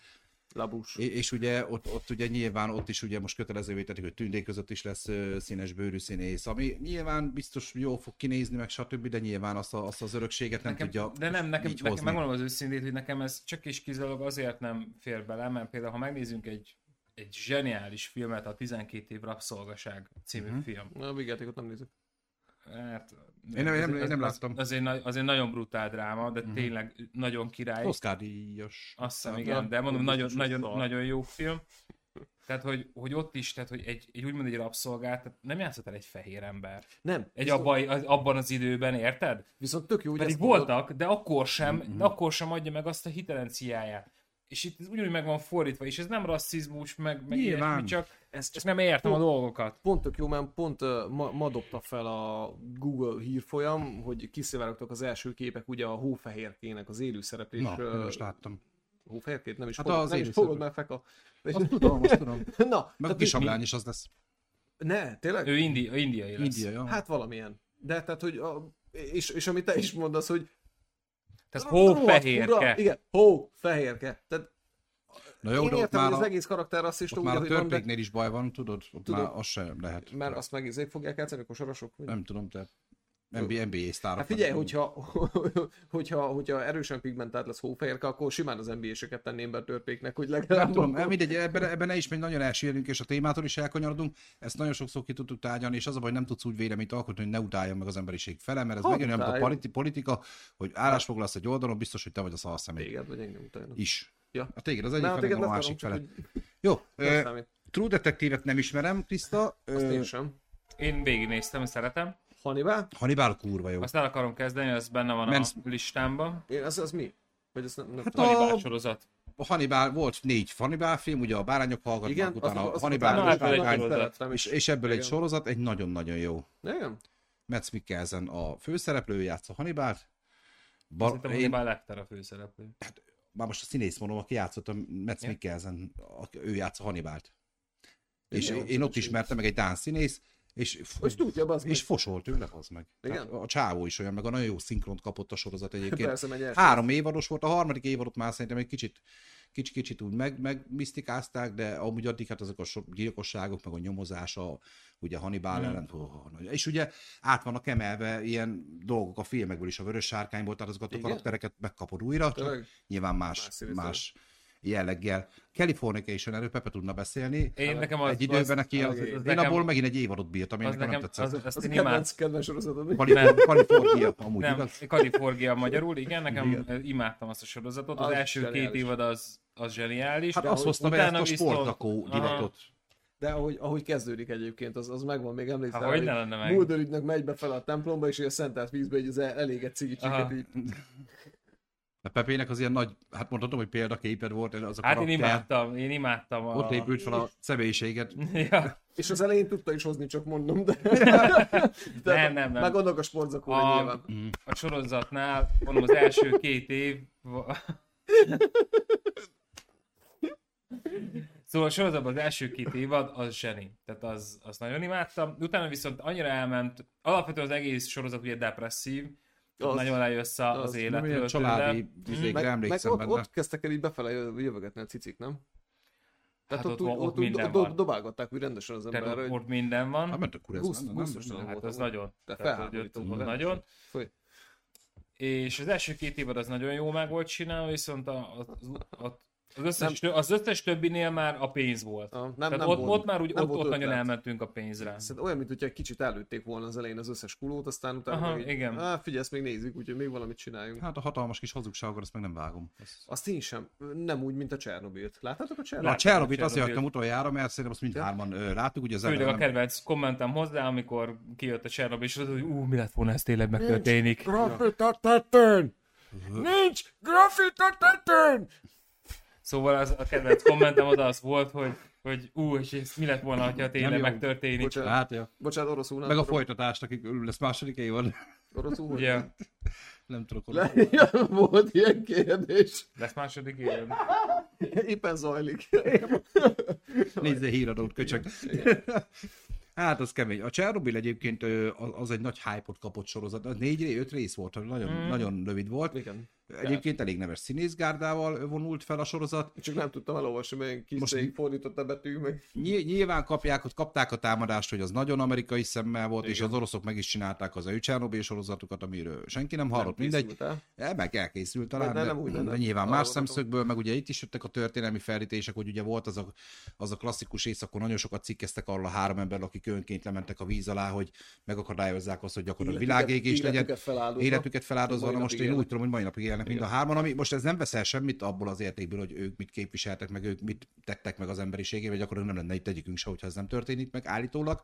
S1: Labus.
S2: És, és ugye ott, ott ugye nyilván ott is ugye most kötelezővé tették, hogy tündék között is lesz ö, színes bőrű színész, ami nyilván biztos jó fog kinézni, meg stb., de nyilván azt, a, azt az örökséget nem
S3: nekem,
S2: tudja
S3: De nem, nekem,
S2: így
S3: nekem
S2: hozni.
S3: megmondom az őszintét, hogy nekem ez csak és kizárólag azért nem fér bele, mert például ha megnézzünk egy, egy zseniális filmet, a 12 év rabszolgaság című
S2: Mhm.
S3: film.
S1: Na, a vigyátékot nem nézek.
S3: Hát,
S2: Én nem- én nem- én nem
S3: az,
S2: láttam.
S3: Az, egy, nagy- az egy nagyon brutál dráma, de
S2: Mhm.
S3: tényleg nagyon király.
S2: Oscar díjas.
S3: Azt hiszem,
S2: Na,
S3: igen, de mondom,
S1: biztos,
S3: nagyon,
S1: hogy
S3: nagyon,
S1: szar.
S3: nagyon jó film. Tehát, hogy, hogy ott is, tehát, hogy egy, egy úgymond egy rabszolgát, tehát nem játszott el egy fehér ember.
S1: Nem.
S3: Egy
S1: viszont,
S3: abban, az, abban az időben, érted?
S1: viszont tök jó, hogy
S3: Pedig
S1: ezt mondod.
S3: voltak, de akkor sem, akkor sem adja meg azt a hitelenciáját. És itt ez ugyanúgy meg van fordítva, és ez nem rasszizmus, meg, meg
S2: Nyilván.
S3: ilyesmi, csak,
S1: Ez,
S3: csak nem értem a dolgokat.
S1: Pont tök jó, mert pont ö, ma, ma dobta fel a Google hírfolyam, hogy kiszivárogtak az első képek ugye a hófehérkének az élő szereplés.
S2: Na,
S1: ö,
S2: én most láttam.
S1: Hófehérkét nem is
S2: Hát
S1: fogod,
S2: az
S1: nem is
S2: élő
S1: fogod,
S2: szereplő.
S1: mert feka. És-
S2: Azt tudom, azt tudom.
S1: Na,
S2: Meg a
S1: tehát
S2: kisablány is az lesz.
S1: mi- Ne, tényleg?
S3: Ő indi, indiai lesz.
S2: India, ja.
S1: Hát valamilyen. De tehát, hogy a, és, és amit te is mondasz, hogy
S3: Tehát
S1: rohadt fura,
S3: hófehérke.
S1: Igen, hó, fehérke. Tehát
S2: Na jó,
S1: én
S2: de ott
S1: értem,
S2: már
S1: hogy az
S2: a,
S1: egész karakter rasszista,
S2: ott
S1: úgy,
S2: már a
S1: ahogy van, de
S2: törpéknél is baj van, tudod? Ott
S1: Tudod.
S2: már az sem lehet.
S1: mert azt meg izék fogják játszani, akkor sorosok. Vagy?
S2: Nem tudom, te NBA, NBA sztárok.
S1: Hát figyelj,
S2: vagy-
S1: hogyha, hogyha, hogyha erősen pigmentált lesz hófehérke, akkor simán az NBA-seket tenném be a törpéknek, hogy legalább...
S2: Nem tudom, eh, mindegy, ebben, ebben ne is megy, nagyon elsírjünk, és a témától is elkanyarodunk. Ezt nagyon sokszor ki tudtuk tárgyalni, és az a baj, hogy nem tudsz úgy véleményt alkotni, hogy ne utáljon meg az emberiség fele, mert ez
S1: Ha
S2: megint olyan, mint a
S1: utálja.
S2: politi- politika, hogy állásfoglalsz egy oldalon, biztos, hogy te vagy a szalszemély.
S1: Téged vagy engem utána.
S2: Is.
S1: Ja.
S2: A téged az egyik
S1: Na,
S2: fele, meg
S1: téged
S2: a
S1: nem
S2: másik
S1: tudom,
S2: fele.
S1: csak hogy
S2: Jó,
S1: nem
S2: eh,
S1: számít.
S2: True Detective-et nem ismerem, Kriszta.
S1: Azt
S2: Eh,
S1: én sem.
S3: Én végignéztem, szeretem.
S1: Hannibal?
S2: Hannibal kurva jó.
S3: Azt el akarom kezdeni, az benne van
S2: Mensz-
S3: a listámban.
S1: Én, az, az mi? Vagy az nem, nem
S2: Hát
S1: tudom.
S3: Hannibal
S2: A-
S3: sorozat.
S2: A Hannibal volt négy Hannibal film, ugye a bárányok hallgatnak
S1: Igen,
S2: utána
S1: azok-
S2: a
S1: azok
S2: Hannibal,
S1: utána
S3: Na, ebből egy
S2: kisbárány,
S3: sorozat.
S1: beleszerettem
S2: és,
S1: is.
S2: és ebből egy
S1: Igen.
S2: sorozat, egy nagyon-nagyon jó.
S1: Igen?
S2: Mads Mikkelsen a főszereplő, ő játsza Hannibalt. Bar-
S3: Szerintem
S2: én,
S3: Hannibal Lecter a főszereplő.
S2: már most a színész mondom, aki játszott a Mads
S3: Ja.
S2: Mikkelsen, aki- ő játsza Hannibalt. És
S1: Igen,
S2: én ott
S1: színész.
S2: ismertem meg egy dán színész, és, fú,
S1: Hogy tudja, az
S2: és fosolt tőle az meg.
S1: Igen?
S2: Tehát a csávó is olyan, meg a nagyon jó szinkront kapott a sorozat egyébként.
S1: Persze, megy el.
S2: Három évados volt, a harmadik évadot már szerintem egy kicsit kicsit, kicsit úgy meg, megmisztikázták, de amúgy addig hát azok a so- gyilkosságok, meg a nyomozása, ugye Hannibal
S3: Mm.
S2: ellen, oh, nagy- és ugye át vannak emelve ilyen dolgok a filmekből is, a vörös sárkányból, tehát azokat a
S1: Igen?
S2: karaktereket megkapod újra, csak
S1: Tényleg?
S2: nyilván más,
S1: Más színű
S2: más jelleggel. Californication, erről Pepe tudna beszélni,
S3: Én nekem az,
S2: egy időben
S3: az,
S2: neki, az,
S1: az- az
S2: én
S3: nekem-
S2: abból megint egy évadot bírtam, én
S3: az
S2: nekem nem
S3: nekem,
S2: tetszett.
S3: az,
S2: Az,
S3: azt
S1: Az a
S3: én imádtam.
S1: kedvenc, kedvenc sorozatod. mi?
S2: Kalifornia, amúgy
S3: Nem,
S2: igaz?
S3: Kalifornia magyarul, igen, nekem igen. imádtam azt a sorozatot. Az,
S1: Az
S3: az első
S1: zseniális.
S3: két évad az, az zseniális.
S2: Hát
S3: de
S2: azt
S3: hogy
S2: hozta be ezt
S3: utána
S2: a
S3: viszont-
S2: sportakó
S3: Aha.
S2: divatot.
S1: De ahogy, ahogy kezdődik egyébként, az, az megvan, még emlékszem.
S3: Há, hogy ne lenne meg.
S1: Mulder ügynök megy befele a templomba, és így a szentelt vízbe, hogy az el- elégett cigicsiket
S3: Aha.
S1: így.
S2: A Pepének az ilyen nagy, hát mondhatom, hogy példaképed volt ez az a
S3: Hát én
S2: karakter.
S3: imádtam, én imádtam. A...
S2: Ott épült fel a személyiséget.
S3: ja,
S1: És az elején tudta is hozni, csak mondom, de...
S3: Nem, nem, nem.
S1: Meg annak a sportzakóra
S3: A-
S1: nyilván.
S3: a sorozatnál, mondom, az első két év... Szóval a sorozatban az első két évad, az zseni. Tehát az, az nagyon imádtam. Utána viszont annyira elment, alapvetően az egész sorozat ugye depresszív, az,
S1: Az.
S3: nagyon lejössz a- az,
S1: Az.
S3: az
S2: Nem
S3: életről.
S2: ilyen
S3: tőle.
S2: családi
S3: Mhm.
S2: vizékre
S1: Meg, meg
S2: emlékszem
S1: ott,
S2: benne.
S1: ott kezdtek el így befele jövögetni a cicik, nem? Tehát
S3: Hát
S1: ott,
S3: ott
S1: úgy,
S3: van- ott
S1: ott, úgy
S3: minden
S1: do-
S3: van.
S1: dobálgatták úgy rendesen az
S3: Tehát
S1: emberre,
S3: ott,
S1: hogy
S3: ott minden
S2: Hát
S3: van.
S2: ment a kurez,
S1: Gusz-
S2: nem, nem,
S1: gusztus
S2: nem.
S1: volt
S3: Hát az
S1: amúgy.
S3: nagyon.
S1: De
S3: Tehát, hogy
S1: felháborító
S3: ott-
S1: volt,
S3: ott
S1: rendesen.
S3: nagyon.
S1: Fúj.
S3: És az első két évad az nagyon jó meg volt csinálva, viszont a, az, az, az, összes, tö- az összes többinél már a pénz volt.
S1: Ah, nem,
S3: Tehát
S1: nem
S3: ott,
S1: volt.
S3: ott már úgy,
S1: nem
S3: ott,
S1: volt
S3: ott nagyon
S1: ötlet.
S3: elmentünk a pénzre.
S1: Szerintem olyan, mint hogyha egy kicsit előtték volna az elején az összes kulót, aztán utána
S3: Aha,
S1: meg így,
S3: igen.
S1: Á, figyelj, ezt még nézzük, úgyhogy még valamit csináljunk.
S2: Hát a hatalmas kis hazugságokat, azt meg nem vágom. Azt-
S1: Azt én sem. Nem úgy, mint a Csernobilt. Láttátok a
S2: Na, a
S1: Csernobilt?
S2: Csernobyt
S3: Csernobyt.
S2: azért hagytam utoljára, mert szerintem azt mindhárman ö, láttuk, ugye az
S3: Főleg a
S2: elején nem-
S3: kedvenc kommentem hozzá, amikor kijött a Csernobyl, és az, hogy ú, mi lett volna, ez tényleg megtörténik.
S1: Grafita tetten! Nincs grafita tetten!
S3: Szóval az a kedvenc kommentem oda az volt, hogy, hogy ú, és ez mi lett volna, ha
S2: Nem
S3: tényleg
S2: jó.
S3: megtörténik.
S1: Bocsánat,
S2: Hát, ja.
S1: bocsánat oroszul nem
S2: Meg a
S1: tudom.
S2: folytatást, akik ül, lesz második évad.
S1: Oroszul hogy?
S3: Ugye,
S2: Nem tudok oda.
S1: Le, ja, volt ilyen kérdés.
S3: lesz második évad.
S1: Éppen zajlik.
S2: Nézze híradót, köcsög. Hát az kemény. A Csernobyl egyébként ö, az az egy nagy hype-ot kapott sorozat. Az négy, öt rész volt, ami nagyon, nagyon rövid volt.
S1: Mm. Igen.
S2: Ö, Egyébként elég neves színészgárdával vonult fel a sorozat.
S1: Csak nem tudtam elolvasni, mert ilyen kis
S2: Most
S1: Most...
S2: mi-
S1: fordított a betű, meg
S2: Ny- nyilván kapják, ott kapták a támadást, hogy az nagyon amerikai szemmel volt, Igen. és
S1: Igen.
S2: az oroszok meg is csinálták az ő Csernobyl sorozatukat, amiről senki nem hallott,
S1: nem
S2: mindegy.
S1: készült el.
S2: E, meg elkészült talán,
S1: de
S2: de,
S1: nem úgy
S2: de,
S1: lenne.
S2: de nyilván más
S1: Hallgatom.
S2: szemszögből, meg ugye itt is jöttek a történelmi felítések, hogy ugye volt az a, az a klasszikus éjszakon, nagyon sokat cikkeztek arról a három emberről, akik önként lementek a víz alá, hogy megakadályozzák azt, hogy gyakorlatilag
S1: Életüket-
S2: világégés legyen,
S1: életüket feláldozva.
S2: életüket feláldozva,
S1: Mai
S2: na most
S1: napig
S2: én úgy
S1: élnek.
S2: tudom, hogy mai napig élnek mind a hárman, ami most ez nem veszel semmit abból az értékből, hogy ők mit képviseltek, meg ők mit tettek meg az emberiségével, gyakorlatilag nem lenne itt egyikünk se, hogyha ez nem történik meg állítólag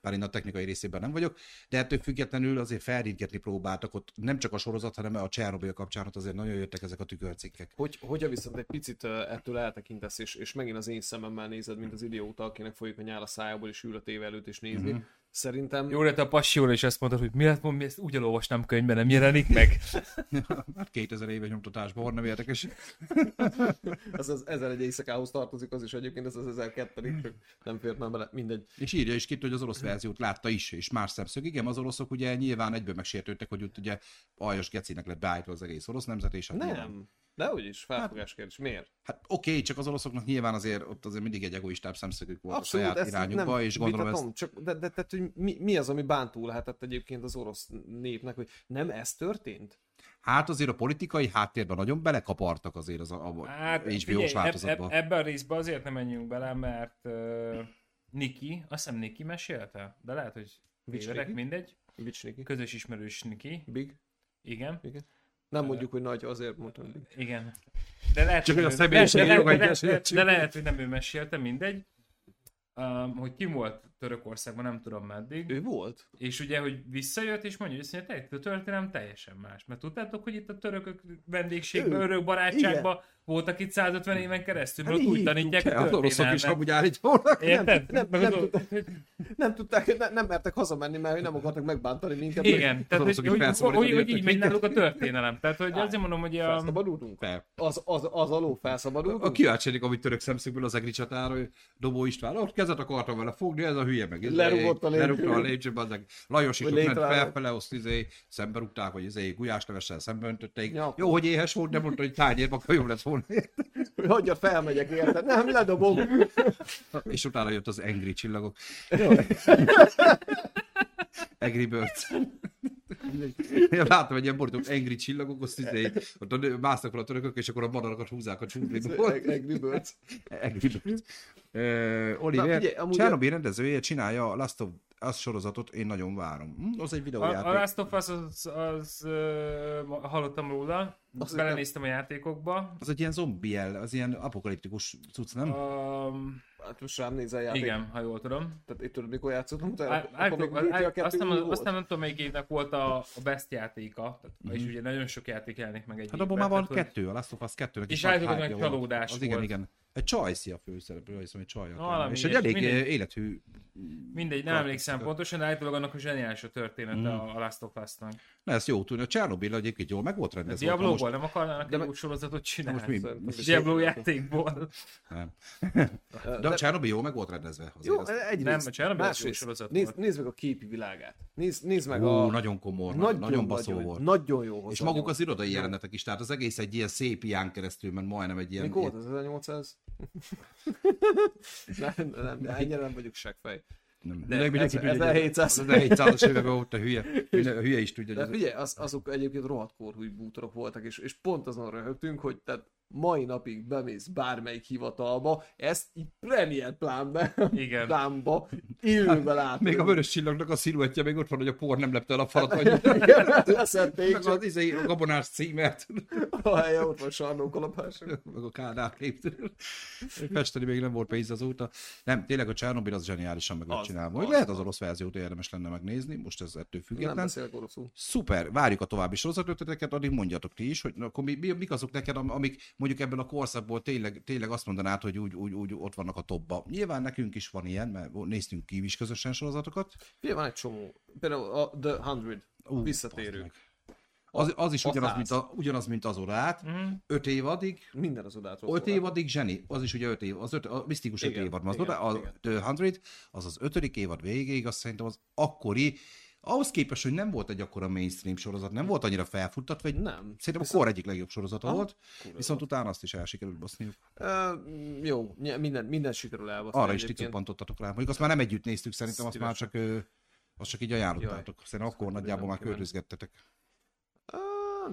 S2: bár én a technikai részében nem vagyok, de ettől függetlenül azért felrintgetni próbáltak ott nem csak a sorozat, hanem a Csernobyl kapcsán ott azért nagyon jöttek ezek a tükörcikkek.
S1: Hogy, hogyha viszont egy picit ö, ettől eltekintesz, és, és megint az én szememmel nézed, mint az idióta, akinek folyik a nyál a szájából, és ül a tévé előtt, és nézi.
S2: Mhm.
S1: Mm-hmm. Szerintem
S3: Jó, de te a passióra is ezt mondtad, hogy mi lett, mi ezt úgy elolvasnám könyvben, nem jelenik meg.
S2: Hát 2000 éve nyomtatásban, nem érdekes.
S1: ez az 1001 éjszakához tartozik, az is egyébként, ez az 1002
S2: Hmm.
S1: csak nem fértem bele, mindegy.
S2: És írja is ki, hogy az orosz verziót látta is, és más szemszög. Igen, az oroszok ugye nyilván egyből megsértődtek, hogy ott ugye aljas gecinek lett beállítva az egész orosz nemzet, és hát nyilván-
S1: Nem, dehogy is, felfogás kérdés. Miért?
S2: Hát oké, csak az oroszoknak nyilván azért ott azért mindig egy egoistább szemszögük volt Abszolút, a saját
S1: ezt
S2: irányukba, és gondolom ezt...
S1: vitatom, Csak, de, de tehát, hogy mi, mi, az, ami bántó lehetett egyébként az orosz népnek, hogy nem ez történt?
S2: Hát azért a politikai háttérben nagyon belekapartak azért az a, a hát, HBO-s
S3: eb-
S2: változatba.
S3: eb- ebbe a részbe azért nem menjünk bele, mert uh, Niki, azt hiszem Niki mesélte, de lehet, hogy
S1: Which
S3: tévedek,
S1: Niki?
S3: mindegy.
S1: Vics Niki?
S3: Közös ismerős Niki,
S1: Big?
S3: igen.
S1: Igen. Nem mondjuk, hogy nagy, azért mondtam. Big.
S3: Igen. De lehet,
S2: Csak
S3: hogy
S2: hogy a
S3: ő-
S2: személyiségi
S3: de, de,
S2: jogait
S3: de, de, de,
S2: meséljük.
S3: de lehet, hogy nem ő mesélte, mindegy. Um, hogy ki volt Törökországban, nem tudom meddig.
S1: Ő volt?
S3: És ugye, hogy visszajött, és mondja, hogy azt mondja, te- a történelem teljesen más. Mert tudtátok, hogy itt a törökök vendégségben,
S1: Ő.
S3: örök barátságban voltak itt 150 éven keresztül, mert
S1: Hát
S3: ott úgy
S1: így
S3: tanítják
S2: Te,
S3: a
S2: az oroszok is
S3: történelmet.
S2: amúgy állítólag.
S3: Érted?
S1: Nem,
S3: Meg
S1: nem
S3: az-
S1: Nem tudták, ne, nem mertek hazamenni, mert hogy nem akartak megbántani minket.
S3: Igen, tehát hogy,
S2: oroszok is
S3: hogy, hogy,
S2: felszabadítani
S3: hogy így
S2: jöttek
S3: megy náluk a történelem. Tehát, hogy
S1: Á,
S3: azért mondom, hogy um,
S1: hogy
S3: a...
S1: Felszabadultunk?
S2: Fel.
S1: Az, az, az alól felszabadultunk?
S2: A kíváncsi lennék, amit török szemszögből az egri csatára, ő Dobó István, ott kezet akartam vele fogni, ez a hülye meg. izé,
S1: Lerúgott a lépcsőn.
S2: Lerúgta a lépcsőbe, az meg. Lajos is
S1: Vagy
S2: ott ment
S1: létráló.
S2: felfele, azt izé, szembe rúgták, vagy izé, gulyáslevessel szembe öntötték.
S1: Ja.
S2: Jó, hogy éhes volt, nem mondta, hogy tányérba jobb lett volna.
S1: Hogy hagyja, felmegyek érted? Nem, ledobom.
S2: És utána jött az Angry csillagok. Angry Birds. Én látom egy ilyen borítót, Angry csillagok, azt izé, ott a nő- másznak fel a törökök, és akkor a madarakat húzzák a dzsungliból.
S1: Eg- Angry Birds.
S2: Angry Birds. Ö, Oliver,
S1: Na, figyelj, amúgy-
S2: Csernobyl rendezője csinálja a Last of Us sorozatot, én nagyon várom. Hm, az egy
S3: A, a
S2: videójáték.
S3: Last of Us, az, az, ö, hallottam róla,
S1: Azt
S3: belenéztem a játékokba.
S2: Az egy ilyen zombi el, az ilyen apokaliptikus cucc, nem?
S3: Um,
S1: Hát most rám nézel Hm. játék.
S3: igen, ha jól tudom.
S1: Tehát itt tudod, mikor játszottunk utána?
S3: Á-
S1: Akkor még
S3: Ártok-
S1: GTA
S3: Á-
S1: 2
S3: Aztán
S1: úgy
S3: az-
S1: volt.
S3: aztán nem tudom, melyik évnek volt a, a best játéka, tehát,
S1: Mhm.
S3: és ugye nagyon sok játék jelenik meg egy
S2: Hát
S3: évben,
S2: abban már van
S3: tehát, hogy-
S2: kettő, a Last of Us kettőnek
S3: És
S2: is nagy
S3: állítólag
S2: hype-ja
S3: meg
S2: volt.
S3: csalódás
S2: Az igen,
S3: volt.
S2: igen. Egy csajszi a főszereplő, hiszem, egy csajja.
S3: Valami
S2: kell. És egy
S3: ilyesmi,
S2: elég
S3: mindegy.
S2: élethű
S3: Mindegy, nem
S2: Kaptak
S3: emlékszem
S2: ezeket.
S3: pontosan, de állítólag annak a zseniális a története
S1: Mhm.
S3: a, a Last of Us-nak.
S2: Na, ez jó tűnik. A Csernobyl egyébként jól meg volt rendezve. ott
S3: Hát Diablo-ból
S2: most-
S3: nem akarnának
S1: de
S3: egy
S1: meg-
S3: új sorozatot
S2: Na
S3: csinálni?
S2: most mi?
S1: Szerintem
S2: most-
S1: is.
S3: Diablo játékból.
S2: Nem.
S1: Ö,
S2: De a Csernobyl jól meg volt rendezve. Azért
S1: Jó,
S2: azt-
S1: egyrészt.
S3: Nem, a Chernobyl jó
S1: másrészt.
S3: sorozat
S1: Nézd,
S3: volt.
S1: nézd meg a képi világát. Nézd, nézd meg a...
S2: Ú, nagyon komor, nagyon, nagyon baszó
S1: nagyon,
S2: volt.
S1: Nagyon jó
S2: És
S1: hozzá
S2: maguk
S1: nyúl.
S2: az irodai jelenetek is, tehát az egész egy ilyen szép ilyen keresztül, mert majdnem egy ilyen...
S1: Mikor volt az 1800? nem, nem, nem, ennyire nem vagyok seggfej.
S2: Nem,
S1: De
S2: de mindenki
S1: ez-
S2: tudja,
S1: ez
S2: hogy
S1: a 700.
S2: Az 1700-as években volt a hülye. Minden- A hülye is tudja,
S1: De
S2: hogy
S1: figyelj, az, azok egyébként rohadt korhúj bútorok voltak, és, és pont azon röhögtünk, hogy tehát mai napig bemész bármelyik hivatalba, ezt így premier plánbe,
S3: Igen.
S1: plánba, élőben látod.
S2: Hát, még a vörös csillagnak a sziluettje még ott van, hogy a por nem lepte el a falat, vagy
S1: Igen, hát leszették,
S2: meg
S1: csak
S2: az izé, a gabonás címert,
S1: a helye ott van sarnó kalapás.
S2: meg a kádár léptől. Festeni még nem volt pénz azóta. Nem, tényleg a Csernobyl az zseniálisan meg lett
S1: Az,
S2: csinálva. Hogy
S1: az.
S2: lehet az orosz verziót érdemes lenne megnézni, most ez ettől
S1: Nem
S2: független.
S1: beszélek oroszul.
S2: Szuper, várjuk a további sorozatötleteket, addig mondjatok ti is, hogy na, akkor mi, mi, mik azok neked, am- amik mondjuk ebből a korszakból tényleg, tényleg azt mondanád, hogy úgy, úgy, úgy ott vannak a topba. Nyilván nekünk is van ilyen, mert néztünk ki is közösen sorozatokat.
S1: Figyelj, van egy csomó. Például a The 100,
S2: Ú,
S1: visszatérő.
S2: bazd meg. Az, az is
S1: A
S2: ugyanaz
S1: száz.
S2: mint, a, ugyanaz, mint az orát.
S1: Mhm.
S2: Öt évadig,
S1: Minden az odától.
S2: öt évadig zseni, az is ugye öt év, az öt, a misztikus öt
S1: Szóval- Igen,
S2: évad, az,
S1: igen,
S2: oda, a
S1: igen.
S2: The 100, az az ötödik évad végéig, azt szerintem az akkori Ahhoz képest, hogy nem volt egy akkora mainstream sorozat, nem volt annyira felfuttatva, egy
S1: Nem.
S2: Szerintem a
S1: Viszont-
S2: kor egyik legjobb sorozata
S1: Aha.
S2: volt, viszont utána azt is elsikerült baszniuk.
S1: Ö, jó, ny- minden, minden sikerül elbaszni.
S2: Arra is ti
S1: egyébként.
S2: cuppantottatok rá. Mondjuk azt már nem együtt néztük, szerintem azt már
S1: Szívesen.
S2: csak, ö, azt csak így ajánlottátok. Szerintem
S1: Azt mondtam,
S2: akkor
S1: hogy
S2: nagyjából már
S1: nem kíváncsi.
S2: költözgettetek.
S1: Ö,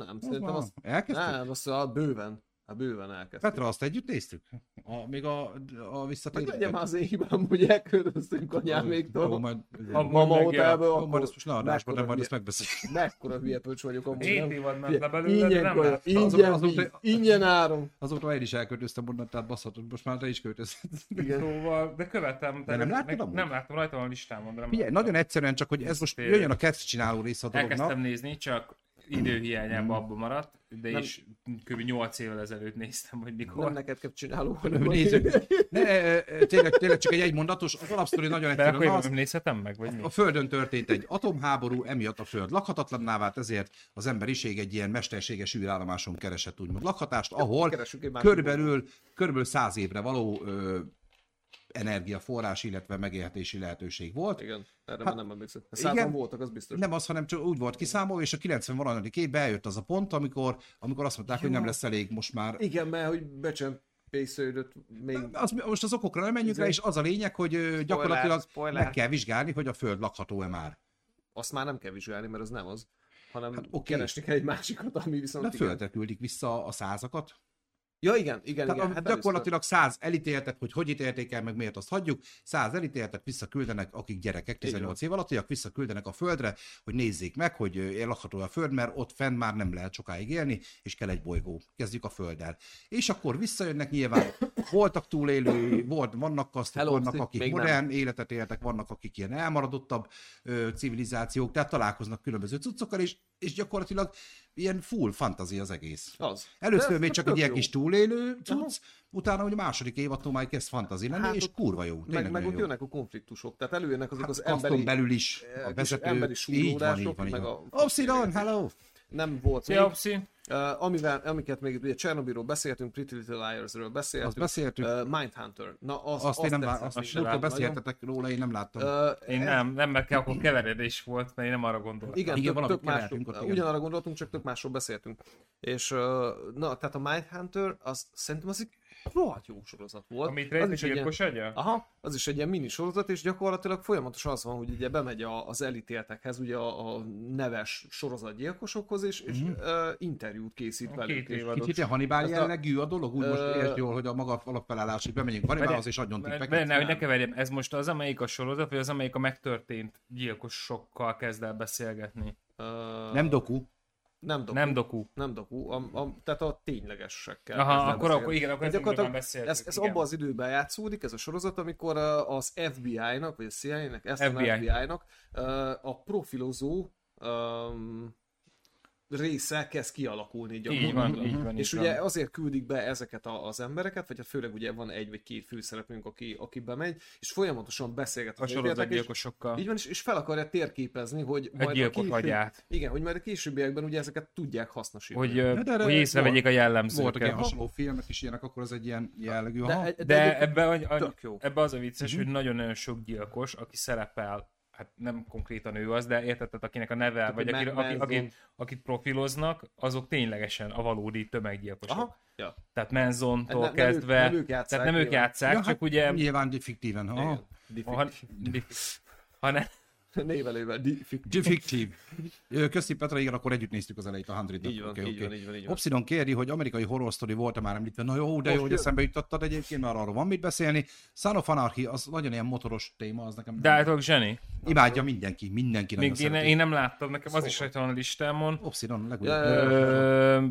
S1: nem, szerintem
S2: Az
S1: azt...
S2: már- Elkezdtük?
S1: Nem, azt a bőven. A bőven elkezdtük.
S2: Petra, azt együtt néztük? A, még a, a
S1: Hogy legyen már
S2: visszatérőket?
S1: az én hibám, hogy elköltöztünk
S2: Jó,
S1: anyáméktól.
S2: majd,
S1: A
S2: jó,
S3: Amúgy
S1: mama
S3: meg-
S1: hotelből,
S2: majd
S1: akkor
S2: ezt most ne adásban, de
S1: mekkora
S2: majd ezt
S1: hülye-
S2: megbeszéljük.
S1: mekkora hülye pöcs vagyok amúgy.
S3: Hét
S1: nem?
S3: évad ment
S1: Figyelj,
S3: le belőle, de
S1: ingyen
S3: nem
S1: kaja,
S3: láttam.
S1: Ingyen,
S2: Azok-
S1: víz,
S2: azok-
S1: ingyen áron.
S2: Azóta én is elköltöztem onnan, tehát baszhatod, most már te is költözhetsz.
S1: Igen.
S3: Szóval, de követtem.
S2: De nem
S3: tehát
S2: láttad
S3: meg-
S2: amúgy?
S3: Nem láttam, rajta van a listámon. De nem
S2: Figyelj,
S3: láttam.
S2: nagyon egyszerűen csak, hogy ez most
S3: Visszatérő.
S2: jöjjön a kezd csináló rész a dolognak.
S3: Elkezdtem nézni, csak időhiányában abba maradt, de
S1: Nem.
S3: is kb. 8 évvel ezelőtt néztem, hogy
S1: Nem
S3: mikor.
S1: neked kell csináló, hanem
S2: Nézzük. Ne, e, e, tényleg, tényleg csak egy egymondatos, az alapsztori nagyon
S3: De akkor
S2: egyszerűen
S3: jövőben
S2: az,
S3: nem nézhetem meg,
S1: Hát
S3: vagy mi?
S2: a Földön történt egy atomháború, emiatt a Föld lakhatatlanná vált, ezért az emberiség egy ilyen mesterséges űrállomáson keresett úgymond lakhatást, ahol
S1: Keresünk egy másik
S2: körülbelül, körülbelül száz évre való ö, energiaforrás, illetve megélhetési lehetőség volt.
S1: Igen, erre
S2: Hát,
S1: már nem emlékszem. Százan
S2: igen.
S1: voltak, az biztos.
S2: Nem az, hanem csak úgy volt kiszámolva, és a 90 valahányadik évben eljött az a pont, amikor, amikor azt mondták, hogy nem lesz elég most már
S1: Igen, mert hogy becsempésződött még...
S2: az, most az okokra nem menjünk rá, és az a lényeg, hogy spoiler, gyakorlatilag spoiler.
S1: spoiler.
S2: meg kell vizsgálni, hogy a Föld lakható-e már.
S1: Azt már nem kell vizsgálni, mert az nem az. Hanem
S2: Hát
S1: hát,
S2: oké.
S1: okay. keresni kell egy másikat, ami
S2: De
S1: viszont
S2: a Földre küldik vissza a százakat.
S1: Ja, igen, igen,
S2: Tehát
S1: igen. hát
S2: a, gyakorlatilag száz elítéltet, hogy hogy ítélték el, meg miért azt hagyjuk, száz elítéltet visszaküldenek, akik gyerekek
S1: Így van.
S2: 18 év alattiak, visszaküldenek a Földre, hogy nézzék meg, hogy ö, lakható a Föld, mert ott fenn már nem lehet sokáig élni, és kell egy bolygó. Kezdjük a Földdel. És akkor visszajönnek nyilván, voltak túlélő, volt, vannak kasztok,
S1: Hello,
S2: vannak
S1: Steve,
S2: akik
S1: még nem.
S2: modern életet éltek, vannak akik ilyen elmaradottabb ö, civilizációk, tehát találkoznak különböző cuccokkal, és, és gyakorlatilag ilyen full fantasy az egész.
S1: Az.
S2: Először
S1: De
S2: még
S1: ez
S2: csak
S1: tök
S2: egy ilyen
S1: jó.
S2: kis túlélő cucc, utána ugye a második évattól már kezd fantazi lenni,
S1: Hát
S2: és
S1: ott-
S2: kurva jó.
S1: Meg,
S2: Tényleg
S1: meg
S2: nagyon
S1: ott
S2: jó.
S1: jönnek a konfliktusok, tehát előjönnek azok
S2: Hát
S1: az
S2: kaszton
S1: emberi...
S2: belül is
S1: eh,
S2: a
S1: kis
S2: vezető.
S1: emberi
S2: így van, így
S1: súrlódások,
S2: van, így
S1: meg
S2: van.
S1: a-
S2: Obsidian, hello!
S1: Nem volt még.
S3: Szia, Opszi!
S1: Uh, amivel, amiket még ugye Csernobyról beszéltünk, Pretty Little Liars-ről
S2: Azt
S1: beszéltünk,
S2: beszéltük,
S1: uh, Mindhunter. Na, az,
S2: azt én nem
S1: tetszett
S2: láttam, azt
S1: még
S2: múltkor
S1: nagyon.
S2: beszéltetek róla, én nem láttam.
S1: Uh,
S3: Én nem, nem, mert kell, akkor keveredés volt, mert én nem arra gondoltam.
S1: igen,
S2: Igen,
S1: igen, tök,
S2: valamit
S1: tök másról,
S2: kevertünk ott, igen.
S1: ugyanarra gondoltunk, csak tök másról beszéltünk. És uh, na, tehát a Mindhunter, az szerintem az egy rohadt jó sorozat volt.
S3: Amit
S1: az
S3: rejt
S1: is
S3: is
S1: egy ilyen,
S3: gyilkos agya?
S1: Aha, az is egy ilyen mini sorozat, és gyakorlatilag folyamatosan az van, hogy ugye bemegy a, az elítéltekhez, ugye a, a neves sorozatgyilkosokhoz, és, és mm-hmm. uh, interjút készít
S3: Mhm. A
S1: velük.
S3: két
S1: és-
S3: évados.
S2: Kicsit ilyen Hannibal
S1: Ezt a-
S2: jellegű a dolog, úgy most
S1: Ö,
S2: értsd jól, hogy a maga alapfelállás, hogy bemegyünk Hannibalhoz, és adjon
S3: Mert,
S2: tippeket.
S3: mert ne, hogy ne keverjem, ez most az, amelyik a sorozat, vagy az, amelyik a megtörtént gyilkosokkal kezd el beszélgetni.
S1: Ö,
S2: Nem doku,
S1: nem doku.
S3: Nem doku.
S1: Nem doku, a, a, tehát a ténylegesekkel.
S3: Aha,
S1: kezdem
S3: akkor,
S1: beszélni.
S3: akkor igen, akkor
S1: Ez
S3: ezt
S1: gyakorlatilag
S3: már beszéltük.
S1: ez, ez
S3: igen.
S1: abban az időben játszódik, ez a sorozat, amikor ö, az FBI-nak, vagy a CIA-nak, ezt
S3: FBI.
S1: FBI. FBI-nak ö, uh, a profilozó um, része kezd kialakulni
S3: Így van, így van.
S1: És
S3: így
S1: ugye
S3: van.
S1: azért küldik be ezeket a, az embereket, vagy hát főleg ugye van egy vagy két főszereplőnk, aki, aki bemegy, és folyamatosan beszélget
S3: a
S1: az ítéltek, és,
S3: sorozatgyilkosokkal.
S1: így van, és, és fel akarja térképezni, hogy majd
S3: Egy
S1: a
S3: gyilkos
S1: később-
S3: agyát.
S1: Igen, hogy majd a későbbiekben ugye ezeket tudják hasznosítani.
S3: Hogy, ö,
S2: Na, de erre
S3: hogy észrevegyék a
S2: voltak ilyen
S3: jellemzőket.
S2: hasonló filmek is ilyenek, akkor ez egy ilyen jellegű. aha.
S1: De,
S3: De e-
S1: egyébként
S3: ebbe, a- a-
S1: tök jó.
S3: ebbe az a vicces, hogy nagyon-nagyon sok gyilkos, aki szerepel, hát nem konkrétan ő az, de érted, tehát akinek a neve, vagy
S1: hogy
S3: aki,
S1: Ma-
S3: aki,
S1: Manson.
S3: akit, akit profiloznak, azok ténylegesen a valódi tömeggyilkosok.
S1: Aha. Ja.
S3: Tehát Menzontól
S1: Hát nem- nem ők-
S3: kezdve,
S1: nem ők játsszák,
S3: tehát nem ők
S1: nyilván.
S3: játszák,
S2: Ja,
S3: csak
S2: hát
S3: ugye,
S2: Nyilván fiktíven. Aha.
S1: Diffi-
S3: ha, hanem,
S1: Névelővel. Diffi-
S2: Fiktív. Ö, Köszi Petra, igen, akkor együtt néztük az elejét a 100
S1: Így van, így van, így van, így van.
S2: Obsidon kéri, hogy amerikai horror story volt már említve. Na jó, de jó,
S1: Most
S2: hogy
S1: jön.
S2: eszembe jutottad egyébként, mert arról van mit beszélni. Son of Anarchy, az nagyon ilyen motoros téma, az nekem
S3: de állítólag zseni.
S2: imádja mindenki, mindenki nagyon
S3: Még én,
S2: szereti.
S3: én nem láttam, nekem az
S1: Szóval.
S3: is rajta van a listámon.
S2: Obsidon
S1: Ja,
S2: legújabb.
S1: ja, ja.
S3: Ö,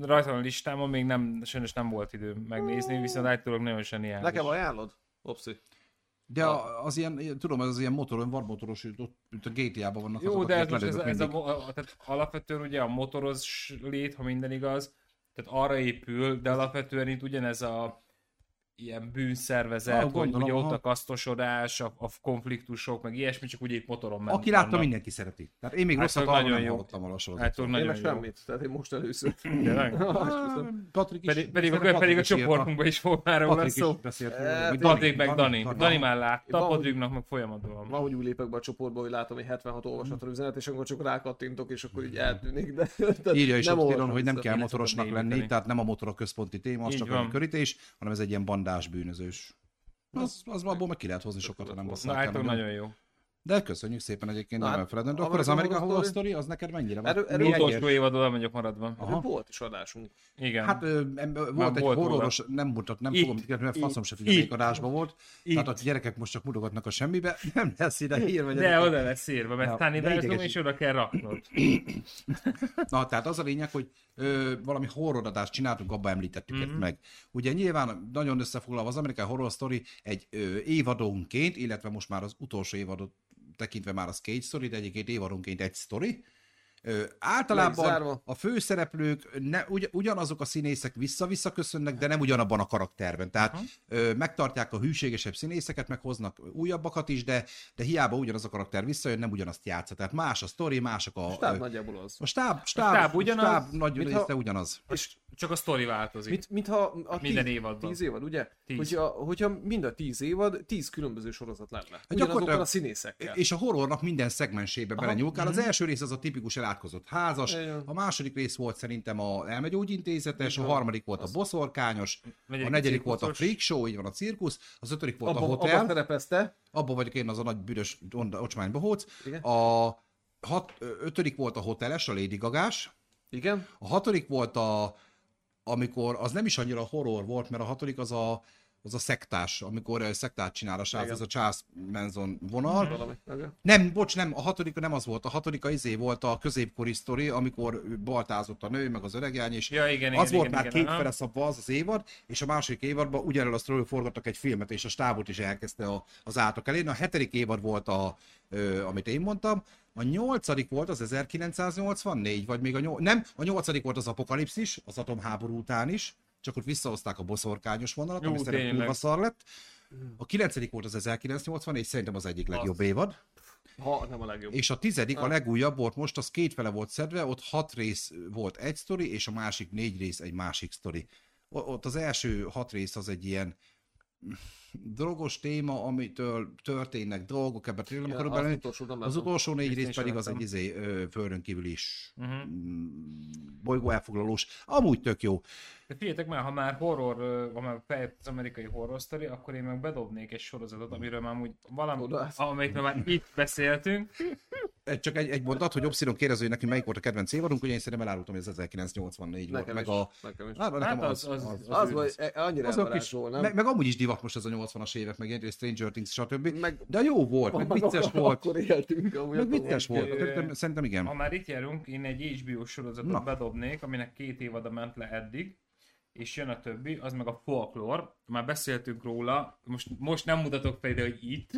S3: rajta van a listámon, még nem, sajnos nem volt idő megnézni, viszont állítólag nagyon zseniális.
S1: Nekem ajánlod? Opszi.
S2: De a- az ilyen, tudom, az ilyen motoron, varmotoros, ott ott a GTA-ban vannak azok,
S3: Jó, de
S2: akiket
S3: ez, most ez,
S2: lelövök
S3: ez a,
S2: mindig.
S3: mo- a, tehát alapvetően ugye a motoros lét, ha minden igaz, tehát arra épül, de alapvetően itt ugyanez a ilyen bűnszervezet,
S2: Ah,
S3: ah, vagy
S2: gondolom,
S3: ugye ott
S2: aha.
S3: a kasztosodás, a, a konfliktusok, meg ilyesmi, csak ugye itt motoron mennek.
S2: Aki látta, mindenki szereti. Tehát én még
S3: Hát,
S2: rosszat
S3: ők
S2: arra
S3: nagyon
S2: nem
S3: jók.
S2: hallottam a
S3: Hát
S2: sorozatról.
S3: tudom,
S1: Én
S3: nagyon
S1: meg
S3: jó.
S1: semmit, tehát én most először.
S3: Tényleg?
S1: Ah,
S2: Hát, Patrik is.
S3: Pedig, pedig,
S2: szerintem
S3: a, pedig a
S2: Patrik is írta.
S3: csoportunkban is volt már róla
S2: Patrik is
S3: szó.
S2: beszélt.
S1: Eh,
S2: róla, vagy
S1: Dani,
S3: Patrik meg Dani. Dani, már látta,
S1: Van, hogy-
S3: Patriknak meg folyamatban van.
S1: Van, hogy úgy lépek be a csoportba, hogy látom, hogy 76 olvasatra üzenet, és akkor csak rákattintok, és akkor így eltűnik. De, tehát
S2: Írja is
S1: nem
S2: ott Kiron,
S1: olvasom
S2: hogy nem
S1: vissza.
S2: kell
S3: Én
S2: motorosnak
S3: szoktam
S2: lenni,
S3: némítani.
S2: tehát nem a motor a központi téma, az
S3: Így
S2: csak
S3: van.
S2: a körítés, hanem ez egy ilyen bandás bűnözős. Az, az abból meg ki lehet hozni sokat, ha nem
S1: Na,
S3: Na,
S2: basszál
S3: állítólag
S2: nagyon.
S3: nagyon jó.
S2: De köszönjük szépen egyébként,
S1: Na,
S2: nem
S1: hát
S2: elfeledem. De akkor az
S1: American
S2: American
S1: Horror
S2: Horror Story, az neked mennyire van?
S1: Erről- erről
S2: Mi egyért?
S3: Utolsó évad oda vagyok maradva.
S2: Aha.
S1: Volt is adásunk.
S3: Igen.
S2: Hát ö, em, ö, volt egy
S3: volt
S2: horroros, nem mutat, nem
S3: Itt,
S2: fogom kikerülni, mert faszom se figyelni,
S3: itt,
S2: melyik adásban volt. Tehát a gyerekek most csak mutogatnak a semmibe, nem lesz ide hír, vagy
S3: de oda lesz írva, mert
S2: Ja,
S3: Tani
S2: de
S3: Belzum,
S2: idegesít.
S3: és oda kell raknod.
S2: Na, tehát az a lényeg, hogy ö, valami horroradást csináltunk, abba említettük
S1: Mhm.
S2: mm-hmm. meg. Ugye nyilván nagyon összefoglalva az Amerikai Horror Story egy ö, évadonként, illetve most már az utolsó évadot tekintve már az két sztori, de egyébként évadonként egy sztori. Ö,
S1: Le is
S2: általában
S1: zárva.
S2: a főszereplők ne, ugy, ugyanazok a színészek vissza-vissza köszönnek, de nem ugyanabban a karakterben. Tehát ö, megtartják a hűségesebb színészeket, meg hoznak újabbakat is, de, de hiába ugyanaz a karakter visszajön, nem ugyanazt játsza. Tehát más a sztori, mások a,
S1: Tehát
S2: ö,
S1: nagyjából az.
S2: a stáb, stáb, a stáb
S3: stáb
S2: ugyanaz,
S3: ugyanaz,
S2: stáb nagy
S1: mintha-
S2: része ugyanaz.
S1: És
S3: Csak a sztori változik.
S1: mit, mintha a
S3: Minden
S1: tíz,
S3: évadban.
S1: tíz évad, ugye?
S3: Tíz.
S1: Hogyha, hogyha mind a tíz évad, tíz különböző sorozat lenne.
S2: Hát gyakorlatilag-
S1: Ugyanazokkal a színészekkel.
S2: És a horrornak minden szegmensébe belenyúlkál. Az első rész az a tipikus elátkozott házas,
S1: Igen.
S2: a második rész volt szerintem a elmegyógyintézetes, a harmadik volt a boszorkányos, a
S3: negyedik
S2: negyedik volt a
S3: cirkuszos.
S2: freak show, így van a cirkusz, az ötödik volt a
S1: Abba, abba
S2: hotel,
S1: szerepezte.
S2: abban vagyok én az a nagy büdös onda- ocsmány bohóc,
S1: Igen.
S2: a hat, ö, ötödik volt a hoteles, a Lady Gagás,
S1: Igen.
S2: A hatodik volt a, amikor az nem is annyira horror volt, mert a hatodik az a, az a szektás, amikor ö, szektát csinál a srác,
S1: Igen. Mhm.
S2: ez a Charles Manson vonal.
S1: Valami. Igen.
S2: Nem, bocs, nem, a hatodik nem az volt, a hatodik a izé volt a középkori sztori, amikor baltázott a nő, meg az öregjány, és
S3: Ja, igen, igen,
S2: az volt
S3: igen,
S2: már
S3: igen,
S2: két
S3: aha.
S2: fele szabva az az évad, és a második évadban ugyanerről a sztoriról forgattak egy filmet, és a stábot is elkezdte a, az átok elé. Na, a hetedik évad volt, a, ö, amit én mondtam, a nyolcadik volt az 1984, vagy még a nyol... Nem, a nyolcadik volt az apokalipszis, az atomháború után is, csak ott visszahozták a boszorkányos vonalat,
S3: Jó,
S2: ami szerintem
S3: tényleg.
S2: kurva szar lett. A kilencedik volt az 1984, szerintem az egyik legjobb évad.
S1: Ha nem a legjobb.
S2: És a tizedik,
S3: Ah.
S2: a legújabb volt most, az kétfele volt szedve, ott hat rész volt egy sztori, és a másik négy rész egy másik sztori. O- Ott az első hat rész az egy ilyen drogos téma, amitől történnek dolgok, ebben tényleg
S1: Igen,
S2: akarok
S1: az
S2: belemenni.
S1: utolsó nem
S2: Az
S1: látom.
S2: utolsó négy
S3: Ezt én
S2: rész
S3: sem
S2: pedig az egy
S3: láttam.
S2: izé, ö, földön kívül is
S3: Mhm.
S2: bolygó elfoglalós. Amúgy tök jó.
S3: De figyeljetek már, ha már horror, ö, ha már fejlett az amerikai horror sztori, akkor én meg bedobnék egy sorozatot,
S2: Mhm.
S3: amiről már úgy valami,
S1: Oda.
S3: amelyikről már itt beszéltünk.
S2: Egy- Csak egy, egy mondat, hogy Obszidon kérdező, hogy neki melyik volt a kedvenc évadunk, ugye én szerintem elárultam, hogy ez 1984 volt,
S1: Nekem
S2: meg
S1: is.
S2: a...
S1: Nekem is.
S2: Hát, nekem
S3: Hát
S2: az,
S3: az,
S2: az,
S3: az,
S2: az,
S1: Az,
S3: ő-
S1: vagy eh, annyira
S2: Azok is,
S1: elvarázsol, nem?
S2: meg, meg amúgy is divat most ez a 80-as évek, meg ilyen Stranger Things, stb. Meg,
S1: Meg-
S2: de jó volt, meg vicces
S1: akkor,
S2: volt,
S1: Akkor éltünk, amúgy
S2: meg
S1: akkor
S2: vicces
S1: volt.
S2: volt. Szerintem, szerintem
S3: Ha
S2: igen.
S3: már itt járunk, én egy HBO sorozatot
S2: Na.
S3: bedobnék, aminek két évada ment le eddig, és jön a többi, az meg a folklór. Már beszéltünk róla, most, most nem mutatok fel ide, hogy itt,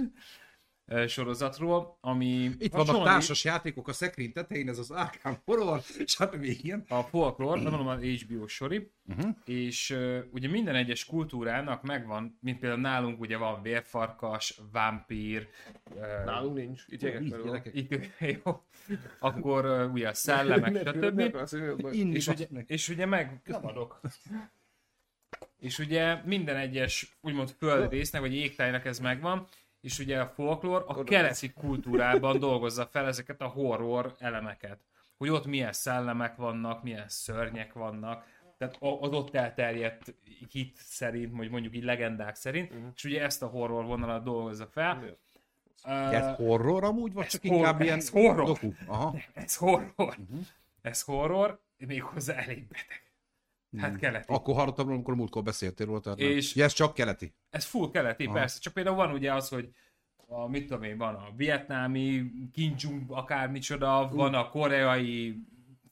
S3: ö, sorozatról, ami
S2: Itt vannak
S3: hasonlít-
S2: társas játékok a szekrény tetején, ez az Arkham Horror, stb. ilyen.
S3: a folklór, nem mondom, az HBO sori, uh-huh. és uh, ugye minden egyes kultúrának megvan, mint például nálunk ugye van vérfarkas, vámpír, uh,
S1: Nálunk nincs. Itt jegek
S2: Így,
S1: van.
S2: gyerekek.
S3: itt, jó, akkor uh, ugye a szellemek, stb.
S1: stb.
S2: Inni
S3: És ugye,
S2: basz meg.
S3: és ugye meg... Nem adok. És ugye minden egyes úgymond földrésznek, vagy égtájnak ez megvan, és ugye a folklór a keleti kultúrában dolgozza fel ezeket a horror elemeket. Hogy ott milyen szellemek vannak, milyen szörnyek vannak, tehát a- az ott elterjedt hit szerint, vagy mondjuk így legendák szerint, uh-huh. és ugye ezt a horror vonalat dolgozza fel. Ö,
S2: Ez horror amúgy, vagy
S3: ez
S2: csak
S3: horror,
S2: inkább ilyen
S3: ez horror.
S2: doku? Aha.
S3: ez horror. Ez horror, méghozzá elég beteg. Hát keleti.
S2: Akkor hallottam róla, amikor múltkor beszéltél róla. Tehát és...
S3: És-
S2: nem. Ja, ez csak keleti.
S3: Ez full keleti, Aha. persze. Csak például van ugye az, hogy a, mit tudom én, van a vietnámi, kincsunk, akármicsoda, van a koreai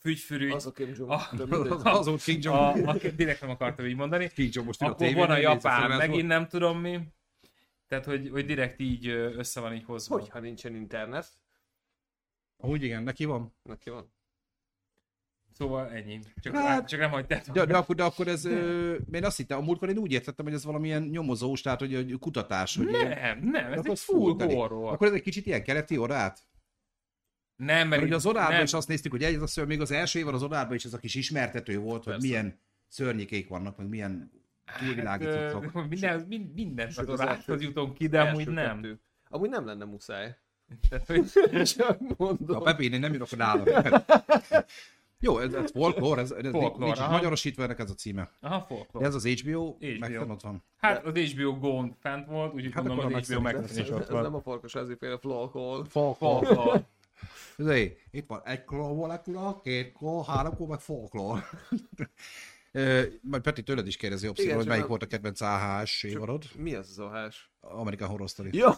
S3: fügyfürügy.
S1: Az a Kim
S3: Ah,
S1: Jong.
S2: Az volt King
S3: a,
S2: John.
S3: a, direkt nem akartam így mondani.
S2: King John most ül a
S3: Akkor
S2: tévén,
S3: van a
S2: nézi,
S3: japán,
S2: szerintem ez
S3: megint nem tudom mi. Tehát, hogy, hogy direkt így ö, össze van így hozva.
S1: Hogyha nincsen internet,
S2: Amúgy igen, neki van.
S1: neki van.
S3: Szóval ennyi. Csak,
S2: Hát-
S3: hát, csak nem hagytátok.
S2: De, de, akkor, de akkor ez, ö, én azt hittem, a múltkor én úgy értettem, hogy ez valamilyen nyomozós, tehát hogy, hogy kutatás, hogy ilyen-
S3: Nem, nem, ez
S2: Akkor
S3: egy
S2: az
S3: full
S2: full-teli.
S3: horror.
S2: Akkor ez egy kicsit ilyen keleti orát?
S3: Nem, mert
S2: Mert ugye az
S3: nem,
S2: orában is azt néztük, hogy egy, az, még az első évad az orában is ez a kis ismertető volt, hogy
S1: Persze.
S2: milyen szörnyékék vannak, meg milyen túlvilági
S3: Hát, ö,
S2: cuccok.
S3: Minden, mind, mindent
S1: Sőt,
S3: az
S1: az
S3: oráthoz
S1: első-
S3: jutunk ki, de amúgy
S1: Első
S3: nem.
S1: kettő. Amúgy nem lenne muszáj.
S3: Tehát, hogy
S1: Csak mondom.
S2: A Pepén én nem írok nálam. Jó, ez, ez folklore, ez, ez
S3: Folklore,
S2: folklore, nincs is
S3: aha.
S2: magyarosítva ennek ez a címe.
S3: aha, folklore.
S2: De ez az HBO,
S3: HBO.
S2: HBO. megfenn ott van.
S3: Hát az HBO Go fent volt, úgyhogy
S2: Hát
S3: gondolom
S2: akkor
S3: az HBO
S2: megszerint-
S3: Max is ott
S1: ez nem
S3: van.
S1: a farkas, ez például flakol.
S2: Folklore.
S3: Folklore.
S2: Zé, itt van egy kló, molekula, két kló, három kló, meg folklór. Ö, Majd Peti tőled is kérdezi
S1: Igen,
S2: opcióról, hogy
S1: csak
S2: melyik
S1: a-
S2: volt a kedvenc AHS évadod.
S1: Mi az az ohás?
S2: American Horror Story.
S1: Ja,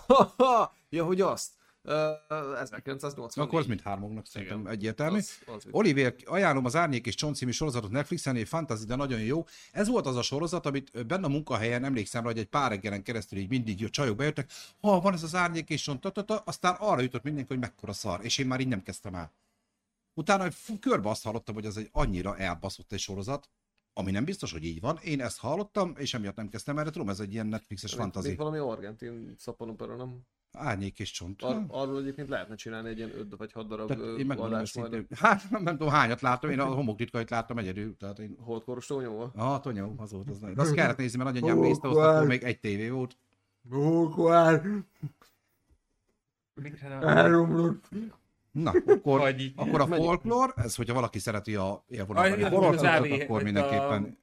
S1: ja, hogy azt. Uh, 1984.
S2: Akkor az mindhármunknak szerintem
S1: Igen.
S2: egyértelmű.
S1: Az- az biztos.
S2: Oliver, ajánlom az Árnyék és Csont című sorozatot Netflixen, egy fantasy, de nagyon jó. Ez volt az a sorozat, amit ö, benne a munkahelyen emlékszem rá, hogy egy pár reggelen keresztül így mindig jött csajok bejöttek, ha van ez az Árnyék és Csont, ta, ta, ta, aztán arra jutott mindenki, hogy mekkora szar, és én már így nem kezdtem el. Utána fú, körbe azt hallottam, hogy ez egy annyira elbaszott egy sorozat, ami nem biztos, hogy így van. Én ezt hallottam, és emiatt nem kezdtem erre, tudom, ez egy ilyen Netflixes
S1: Még- Még
S2: fantazi.
S1: valami argentin szaponopera, nem?
S2: Árnyék és csont.
S1: Ar- arról egyébként lehetne csinálni egy ilyen 5 vagy 6 darab
S2: Tehát
S1: ö,
S2: én megmondom
S1: adást majd.
S2: őszintén. Hát nem, nem tudom hányat láttam, én a homokritkait láttam egyedül, tehát én...
S1: Holdkoros tonyóval?
S2: Ah, Tonyó, az volt az nagy. Azt kellett nézni, mert nagyanyám nézte, azt akkor még egy tévé volt.
S3: Mikre
S2: Hát,
S3: nem-
S2: Na, akkor,
S3: Vagy így.
S2: akkor a folklor, ez hogyha valaki szereti a
S3: Ah,
S2: élvonalban
S3: igen,
S2: a
S3: az AV,
S2: horror,
S3: hogy
S2: akkor
S3: a-
S2: mindenképpen.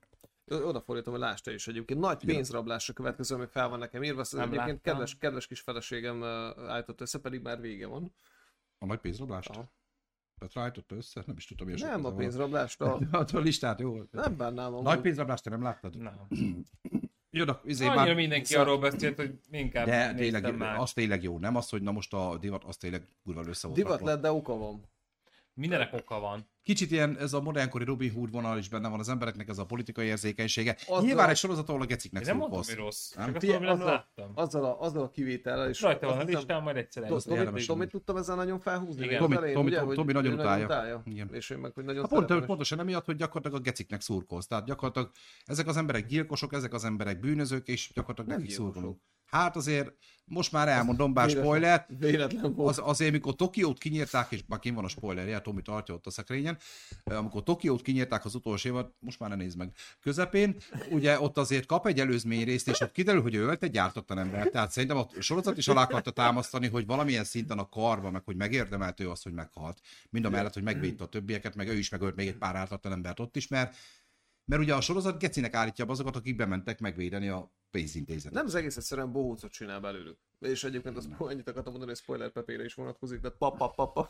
S1: Ö, Odafordítom, hogy lásta is egyébként. Nagy pénzrablásra következő, ami fel van nekem írva. Ezt
S3: Nem
S1: egyébként
S3: láttam.
S1: kedves, kedves kis feleségem ö, állított össze, pedig már vége van.
S2: A nagy pénzrablást?
S1: Aha.
S2: Tehát rájtotta össze? Nem is tudtam, hogy
S1: nem a pénzrablást, a...
S2: Hát A listát, jó.
S1: nem bánnám.
S2: Nagy
S1: amúgy.
S2: pénzrablást te nem láttad?
S3: Nem.
S2: Jó, de izé
S3: Annyira
S2: már...
S3: mindenki
S2: Szóval-
S3: arról beszélt, hogy inkább
S2: De
S3: néztem
S2: tényleg,
S3: már.
S2: az tényleg jó, nem az, hogy na most a divat, az tényleg kurva össze volt
S1: Divat
S2: rakva.
S1: lett, de oka van.
S3: Mindenek oka van.
S2: Kicsit ilyen ez a modernkori Robin Hood vonal is benne van az embereknek, ez a politikai érzékenysége.
S1: Azzal-
S2: Nyilván egy sorozat, ahol a geciknek
S3: Én nem
S2: szól
S3: mondtam,
S2: passz.
S3: hogy rossz. Csak
S2: Nem?
S3: azt
S1: Figyelj,
S3: mondom, hogy nem
S1: azzal-
S3: láttam.
S1: Azzal a, azzal a kivétellel is.
S3: Rajta van a
S1: azt hiszem-
S3: listán, majd egyszer
S1: Tom-
S3: elhozom.
S2: Azt érdemes
S1: Tomit, Tomit
S2: nézni.
S1: tudtam ezzel nagyon felhúzni.
S3: Igen.
S1: még az
S2: Tomi-
S1: elején,
S2: Tomi-
S1: ugye,
S2: Tomi-
S1: hogy
S2: Tomi nagyon
S1: ő
S2: utálja. Igen.
S1: És én meg, hogy nagyon
S2: Hát pont,
S1: szeretem, és-
S2: pontosan emiatt, hogy gyakorlatilag a geciknek szurkolsz. Tehát gyakorlatilag ezek az emberek gyilkosok, ezek az emberek bűnözők, és gyakorlatilag
S1: Nem
S2: nekik
S1: gyilkosok. Hát
S2: szurkolunk. Hát azért most már elmondom, bár
S1: Véletlen-
S2: spoiler,
S1: Véletlen volt.
S2: az, azért, mikor Tokiót kinyírták, és már kint van a spoilerje, Tomi tartja ott a szekrényen, eh, amikor Tokiót kinyírták az utolsó évad, most már ne nézd meg, közepén, ugye ott azért kap egy előzmény részt, és ott kiderül, hogy ő ölt egy gyártatlan embert. Tehát szerintem a sorozat is alá akarta támasztani, hogy valamilyen szinten a karba, meg hogy megérdemelt ő az, hogy meghalt. Mind a mellett, hogy megvédte a többieket, meg ő is megölt még egy pár ártatlan embert ott is, mert, mert ugye a sorozat gecinek állítja be azokat, akik bementek megvédeni a pénzintézetet.
S1: Nem az egész egyszerűen bohócot csinál belőlük. És egyébként az annyit akartam mondani, hogy spoiler pepére is vonatkozik, de pa, pa, pa, pa.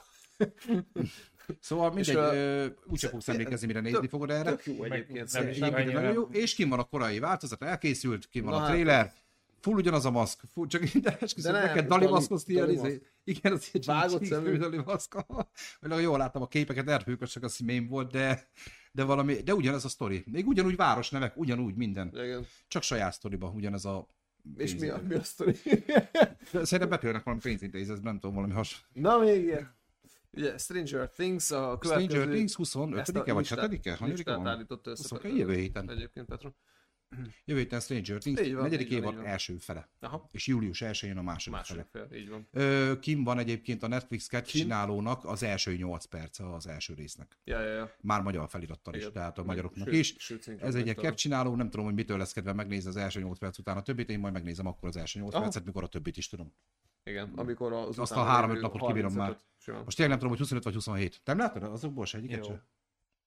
S2: Szóval mindegy,
S1: És, ö,
S2: ö, úgyse fogsz emlékezni, mire nézni
S1: tök-
S2: fogod erre.
S1: Tök jó
S3: Meg
S1: egyébként.
S3: nem
S1: szerintem.
S3: is
S2: Egyébként
S3: annyira.
S2: nagyon jó, és kim van a korai változat, elkészült, kim van
S1: Na
S2: a
S1: hát,
S2: trailer, full ugyanaz a maszk, full, csak minden
S1: De
S2: esküszöm,
S1: nem,
S2: neked
S1: Dali-
S2: Dali maszkot ilyen,
S1: Dali
S2: izé. igen, az ilyen
S1: Vágott
S2: csík-
S1: szemű.
S2: csík- Dali maszka. Vagy jól láttam a képeket, erhőkös, csak az mém volt, de, de valami, de ugyanez a sztori. Még ugyanúgy városnevek, ugyanúgy minden.
S1: Igen.
S2: Csak saját sztoriban ugyanez a
S1: És mi a,
S2: pénzintézet.
S1: mi a sztori?
S2: Szerintem betölnek valami pénzintézetbe, nem tudom, valami has.
S1: Na még ilyen. Ugye Stranger Things a következő...
S2: Stranger Things
S1: Ezt a
S2: 25-e vagy
S1: listát-
S2: 7-e? Hanyadika
S1: Listát
S2: van?
S1: állított össze.
S2: 22 jövő héten.
S1: Egyébként, Petro.
S2: Jövő héten Stranger Things,
S1: Így van,
S2: negyedik
S1: így van,
S2: évad
S1: így van.
S2: első fele.
S1: Aha.
S2: És július 1-én a második,
S1: Második
S2: fele.
S1: fél, így van.
S2: Ö, Kim van egyébként a Netflix csinálónak az első 8 perce az első résznek.
S1: Ja, ja, ja.
S2: Már magyar felirattal is,
S1: Igen.
S2: tehát a
S1: Meg-
S2: magyaroknak
S1: sőt-
S2: is.
S1: sőt, szinkron
S2: Ez egy ilyen
S1: felirattal.
S2: capcsináló, nem tudom, hogy mitől lesz kedve megnézni az első 8 perc után a többit, én majd megnézem akkor az első 8
S1: Aha.
S2: percet, mikor a többit is tudom.
S1: Igen, amikor az
S2: Azt a
S1: utána
S2: három-öt
S1: lévő
S2: napot kibírom már.
S1: 35-öt simán.
S2: Most tényleg nem tudom, hogy 25 vagy 27. Te nem látod azokból se egyiket
S3: Jó.
S2: se?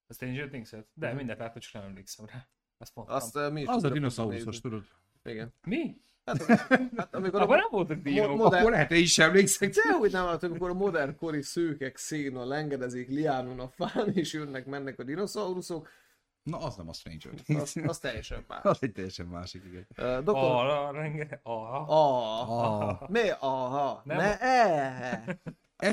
S3: A Stranger Things-et?
S2: Mhm.
S3: De mindent láttam, csak nem emlékszem rá. Azt mondtam.
S1: Azt eh, mi is
S2: Az a
S1: tudtuk
S2: dinoszauruszos,
S1: nézni.
S2: tudod?
S1: Igen.
S3: Mi?
S1: Hát amikor
S3: Abban
S1: a
S3: nem voltak
S1: mo-
S3: dinók.
S1: modern-
S2: Akkor lehet, hogy is emlékszek.
S1: De úgy nem látom, amikor a modernkori szőkek szégna lengedezik liánon a fán, és jönnek, mennek a dinoszauruszok,
S2: Na, az nem a Stranger Things.
S1: az, az teljesen más.
S2: Az egy teljesen másik, igen.
S1: Uh, doktor...
S3: Arra, renge, arra.
S1: Ah.
S2: Ah.
S1: Mi? Aha.
S3: Nem.
S1: Ne, e.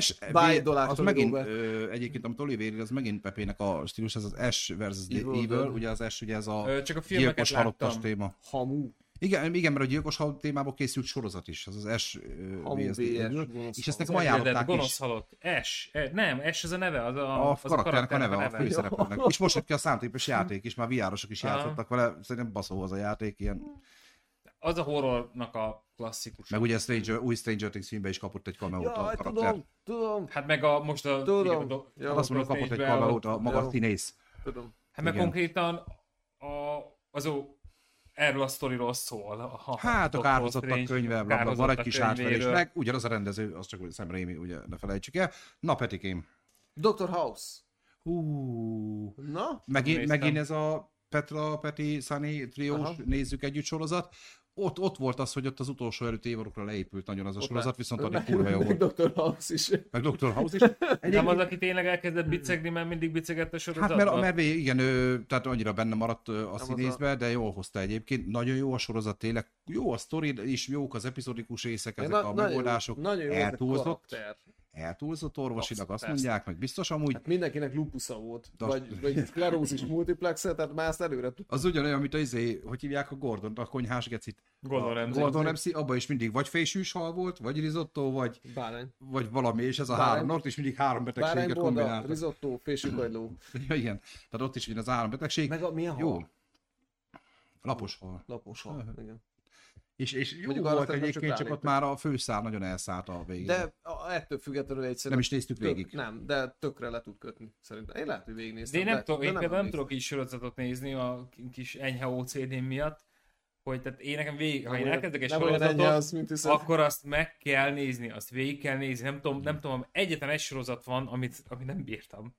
S2: S,
S1: By
S2: v-
S1: dollár
S2: az
S1: Tony
S2: megint,
S1: Robert.
S2: ö, egyébként, amit Oliver ír, az megint Pepének a stílus, ez az S versus the
S1: Evil
S2: Evil,
S1: Dead.
S2: ugye az S, ugye ez a
S3: Ö, Csak a filmeket
S2: gyilkos
S3: láttam.
S2: halottas téma.
S1: Hamu.
S2: Igen, igen, mert a gyilkos hal témából készült sorozat is, az az S. ö,
S1: Hamu
S2: VSD
S1: BS,
S2: egyről.
S1: gonosz
S2: és ezt
S1: halott.
S2: nekem ajánlották
S3: gonosz
S2: is.
S3: halott. S. E, nem, S az a neve, az a,
S2: A,
S3: az
S2: karakternek a neve, a
S1: fősz-
S2: főszereplőnek. És most jött ki a számtépes játék is, már viárosok is
S3: Aha.
S2: játszottak vele, szerintem baszó az a játék, ilyen.
S3: Az a horrornak a klasszikus.
S2: Meg ugye a Stranger, új Stranger Things filmbe is kapott egy kameót a
S1: Jaj,
S2: karakter.
S1: tudom, tudom,
S3: Hát meg a most a...
S1: Tudom.
S3: a do-
S1: Jó.
S2: Hát azt mondom, kapott egy
S3: Stage-ben a-
S2: kameót a maga
S1: Jó.
S2: a színész.
S1: tudom.
S3: Hát meg
S2: Igen.
S3: konkrétan a, az ó, erről a sztoriról szól. A,
S2: Hát a
S3: Doctor
S2: kárhozottak
S3: Strange,
S2: könyve, bla, bla, van egy
S3: kárhozottak
S2: kis átverés,
S3: könyvéről.
S2: meg ugyanaz a rendező, az csak hogy Sam Raimi, ugye ne felejtsük el. Na Petikém.
S1: Dr. House.
S2: Hú.
S1: Na?
S2: Megint,
S3: Néztem.
S2: megint ez a Petra, Peti, Sunny triós,
S1: Aha.
S2: nézzük együtt sorozat. Ott, ott volt az, hogy ott az utolsó előtt évadokra leépült nagyon az a sorozat, viszont addig kurva jó volt.
S1: Dr. House is.
S2: Meg Dr. House is.
S3: Nem az, aki tényleg elkezdett bicegni, mert mindig bicegett a
S2: Hát
S3: sorozatban?
S2: mert, mert végig- igen, ő, tehát annyira benne maradt ö, a
S1: az
S2: színészbe, de jól hozta egyébként. Nagyon jó a sorozat tényleg, jó a sztori, és jók az epizódikus részek, ezek a megoldások.
S1: Nagyon jó ez a
S2: eltúlzott,
S1: karakter.
S2: eltúlzott orvosilag, azt
S3: Persze.
S2: mondják, meg biztos amúgy.
S1: Hát mindenkinek lupusza volt,
S2: De-
S1: vagy, vagy szklerózis multiplexet, tehát már ezt előre tud.
S2: Az ugyanolyan, mint az izé, hogy hívják a Gordon, a konyhás gecit.
S3: Gordon Ramsay.
S2: Gordon Ramsay, abban is mindig vagy fésűs hal volt, vagy risotto, vagy,
S1: Bárány.
S2: vagy valami, és ez a
S1: Bárány-
S2: három, ott is mindig három
S1: Bárány
S2: betegséget
S1: borda,
S2: kombináltak.
S1: risotto, fésükajló.
S2: Ja, igen, tehát ott is ugyanaz három betegség.
S1: Meg a milyen
S2: Jó.
S1: hal?
S2: Lapos hal.
S1: Lapos hal. Igen.
S2: És, és
S1: Mondjuk
S2: jó Mondjuk
S1: arra
S2: volt
S1: szerintem
S2: egyébként,
S1: csak
S2: csak, ott
S1: ráléptek.
S2: már a főszál nagyon elszállt a végén. De
S1: De a- ettől függetlenül egyszerűen
S2: nem is néztük
S1: tök,
S2: végig.
S1: Nem, de tökre le tud kötni, szerintem. Én lehet, hogy
S3: De
S1: végignéztem.
S3: én nem, tudom, én például nem
S1: emlékszem.
S3: tudok így sorozatot nézni a kis enyhe ocd miatt, hogy tehát én nekem végig, ha én
S1: Nem olyan-
S3: elkezdek egy
S1: nem olyan enyhe
S3: sorozatot,
S1: az, mint hiszem.
S2: Szóval-
S3: akkor azt meg kell nézni, azt végig kell nézni, nem tudom, nem tudom, egyetlen egy sorozat van, amit, amit nem bírtam.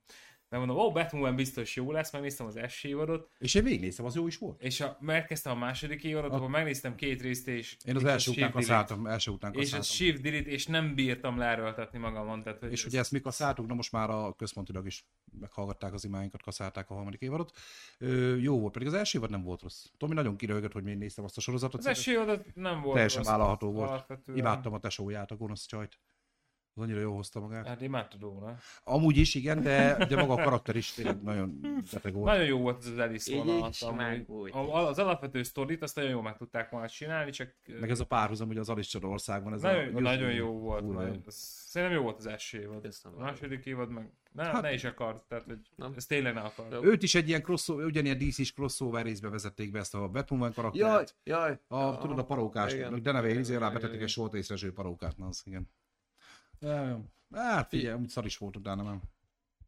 S3: Mert mondom, ó, Batman biztos jó lesz, megnéztem az első évadot,
S2: És én végignéztem, az jó is volt.
S3: és a, megkezdtem a második évadot, akkor megnéztem két részt, és
S2: Én az
S3: és
S2: első
S3: a
S2: után
S3: Shift Delete.
S2: kaszáltam, első után
S3: És a
S2: kaszáltam.
S3: Shift Delete, és nem bírtam leröltetni magamon, tehát hogy
S2: És ugye ezt mi kaszáltuk, na most már a központilag is meghallgatták az imáinkat, kaszálták a harmadik évadot. Ö, jó volt, pedig az első évad nem volt rossz. Tomi nagyon kiröhögött, hogy miért néztem azt a sorozatot.
S3: az első évadot nem volt
S2: teljesen
S3: rossz
S2: vállalható volt.
S3: alapvetően.
S2: Imádtam a tesóját, a gonosz csajt. Az annyira jó hozta magát.
S3: Hát imádtad volna.
S2: Amúgy is, igen, de, de maga a karakter is tényleg nagyon beteg volt.
S3: Nagyon jó volt az Alice
S1: Így
S3: vonal. hát,
S1: is megújt.
S3: Az alapvető sztorit azt nagyon jól meg tudták volna csinálni, csak
S2: Meg ez a párhuzam, hogy az Alice országban. Ez
S3: nagyon,
S2: a,
S3: nagyon jó volt.
S2: Kurva jó.
S3: Ez- Szerintem jó volt az első évad. A
S1: Köszönöm.
S3: második évad meg ne,
S2: Hát-
S3: ne is akart, tehát hogy
S1: Nem.
S3: ez tényleg ne akart.
S2: Őt is egy ilyen crossover, ugyanilyen DC-s crossover részbe vezették be ezt a Batman karaktert.
S1: Jaj, jaj.
S2: A, tudod, a parókás,
S1: Igen.
S2: de neve izé rá
S3: Igen,
S2: betették
S3: igen.
S2: egy solt észreső parókát, na az igen. Ja, jó. Hát figyelj, amúgy szar is volt utána, nem?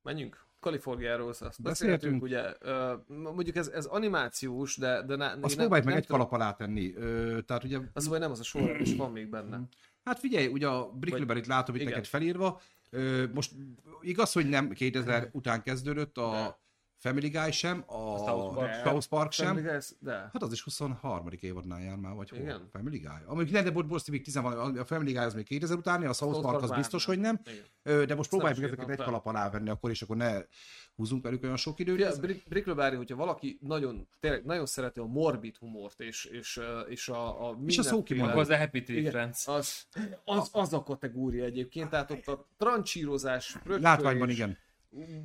S1: Menjünk. Kaliforniáról azt beszéltünk,
S2: Beszéltünk.
S1: ugye. Ö, mondjuk ez, ez animációs, de, de ne,
S2: Azt
S1: nem-
S2: próbálj meg
S1: nem
S2: egy
S1: tudom-
S2: kalap alá tenni. Ö, tehát ugye,
S1: Az vagy nem az a sor, és van még benne.
S2: hát figyelj, ugye a Brickleberry-t látom itt
S1: Igen.
S2: neked felírva. Ö, most igaz, hogy nem 2000 után kezdődött a Family Guy sem, a
S3: South Park sem.
S2: South Park
S1: Family
S2: sem.
S1: Guys, de.
S2: Hát az is 23. évadnál jár már, vagy hol?
S1: Igen.
S2: Family Guy. Amíg nem, de most, most még 10 van, a Family Guy az még 2000 utáni, a South
S1: South
S2: Park az
S1: Park
S2: biztos,
S1: már
S2: hogy nem.
S1: Igen.
S2: Ö, De most
S1: nem
S2: próbáljuk
S1: is
S2: ezeket
S1: írtam
S2: egy
S1: fel.
S2: kalap alá venni, akkor és akkor ne húzunk velük olyan sok időt.
S1: Ugye, Brick- Brick Lobári, hogyha valaki nagyon, tényleg nagyon szereti a morbid humort, és, és, ö, és a, a
S2: És a
S1: mindenféle-
S2: szókimondó.
S3: Akkor az a Happy Tree
S1: Igen,
S3: Friends.
S1: Az, az, az a kategória egyébként, tehát ott a trancsírozás, rögtön
S2: Látványban
S1: is-
S2: igen.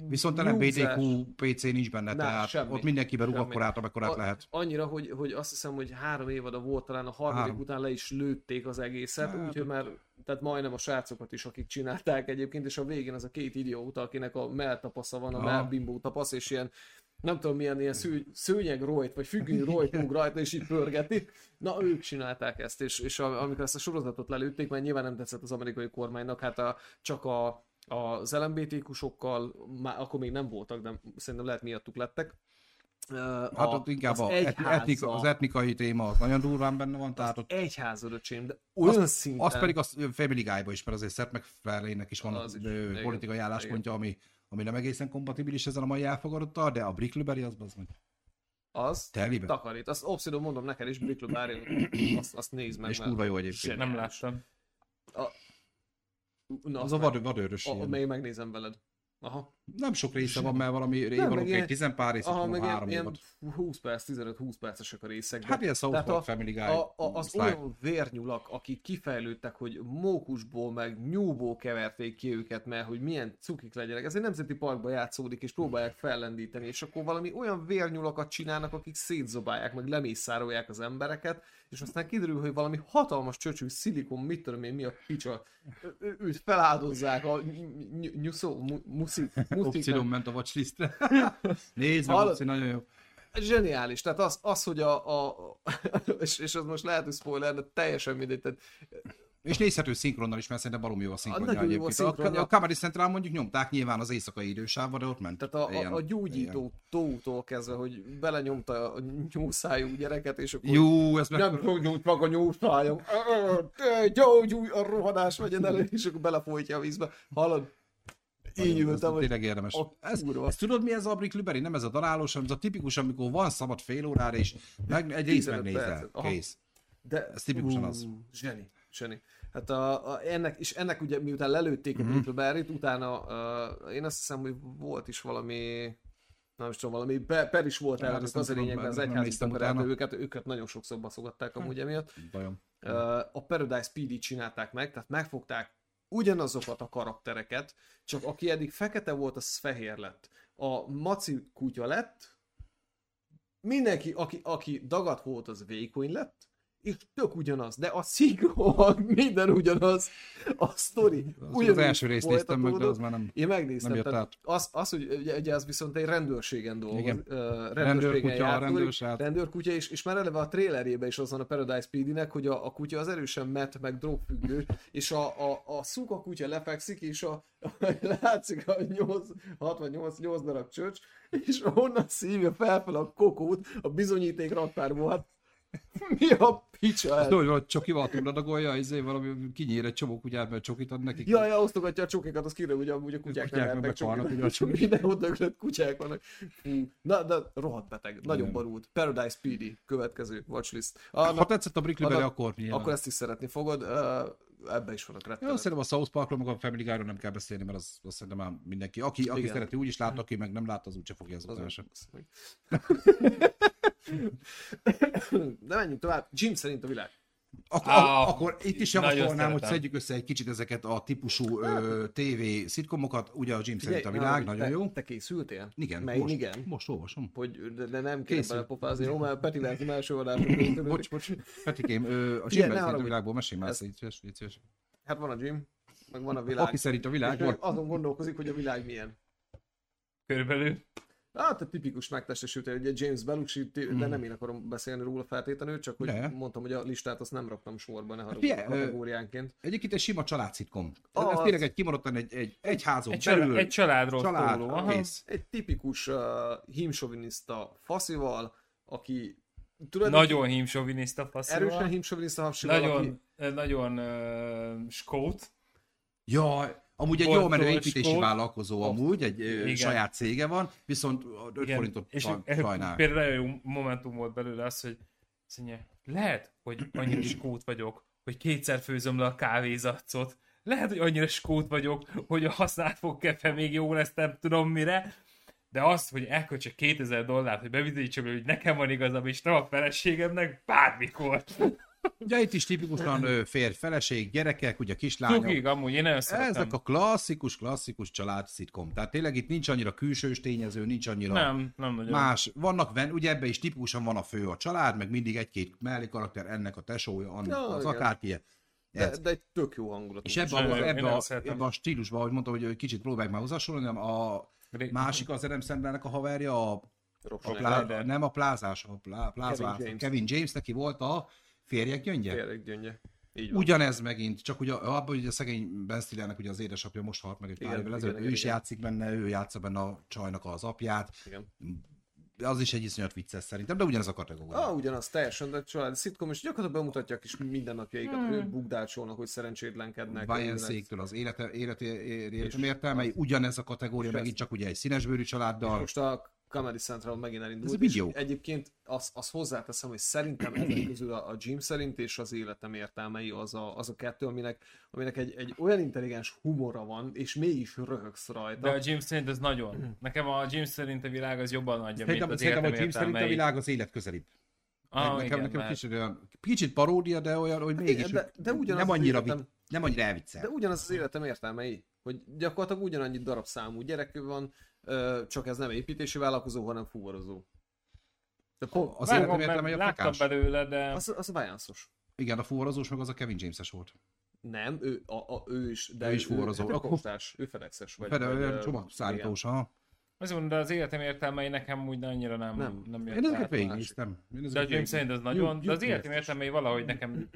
S2: Viszont a nem
S1: nyugzás.
S2: BTQ PC nincs benne,
S1: Nem,
S2: tehát
S1: semmi.
S2: ott mindenkiben rúg
S1: Semmi.
S2: akkorát, amekkorát
S1: A-
S2: lehet.
S1: Annyira, hogy, hogy azt hiszem, hogy három évada volt, talán a harmadik
S2: Három.
S1: után le is lőtték az egészet,
S2: Hát,
S1: úgyhogy már tehát majdnem a srácokat is, akik csinálták egyébként, és a végén az a két idióta, akinek a melltapasza van, a
S2: Aha.
S1: mellbimbó tapasz, és ilyen nem tudom milyen ilyen szű, szőnyeg rojt, vagy függöny rojt rúg rajta, és így pörgeti. Na, ők csinálták ezt, és, és a, amikor ezt a sorozatot lelőtték, mert nyilván nem tetszett az amerikai kormánynak, hát a, csak a, az LMBT-kusokkal, már akkor még nem voltak, de szerintem lehet miattuk lettek. Ö,
S2: Hát
S1: a-
S2: ott inkább
S1: az
S2: az,
S1: egy
S2: etni,
S1: háza-
S2: etnika, az etnikai téma az nagyon durván benne van, tehát ott
S1: egy házad, öcsém, de olyan
S2: az,
S1: szinten.
S2: az pedig a Family Guy-ba is, mert azért Seth megfelelőnek is van
S1: Az
S2: az
S1: is,
S2: ö,
S1: igen,
S2: politikai
S1: igen.
S2: álláspontja, ami, ami nem egészen kompatibilis ezzel a mai elfogadottal, de a Brickleberry az az meg
S1: az
S2: telibe.
S1: takarít. Azt obszidon mondom neked is, Brick Lobári, azt, azt nézd meg.
S2: És
S1: mert-
S2: kurva jó egyébként.
S1: Zseniális.
S3: Nem láttam.
S1: Na,
S2: Az a vad, vadőrös
S1: a,
S2: ilyen.
S1: még megnézem veled. Aha.
S2: Nem sok része van, mert valami
S1: meg
S2: révalók
S1: ilyen-
S2: egy tizenpár rész,
S1: Aha,
S2: van
S1: meg
S2: három
S1: ilyen,
S2: évad.
S1: ilyen 20 perc, 15-20 percesek a részek.
S2: Hát ilyen South
S1: Tehát a-
S2: Park Family Guy.
S1: A, a, az
S2: szlájd.
S1: olyan vérnyulak, akik kifejlődtek, hogy mókusból meg nyúból keverték ki őket, mert hogy milyen cukik legyenek. Ez egy nemzeti parkba játszódik, és próbálják fellendíteni, és akkor valami olyan vérnyulakat csinálnak, akik szétzobálják, meg lemészárolják az embereket, és aztán kiderül, hogy valami hatalmas csöcsű szilikon, mit tudom én, mi a picsa, ő- ő- őt feláldozzák a ny- ny- nyuszó, mu- muszi, muszi,
S2: Opcinon ment a watchlistre. Nézd meg,
S1: Hallod?
S2: Opci, nagyon jó.
S1: Zseniális, tehát az, az hogy a, a és, és az most lehet, hogy spoiler, de teljesen mindegy, tehát
S2: És nézhető szinkronnal is, mert szerintem baromi jó a szinkronja
S1: nagyon jó a
S2: egyébként. A,
S1: szinkronja.
S2: a, a Comedy Central mondjuk nyomták nyilván az éjszakai idősávban, de ott ment.
S1: Tehát a,
S2: ilyen-
S1: a, a gyógyító tótól kezdve, hogy belenyomta a nyúszájú gyereket, és akkor
S2: ilyen. Jó, ez meg...
S1: nem gyógyult meg a nyúszájom. Ö, ö, Gyógyulj a rohanás vegyen elő, és akkor belefolytja a vízbe. Hallod? Így
S2: Nagyon jó,
S1: ültem,
S2: ez
S1: hogy
S2: Tényleg érdemes.
S1: a
S2: Ez,
S1: kurva.
S2: ez, tudod mi ez a Brick Lüberi? Nem ez a darálós, hanem ez a tipikus, amikor van szabad fél órára, és meg, egy rész
S1: 15
S2: megnézel.
S1: percet. Aha.
S2: Kész.
S1: De,
S2: Ez tipikusan az.
S1: Ú, Zseni, zseni. Hát a, a, ennek, és ennek ugye miután lelőtték
S2: Mhm.
S1: a Brickleberry-t, utána uh, én azt hiszem, hogy volt is valami nem is tudom, valami be, per is volt
S2: Hát
S1: el, az
S2: azt
S1: a
S2: nem tudom,
S1: lényegben az
S2: nem
S1: egyházi
S2: néztem
S1: emberek,
S2: utána. Hm.
S1: őket, őket nagyon sokszor baszogatták amúgy emiatt.
S2: Bajom.
S1: Ö, a Paradise PD csinálták meg, tehát megfogták ugyanazokat a karaktereket, csak aki eddig fekete volt, az fehér lett. A maci kutya lett, mindenki, aki, aki dagat volt, az vékony lett, és tök ugyanaz, de a szinkron minden ugyanaz, a sztori
S2: Ugyanúgy az
S1: ugyanúgy
S2: első részt néztem meg, de
S1: folytatódott.
S2: az már nem...
S1: Én megnéztem,
S2: Nem jött
S1: tehát
S2: át.
S1: az, az, hogy ugye, ugye az viszont egy rendőrségen dolgoz,
S2: Igen.
S1: ö, rendőrségen
S2: Rendőrkutya, a
S1: járt, úr,
S2: rendőrsát.
S1: rendőrkutya, és, és már eleve a trélerében is az van a Paradise PD-nek, hogy a, a kutya az erősen met, meg drogfüggő, és a, a, a szuka kutya lefekszik, és a, látszik a 8, 68 8 darab csöcs, és onnan szívja felfel a kokót a bizonyíték raktárból. Hát mi a picsa ez?
S2: Tudod, hogy csokival túladagolja, izé, valami kinyír egy csomó kutyát, mert csokit ad nekik.
S1: Ja, ja, osztogatja a csokikat, az kiderül, hogy amúgy a kutyák,
S2: Kutyák
S1: nem
S2: meg
S1: lehetnek
S2: bekalnak, ugye a
S1: csokik.
S2: csokik.
S1: Mindenhol döglött kutyák vannak. Fú. Na, de rohadt beteg, nagyon
S2: Igen. Hát,
S1: borult. Paradise PD, következő watchlist. A,
S2: Ha
S1: na,
S2: tetszett a Brick Lüberi,
S1: Adott-
S2: akkor nyilván.
S1: akkor ezt is szeretni fogod, ö, ebbe is vannak
S2: Ja,
S1: rettenet.
S2: szerintem a South Parkról, meg a Family Guy-ról nem kell beszélni, mert az, az szerintem már mindenki. Aki, aki
S1: Igen.
S2: szereti, úgy is lát, aki meg nem lát, az úgyse fogja ezután
S1: Az-
S2: sem.
S1: De menjünk tovább. Jim szerint a világ.
S2: Ak-
S3: Á,
S2: ak- akkor itt is
S3: nagyon
S2: javasolnám, hogy
S3: szeretem.
S2: szedjük össze egy kicsit ezeket a típusú ö, TV szitkomokat. Ugye a Jim szerint a
S1: Figyelj,
S2: világ,
S1: na,
S2: nagyon
S1: te,
S2: jó.
S1: Te készültél?
S2: Igen,
S1: Meg
S2: most,
S1: igen.
S2: most olvasom.
S1: Hogy, de, de nem kéne
S2: Készül.
S1: belepofázni, jó, mert Peti Lázim első adásra
S2: Bocs, bocs. Petikém, ö,
S1: Figyelj, ne
S2: a Jim szerint a
S1: haragudj.
S2: világból mesélj már,
S1: Ez-
S2: légy szíves, légy szíves.
S1: Hát van a Jim, meg van a világ.
S2: Aki szerint a
S1: És ő
S2: világból.
S1: azon gondolkozik, hogy a világ milyen.
S3: Körülbelül.
S1: Hát a tipikus megtestesültél, ugye James Belushi, ti- de nem én akarom beszélni róla feltétlenül, csak hogy
S2: Hmm. De. Hát
S1: mondtam, hogy a listát azt nem raktam sorba, ne haragudj
S2: figyelj, ö,
S1: kategóriánként.
S2: Egyébként egy sima családszitkom.
S1: Az.
S2: Ez tényleg egy kimaradtan egy, egy, egy házon
S3: Egy,
S2: belül.
S3: család, egy családról
S2: család,
S3: szóló. Aha.
S2: kész.
S1: Egy tipikus uh, hímsoviniszta faszival, aki
S3: Nagyon hímsoviniszta
S1: erősen
S3: faszíva.
S1: hímsoviniszta hapsival, aki
S3: Nagyon, ö, nagyon uh, skót.
S2: Jaj, amúgy egy
S3: Volt
S2: jól menő
S3: Tolskó.
S2: építési vállalkozó amúgy, egy Igen.
S3: Igen.
S2: saját cége van, viszont 5
S3: Igen,
S2: forintot
S3: és
S2: saj-
S3: e-
S2: sajnál.
S3: Például nagyon jó momentum volt belőle az, hogy azt mondja, lehet, hogy annyira skót vagyok, hogy kétszer főzöm le a kávézacot. Lehet, hogy annyira skót vagyok, hogy a használt fogkefe még jó lesz, nem tudom mire. De azt, hogy elköltsek 2000 dollárt, hogy bebizonyítsam, hogy nekem van igazam, és nem a feleségemnek, bármikor.
S2: Ugye itt is tipikusan ö, férj, feleség, gyerekek, ugye kislányok.
S3: Tudjuk, amúgy én nagyon szeretem.
S2: Ezek a klasszikus, klasszikus család szitkom. Tehát tényleg itt nincs annyira külsős tényező, nincs annyira
S3: Nem, nem nagyon.
S2: más. Vannak, ven- ugye ebben is tipikusan van a fő a család, meg mindig egy-két mellé karakter, ennek a tesója, annak
S1: Ja,
S2: az
S1: igen.
S2: akárki.
S1: de, de egy tök jó hangulatú.
S2: És ebben
S3: Nagyon
S2: a,
S3: jó, én
S2: ebbe
S3: nagyon
S2: a,
S3: szeretem.
S2: ebbe a stílusban, ahogy mondtam, hogy kicsit próbálj már hozzásolni, hanem a
S3: Ré-
S2: másik az Adam Sandlernek a haverja, a
S1: Rob
S2: A
S1: Schneider.
S2: plá...
S3: Schneider.
S2: Nem a plázás, a plá... plázás.
S1: James.
S2: Kevin, Kevin James, neki volt a férjek gyöngye.
S1: Tényleg gyöngye. Így van.
S2: Ugyanez megint, csak ugye abban, hogy a szegény Ben Stillernek ugye az édesapja most halt meg egy pár
S1: Igen, igen,
S2: évvel ezelőtt, ő
S1: igen,
S2: is
S1: igen.
S2: játszik benne, ő játsza benne a csajnak az apját.
S1: Igen.
S2: De Az is egy iszonyat vicces szerintem, de ugyanez a kategória.
S1: Ah, ugyanaz, teljesen, de család szitkom, és gyakorlatilag bemutatja a kis mindennapjaikat, hmm. ő bugdácsolnak, hogy szerencsétlenkednek.
S2: Brian
S1: mindenek.
S2: Széktől az élete, élete, életem értelmei, ugyanez a kategória,
S1: és
S2: megint
S1: ezt-
S2: csak ugye egy színesbőrű családdal.
S1: Most a Comedy Central megint elindult.
S2: Ez mind
S1: és
S2: jó.
S1: Egyébként azt az hozzáteszem, hogy szerintem ezek közül a, a Jim szerint és az életem értelmei az a, az a kettő, aminek, aminek egy, egy olyan intelligens humora van, és mégis röhögsz rajta.
S3: De a Jim szerint ez nagyon. Nekem a Jim szerint a világ az jobban adja, mint
S2: Szerintem,
S3: az
S2: szerintem a
S3: életem
S2: Jim szerint a
S3: értelmei.
S2: világ az élet közelibb.
S3: Ah,
S2: nekem,
S3: igen,
S2: nekem
S3: lehet.
S2: kicsit, olyan, kicsit paródia, de olyan, hogy
S1: Hát
S2: mégis
S1: igen, de- de ugyanaz
S2: nem
S1: az
S2: annyira,
S1: életem-
S2: vi- nem annyira elviccel.
S1: De ugyanaz az életem értelmei, hogy gyakorlatilag ugyanannyi darabszámú gyerek van, ö, csak ez nem építési vállalkozó, hanem fuvarozó. De pont,
S2: Az
S3: Vágom,
S2: életem
S3: mert
S2: értelme, hogy a
S3: Láttam
S2: kakás.
S3: belőle, de
S1: az, az vájanszos.
S2: Igen, a fuvarozós meg az a Kevin James-es volt.
S1: Nem, ő, a, a, ő is, de
S2: Ő is fuvarozó.
S1: Ő, hát ő
S2: Akkor-
S1: postás, ő fedexes vagy.
S2: Például
S1: vagy,
S2: olyan
S1: ö,
S2: csomagszállítós, ha.
S3: azt mondom, de az életem értelmei nekem úgy annyira nem,
S1: Nem.
S3: nem, nem jött
S2: Én ezeket
S3: át.
S2: végignéztem. Én
S3: De a
S2: ezeket
S3: Jim
S2: végignéztem.
S3: szerint az nagyon, de az
S1: jutni ezt
S3: életem
S1: is.
S3: értelmei valahogy nekem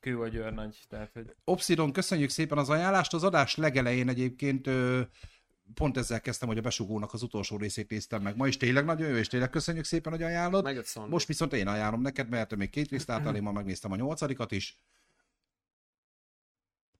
S3: kő vagy őrnagy. Tehát, hogy
S2: Obsidon, köszönjük szépen az ajánlást. Az adás legelején egyébként ö, pont ezzel kezdtem, hogy a besugónak az utolsó részét néztem meg ma, és tényleg nagyon jó, és tényleg köszönjük szépen, hogy ajánlod.
S1: igen. Megjött Szandi.
S2: Most viszont én ajánlom neked, mert te még két részt álltál, én ma megnéztem a nyolcadikat is.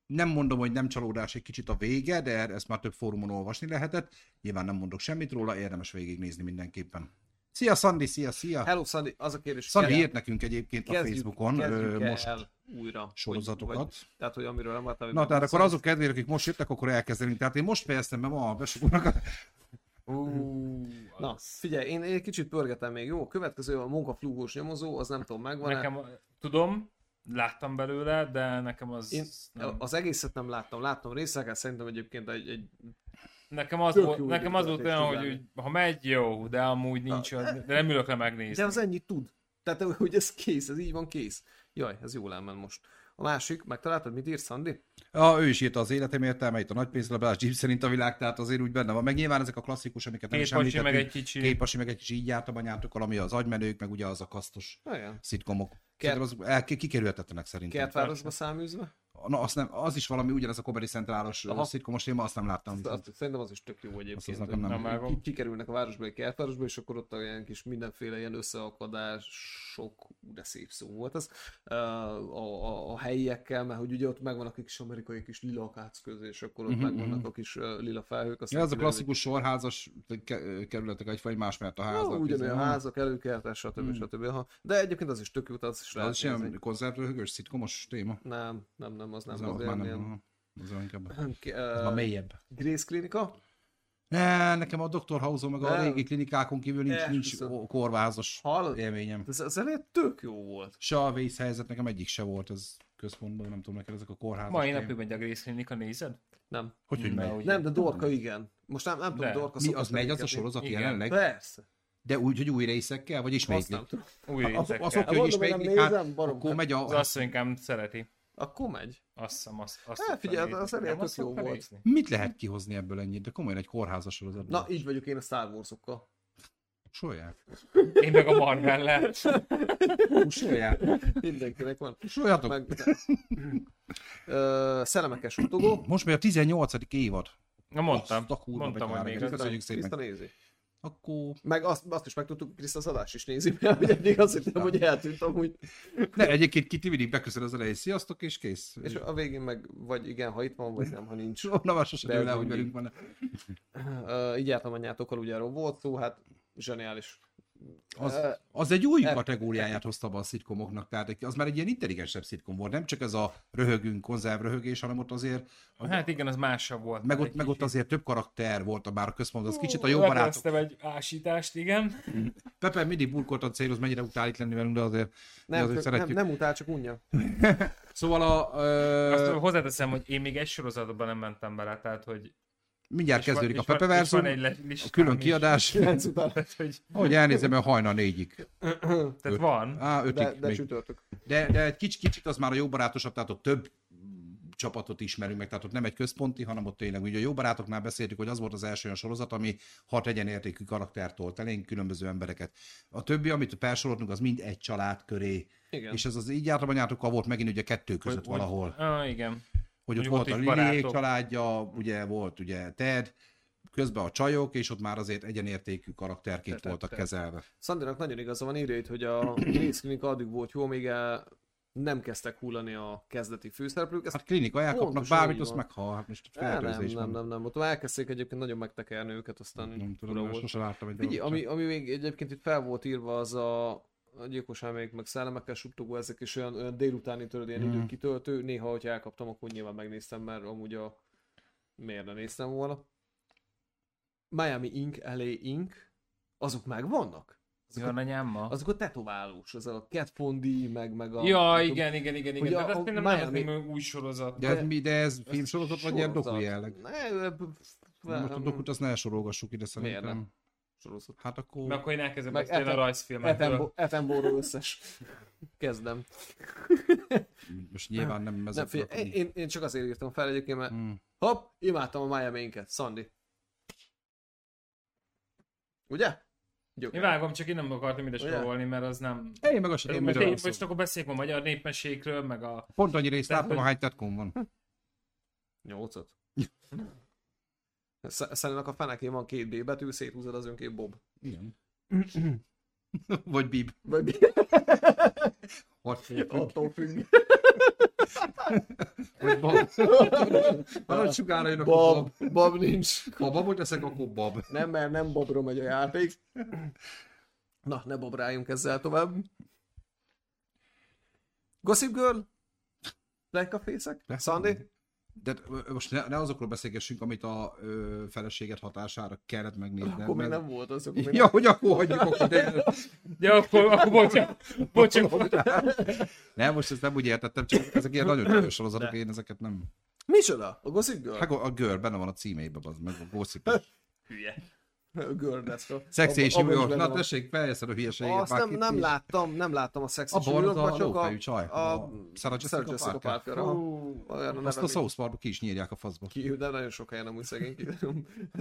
S2: Nem mondom, hogy nem csalódás egy kicsit a vége, de ezt már több fórumon olvasni lehetett. Nyilván nem mondok semmit róla, érdemes végignézni mindenképpen. Szia, Szandi, szia, szia!
S1: Hello, Szandi, az a kérdés,
S2: Szandi
S1: kezdjük-
S2: írt nekünk egyébként a Facebookon ö,
S1: kezdjük-e
S2: most
S1: el újra hogy-
S2: sorozatokat.
S1: Vagy, tehát, hogy amiről nem láttam.
S2: Na, tehát akkor azok kedvére, akik most jöttek, akkor elkezdenünk. Tehát én most fejeztem be ma a besugónak a
S3: ú,
S1: Na,
S3: az-
S1: figyelj, én egy kicsit pörgetem még, jó? A következő a munkaflúgós nyomozó, az nem tudom, megvan
S3: nekem, tudom, láttam belőle, de nekem az...
S1: Én-
S3: nem.
S1: Az egészet nem láttam, láttam részeket, szerintem egyébként egy, egy
S3: Nekem az,
S1: Tök
S3: volt,
S1: jó
S3: nekem az volt
S1: időtöltést
S3: olyan, hogy
S1: kívánok.
S3: úgy, ha megy, jó, de amúgy nincs, olyan- de nem ülök le
S1: e- De
S3: megnézni.
S1: az ennyit tud. Tehát, hogy ez kész, ez így van kész. Jaj, ez jól elment most. A másik, megtaláltad, mit ír Szandi?
S2: Ja, ő is írta az életem értelmeit, a nagy pénzlabdás, Jim szerint a világ, tehát azért úgy benne van. Meg nyilván ezek a klasszikus, amiket nem
S3: Két
S2: is
S3: pasi,
S2: említettünk.
S3: meg egy kicsi.
S2: Két pasi, meg egy kicsi, így jártam anyátokkal, ami az agymenők, meg ugye az a kasztos
S1: Igen.
S2: szitkomok. Kert... Az el, ki- kikerülhetetlenek szerintem.
S1: Kertvárosba száműzve?
S2: Na, azt nem, az is valami ugyanez a Comedy Centrálos
S1: Aha.
S2: Aha. szitkomos téma, azt nem láttam.
S1: Azt,
S2: viszont.
S1: azt, szerintem az is tök jó egyébként.
S2: Azt az
S1: hogy
S2: nekem nem.
S3: Nem
S2: nem.
S3: áll.
S1: ki- Kikerülnek a városba, egy kertvárosba, és akkor ott olyan kis mindenféle ilyen összeakadások, ú, de szép szó volt ez, ö, a, a, a helyiekkel, mert hogy ugye ott megvan a kis amerikai kis lila akác közé, és akkor ott
S2: Mhm,
S1: megvannak
S2: mhm.
S1: a kis ö, lila felhők. aztán
S2: Ja, ez a
S1: kilövik.
S2: klasszikus sorházas ke- kerületek egyfaj más, mert a
S1: Jó,
S2: házak.
S1: ugyanolyan
S2: izé,
S1: házak, előkertes, stb.
S2: Hmm.
S1: Hmm. stb. Aha. De egyébként az is tök jó, tehát az is
S2: Az
S1: lehet.
S2: is ilyen konzervröhögös szitkomos téma.
S1: Nem, nem, nem, az
S2: Ez
S1: nem. Az
S2: már
S1: ilyen, ilyen...
S2: nem. Az olyan inkább.
S1: Ki-
S2: Az már
S1: ö,
S2: mélyebb.
S1: Grace Klinika?
S2: Ne, nekem a Dr. House meg a
S1: Nem.
S2: régi klinikákon kívül nincs,
S1: Ne,
S2: nincs
S1: viszont-
S2: o- korvázas
S1: Hallod?
S2: élményem.
S1: Ez, ez elég tök jó volt.
S2: Se a vészhelyzet, nekem egyik se volt ez központban, nem tudom neked ezek a kórházak.
S3: Mai napig megy a Grace Klinika, nézed?
S1: Nem.
S2: Hogy, hogy
S3: Na,
S2: megy?
S3: ugye.
S1: Nem, de Dorka igen. Most nem, nem tudom,
S3: De.
S1: Dorka
S2: Mi,
S1: szokott
S2: az megy az a
S1: tevékedni.
S2: sorozat
S3: Igen.
S2: jelenleg?
S1: Persze.
S2: De úgy, hogy új részekkel, vagy
S1: Azt nem
S2: ismétlik?
S1: tudom.
S3: Új
S2: Az,
S3: részekkel.
S2: az oké,
S1: Mondom,
S2: hogy
S1: hogy nem
S2: ismétlik, hát
S1: nézem, barom,
S2: akkor
S1: hát-
S2: megy
S3: Az
S2: a...
S3: asszonykám szereti.
S1: Akkor megy.
S3: Azt hiszem, azt, azt
S1: Hát,
S3: szokta
S1: figyelj,
S3: nézni.
S1: az elég
S3: Nem
S1: tök
S3: azt
S1: jó
S3: szokta
S1: volt.
S3: nézni?
S2: Mit lehet kihozni ebből ennyit? De komolyan egy kórházas sorozatból.
S1: Na, így vagyok én a Star Wars-okkal.
S2: Solják.
S3: Én meg a marvel
S2: Solják.
S1: Mindenkinek van.
S2: Soljátok.
S1: Meg... Ö, Szellemekes utogó.
S2: Most már a 18. évad.
S3: Na mondtam,
S2: Azt a kurva
S3: mondtam, hogy még
S2: betyárnak.
S3: az.
S2: Köszönjük szépen.
S1: Kriszta nézi.
S2: Akkor
S1: Meg azt, azt is megtudtuk, Kriszta az adás is nézi, mert hogy eddig azt hittem, hogy eltűnt amúgy.
S2: ne, egyébként ki ti mindig beköszön az elején, sziasztok, és kész.
S1: És a végén meg vagy igen, ha itt van, vagy nem, ha nincs.
S2: Na, már sosem
S1: De ez
S2: dől el, hogy
S1: mindig.
S2: velünk van.
S1: Ö, Így jártam anyátokkal, ugye erről volt szó, hát zseniális.
S2: Az,
S1: Ö,
S2: az egy új
S1: e-
S2: kategóriáját hozta be a szitkomoknak, tehát egy- az már egy ilyen intelligensebb szitkom volt, nem csak ez a röhögünk, konzervröhögés, hanem ott azért,
S3: Hát igen, az másabb volt.
S2: meg
S3: már
S2: ott,
S3: egy
S2: meg ott
S3: kicsit.
S2: azért több karakter volt a már a központ, az kicsit a
S3: Ú,
S2: jó barátok.
S3: lekeresztem egy ásítást, igen.
S2: Pepe mindig burkoltan céloz, mennyire utál itt lenni velünk, de azért, de
S1: Nem,
S2: azért
S1: csak, nem,
S2: szeretjük.
S1: nem utál, csak unja.
S2: Szóval a,
S3: Azt
S2: ö,
S3: hozzáteszem, hogy én még egy sorozatban nem mentem bele, tehát hogy...
S2: mindjárt
S3: és van-
S2: kezdődik a
S3: és van-
S2: Pepe
S3: és van
S2: verzum,
S3: egy le-
S2: a
S3: listám
S2: külön
S3: is.
S2: kiadás,
S1: Kilenc után.
S3: Tehát, hogy,
S2: hogy elnézem, mert hajna négyig.
S3: tehát van.
S2: Á, ötig
S1: De, de
S2: még.
S1: csütörtök.
S2: De, de egy kicsit, kicsit az már a jó barátosabb, tehát ott több csapatot ismerünk meg, tehát ott nem egy központi, hanem ott tényleg, ugye a jó barátoknál beszéltük, hogy az volt az első olyan sorozat, ami hat egyenértékű karaktertól, elénk különböző embereket. A többi, amit felsoroltunk, az mind egy család köré.
S1: Igen.
S2: És ez az így általában volt megint ugye kettő között
S3: Hogy-
S2: valahol.
S3: Ah, igen.
S2: Hogy ott
S3: Mondjuk
S2: volt
S3: ott
S2: a
S3: is
S2: Liliék
S3: barátok.
S2: családja, ugye volt ugye Ted, közben a csajok, és ott már azért egyenértékű karakterként
S3: Te- te-
S2: voltak
S3: te.
S2: kezelve.
S1: Szandinak nagyon igaza van, írja itt, hogy a Grace Klinika addig volt jó, még el nem kezdtek hullani a kezdeti főszereplők, ezt
S2: Hát klinikai elkapnak
S1: Pontosan
S2: bármit,
S1: így
S2: azt
S1: van.
S2: meghal. Hát most
S1: nem, nem,
S2: fertőzés
S1: nem,
S2: van.
S1: nem, nem, ott már elkezdték egyébként nagyon megtekerni őket, aztán
S2: Nem tudom,
S1: fura
S2: mert
S1: volt.
S2: sose láttam egy
S1: Figyelj,
S2: darabot
S1: ami, ami még egyébként itt fel volt írva, az a, a gyilkos elmék, meg szellemekkel suttogó, ezek is olyan, olyan délutáni tudod, ilyen
S2: Mhm.
S1: időkitöltő. Néha, hogyha elkaptam, akkor nyilván megnéztem, mert amúgy a... Miért ne néztem volna? Miami Ink, LA Ink, azok meg vannak. Azok,
S3: Jön
S1: a,
S3: anyámmal?
S1: azok a tetoválós, az a Cat Fondi, meg, meg a...
S3: Ja,
S1: meg a-
S3: igen, igen, igen, igen.
S1: Ugye
S3: Tehát
S1: a-
S3: azt
S1: a
S3: én nem
S1: Miami-
S3: látném hogy új sorozat.
S2: De ez, mi, de ez
S1: Ez
S2: filmsorozat, vagy ilyen doku
S1: sorozat.
S2: jelleg?
S1: Ne, ö, p- p-
S2: Na Most a dokut azt ne sorolgassuk ide szerintem.
S1: Miért nem? sorozat.
S2: Hát
S3: Mert
S2: akkor...
S3: akkor én elkezdem
S1: Meg
S3: beszélni a
S1: Etem-
S3: rajzfilmekről.
S1: Attenborough- Attenborough összes. Kezdem.
S2: Most nyilván nem
S1: Nem,
S2: ezekről.
S1: figyelj, én,
S2: tudunk.
S1: én, én csak azért írtam fel egyébként, mert
S2: Mm.
S1: hopp, imádtam a Miami Inket, Szandi. Ugye?
S3: Én
S1: Gyökér.
S3: vágom, csak én nem akartam ide
S1: Ugye?
S3: sorolni, mert az nem...
S2: Én meg azt sem
S3: Én
S2: tudom,
S3: most,
S2: miről
S3: én,
S2: van szó.
S3: most akkor beszéljünk a magyar népmesékről, meg a...
S2: Pont annyi részt
S3: De
S2: láttam,
S3: hogy-
S2: ahány tetkon van.
S1: Nyolcat. Sz- Szerintem a fenekén van két B betű, széthúzod az önkép Bob.
S2: Igen. Vagy bib.
S1: Vagy
S2: Vagy
S1: attól függ.
S2: Vagy bab. Valahogy sugára jön, akkor
S1: Bob,
S2: bab.
S1: Bob nincs.
S2: Ha babot leszek, akkor bab.
S1: Nem, mert nem Bobra megy a játék. Na, ne bobráljunk ezzel tovább. Gossip Girl? Lekafészek? Szandi?
S2: De ö, ö, most ne, ne azokról beszélgessünk, amit a ö, feleséged hatására kellett megnézni.
S1: Akkor még nem volt az, akkor még
S2: Ja, hogy akkor hagyjuk, akkor de...
S3: Ja, akkor, akkor bocsánat, bocsánat.
S2: Nem, most ezt nem úgy értettem, csak ezek ilyen nagyon erős sorozatok, én ezeket nem...
S1: Micsoda? A Gossip Girl?
S2: Hát a girl benne van a címeiben, az meg a gossip.
S3: Hülye.
S1: A Girl deszka.
S2: Szexi és
S1: Abba-
S2: New
S1: abba is
S2: York.
S1: benne
S2: Na
S1: van.
S2: tessék, feljeszed a hülyeséget.
S1: Azt nem, nem láttam, nem láttam a Sex
S2: A
S1: és New
S2: barna,
S1: Yorkban,
S2: a
S1: csak a...
S2: lófejű csaj. A Sarah Jessica Parker.
S1: Parker, aha. Olyan a
S2: Azt
S1: neve,
S2: a
S1: mint-
S2: South Parkba ki is nyírják a faszba.
S1: ki, de nagyon sok helyen amúgy szegény ki.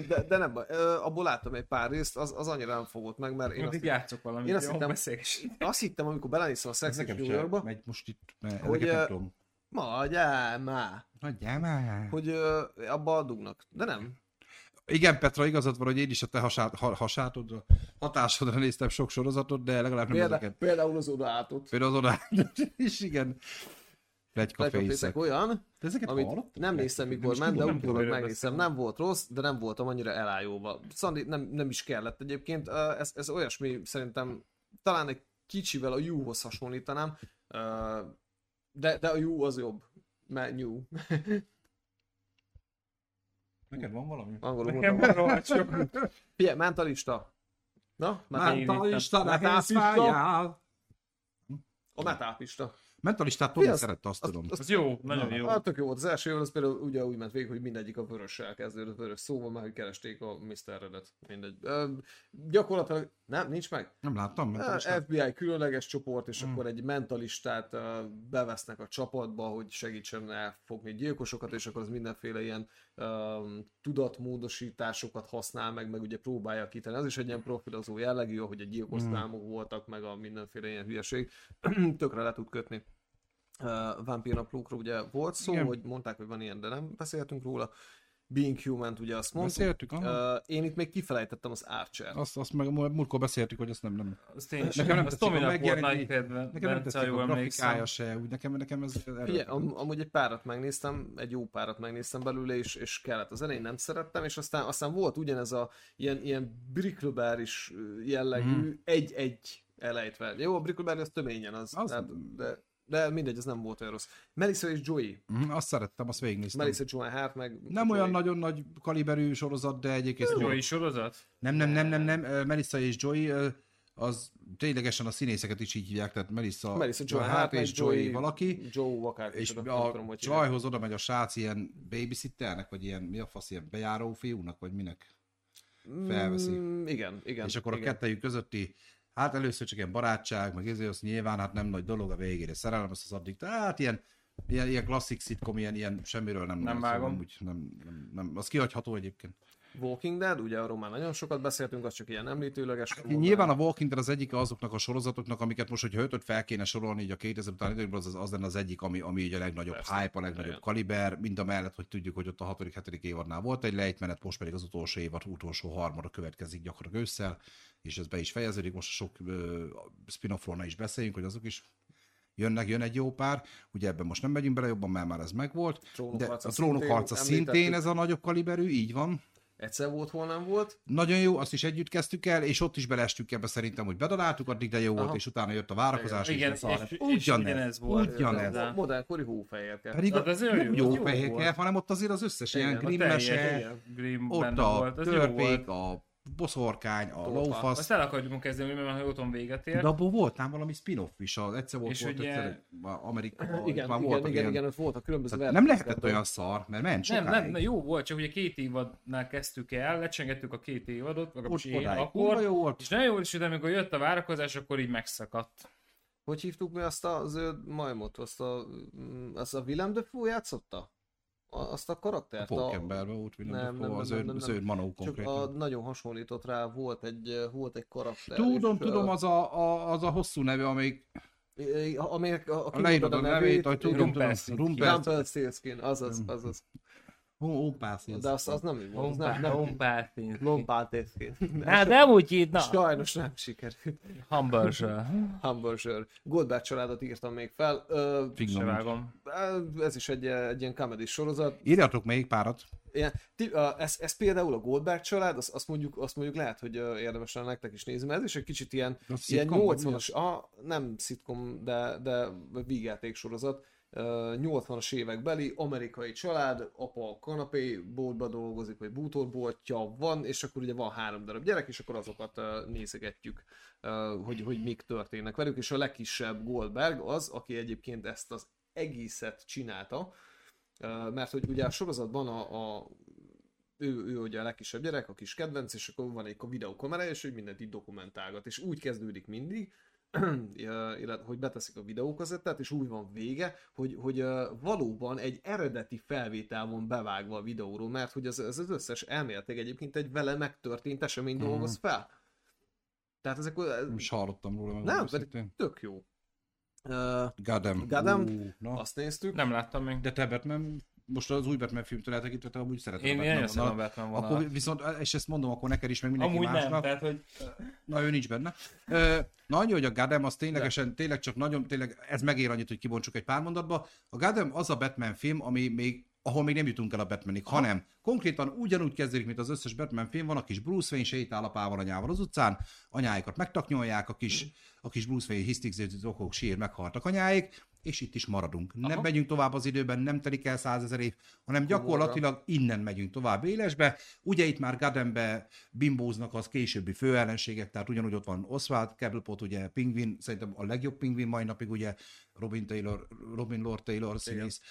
S1: De, de nem baj. Ö, Abból láttam egy pár részt, az, az annyira nem fogott meg, mert én
S3: Én
S1: azt,
S3: itt
S1: hittem,
S3: játszok valamit,
S1: én azt
S3: jó,
S1: hittem-
S3: beszélgessünk.
S1: azt hittem, amikor belenéztem a Sex és New Yorkba,
S2: megy most itt, mert
S1: Hogy,
S2: ezeket nem
S1: eh,
S2: tudom.
S1: Magyar, má.
S2: Hagyjál már.
S1: Hogy ö, abba dugnak. De nem.
S2: Igen, Petra, igazad van, hogy én is a te hasát, ha- hasátodra, hatásodra néztem sok sorozatot, de legalább nem
S1: Példa,
S2: ezeket.
S1: például az odaátot.
S2: Például az odá is, igen. Legyka
S1: Lekafészek
S2: fészek.
S1: olyan,
S2: De ezeket
S1: amit
S2: hallottam?
S1: nem néztem,
S2: Nem
S1: mikor
S2: is
S1: ment, de
S2: tudom,
S3: nem tudom,
S1: utólag
S3: miről
S1: megnéztem. Nem volt rossz, de nem voltam annyira elájóba. Szandi, nem, nem is kellett egyébként. Ö, Ez, ez olyasmi, szerintem talán egy kicsivel a Juhoz hasonlítanám, Ö, de, de a Ju az jobb. Mert New.
S2: Neked van valami?
S1: Angolul
S3: Nekem
S1: mondtam.
S3: van rohadt sok.
S1: Figyelj, mentalista. Na,
S2: Hát,
S1: metal.
S3: Én
S2: Mentalista,
S1: hittem.
S2: ne fájjál!
S1: A metápista.
S2: Mentalistát
S1: Mi
S2: Tomi
S1: az-
S2: szerette, azt tudom.
S3: Az jó, nagyon jó.
S1: Hát tök jó volt. Az első évvel az például ugye úgy ment végig, hogy mindegyik a vörössel kezdődött, vörös szóval már, hogy keresték a Mr. Redet. Mindegy. Ö, gyakorlatilag nem, nincs meg.
S2: Nem Mm. láttam, mentalistát.
S1: Mentalistát. FBI különleges csoport, és akkor egy mentalistát ö, bevesznek a csapatba, hogy segítsen elfogni gyilkosokat, és akkor az mindenféle ilyen um, tudatmódosításokat használ meg, meg ugye próbálja kitenni. Az is egy ilyen profilozó jellegű, hogy a gyilkos
S2: Mm.
S1: számok voltak, meg a mindenféle ilyen hülyeség. Tökre le tud kötni. Uh, Vámpírnaplókról ugye volt szó,
S2: Igen.
S1: hogy mondták, hogy van ilyen, de nem beszéltünk róla. Being human ugye azt mondtuk.
S2: Beszéltük, aha.
S1: Uh, én itt még kifelejtettem az Archer.
S2: Azt, azt meg a múltkor beszéltük, hogy azt nem, nem.
S3: Azt én is.
S2: Nekem nem
S3: Az
S2: tetszik, ha
S3: Tominak volt
S2: megjelent
S3: nagy
S2: így.
S3: kedve.
S2: Nekem nem
S3: Bence, ha
S2: tetszik
S3: jól
S2: a
S3: emlékszem.
S2: grafikája se, úgy nekem, nekem ez
S1: Figyelj, am- amúgy egy párat megnéztem, egy jó párat megnéztem belőle, és, és kellett. Az elején nem szerettem, és aztán, aztán volt ugyanez a ilyen, ilyen briklobáris jellegű
S2: Mhm.
S1: egy-egy elejtve. Jó, a briklobár az töményen az,
S2: Az-
S1: az... Tehát, de, de mindegy, ez nem volt olyan rossz. Melissa és Joey.
S2: Mhm, Azt szerettem, azt végignéztem.
S1: Melissa Joan Hart meg...
S2: Nem
S1: Joey.
S2: olyan nagyon nagy kaliberű sorozat, de egyébként...
S3: Jó is sorozat?
S2: Nem, nem, nem, nem, nem. ö, Melissa és Joy ö, az ténylegesen a színészeket is így hívják, tehát Melissa,
S1: Melissa Joan
S2: Joan
S1: Hart meg
S2: és Joy valaki.
S1: Joe akár.
S2: És
S1: kicsoda, nem
S2: a
S1: hogy hívják.
S2: csajhoz oda megy a srác ilyen babysitternek, vagy ilyen, mi a fasz, ilyen bejáró fiúnak, vagy minek. felveszi.
S1: Mm, igen, igen.
S2: és akkor a
S1: igen.
S2: kettejük közötti, hát először csak ilyen barátság, meg ezért az nyilván hát nem nagy dolog a végére szerelem, azt az addig, tehát ilyen, ilyen, ilyen klasszik szitkom, ilyen, ilyen semmiről nem,
S3: Nem
S2: nagyon szól,
S3: vágom.
S2: nem, úgy, nem, nem, nem, az kihagyható egyébként.
S1: Walking Dead, ugye arról már nagyon sokat beszéltünk, az csak ilyen említőleges.
S2: Hát Nyilván a Walking Dead az egyik azoknak a sorozatoknak, amiket most, hogyha ötöt fel kéne sorolni így a 2000 után időkből, az, az, az lenne az egyik, ami, ami így a legnagyobb
S1: Persze.
S2: hype, a legnagyobb
S1: Igen.
S2: kaliber, mind a mellett, hogy tudjuk, hogy ott a 6 hetedik évadnál volt egy lejtmenet, most pedig az utolsó évad, utolsó harmada következik gyakorlatilag ősszel, és ez be is fejeződik, most a sok ö, spin-offról ne is beszéljünk, hogy azok is jönnek, jön egy jó pár, ugye ebben most nem megyünk bele jobban, mert már ez megvolt,
S1: Trónok
S2: de
S1: harca
S2: a trónok
S1: szintén
S2: harca szintén
S1: említettük.
S2: ez a nagyobb kaliberű, így van.
S1: Egyszer volt, hol nem volt.
S2: Nagyon jó, azt is együtt kezdtük el, és ott is belestünk ebbe szerintem, hogy bedaláltuk, addig de jó Aha. volt,
S1: Aha.
S2: és utána jött a várakozás,
S3: Igen,
S2: és, szar.
S3: és- és
S2: ugyanez,
S3: ugyanez volt.
S2: Ugyanez.
S3: Ez-
S1: Mo- Modernkori hófehérke.
S2: Pedig
S3: Na, de
S2: az
S3: az olyan
S2: nem
S3: Hát, jó-
S2: jó,
S3: jó
S2: fehér
S3: volt.
S2: hanem ott azért az összes
S1: Igen,
S2: ilyen
S1: a
S2: grimmese,
S1: teljes,
S3: Grimm
S2: ott
S3: benne
S2: a
S3: volt, az jó
S2: törpék,
S3: volt.
S2: a boszorkány, a
S1: Tóta.
S2: lófasz.
S3: Azt el akarjuk kezdeni, mert már otthon véget ér.
S2: De abból volt ám valami spin-off is, az egyszer volt,
S3: És
S2: volt
S3: ugye-
S2: egyszer egy- a Amerika,
S1: Igen,
S2: már
S1: igen,
S2: voltak
S1: igen, igen,
S2: ilyen-
S1: igen, ott voltak különböző
S2: Tehát nem
S1: verziók
S2: lehetett
S1: ebből.
S2: olyan szar, mert ment
S3: Nem,
S2: sokáig.
S3: nem, nem, jó volt, csak ugye két évadnál kezdtük el, lecsengettük a két évadot,
S2: Ott
S3: legalábbis én
S2: odáig kurva
S3: akkor,
S2: jó volt.
S3: és nagyon jó is, de amikor jött a várakozás, akkor így megszakadt.
S1: Hogy hívtuk mi azt a zöld majmot? Azt a, mm, azt a Willem Dafoe játszotta? A, azt hát a
S2: A
S1: karaktert?
S2: Pókemberben volt
S1: Nem,
S2: Willem
S1: nem,
S2: Dafoe, az
S1: nem,
S2: ő,
S1: nem,
S2: az
S1: nem.
S2: ő manó
S1: Csak a,
S2: konkrétan.
S1: nagyon hasonlított rá, volt egy, eh, volt egy karakter.
S2: Tudom,
S1: és, eh,
S2: tudom,
S1: ö,
S2: az a, a, az a hosszú neve, amelyik
S1: ö, eh, Amelyek, a, a,
S2: a leírod a nevét, hogy tudom, tudom,
S3: Rumpelstiltskin.
S2: Rumpel,
S1: Rumpelstiltskin, azaz, azaz.
S2: Rumpel,
S1: De azt, az nem így volt, az nem, nem. Lompáltészkin.
S3: Hát nem úgy így, na.
S1: Sajnos nem sikerült.
S3: Hamburger.
S1: Hamburger. Goldberg családot írtam még fel. Ö,
S3: Se
S2: Fingom.
S3: vágom.
S1: ez is egy, egy ilyen comedy sorozat.
S2: Írjatok még párat.
S1: Ilyen, ti, a, ez, ez, például a Goldberg család, azt, azt, mondjuk, azt mondjuk lehet, hogy ö, érdemes lenne nektek is nézni, mert ez is egy kicsit ilyen,
S2: Az
S1: ilyen
S2: szitcom, vagy
S1: 80-as, a, nem szitkom, de, de vígjáték sorozat, ö, 80-as évek beli amerikai család, apa a kanapé boltba dolgozik, vagy bútorboltja van, és akkor ugye van három darab gyerek, és akkor azokat ö, nézegetjük, ö, hogy, hogy mik történnek velük, és a legkisebb Goldberg az, aki egyébként ezt az egészet csinálta, Ö, mert hogy ugye a sorozatban a, a ő, ő ugye a legkisebb gyerek, a kis kedvenc, és akkor van egy videokamera, és ő mindent így dokumentálgat, és úgy kezdődik mindig, ö, illet- hogy beteszik a videókazettát, és úgy van vége, hogy, hogy ö, valóban egy eredeti felvétel van bevágva a videóról, mert hogy ez, ez az összes elméletek egyébként egy vele megtörtént esemény dolgoz fel. Tehát ezek
S2: Nem is hallottam róla. meg
S1: nem,
S2: őszintén.
S1: pedig tök jó. Ö,
S2: Gadem.
S1: Gadem.
S2: Ú, na.
S1: Azt néztük.
S3: Nem láttam még.
S2: De te Batman, most az új Batman filmtől eltekintve, amúgy szeretem
S3: Én
S2: a Batman
S3: nagyon
S2: vonalat.
S3: szeretem a Batman vonalat.
S2: Akkor viszont, és ezt mondom, akkor neked is, meg mindenki
S3: Amúgy
S2: másnak.
S3: nem, tehát hogy
S2: Na, ő nincs benne. Ö, Na, annyi, hogy a Gadem az ténylegesen, tényleg csak nagyon, tényleg ez megér annyit, hogy kibontsuk egy pár mondatba. A Gadem az a Batman film, ami még ahol még nem jutunk el a Batmanig, hanem konkrétan ugyanúgy kezdődik, mint az összes Batman film, van a kis Bruce Wayne sétál apával anyával az utcán, anyáikat megtaknyolják, a kis, a kis Bruce Wayne hisztikzőzött okok sír, meghaltak anyáik, és itt is maradunk. Aha. Nem megyünk tovább az időben, nem telik el százezer év, hanem gyakorlatilag innen megyünk tovább élesbe. Ugye itt már Gadembe bimbóznak az későbbi főellenségek, tehát ugyanúgy ott van Oswald Cobblepot, ugye Pingvin, szerintem a legjobb Pingvin mai napig, ugye Robin Taylor, Robin Lord Taylor színész,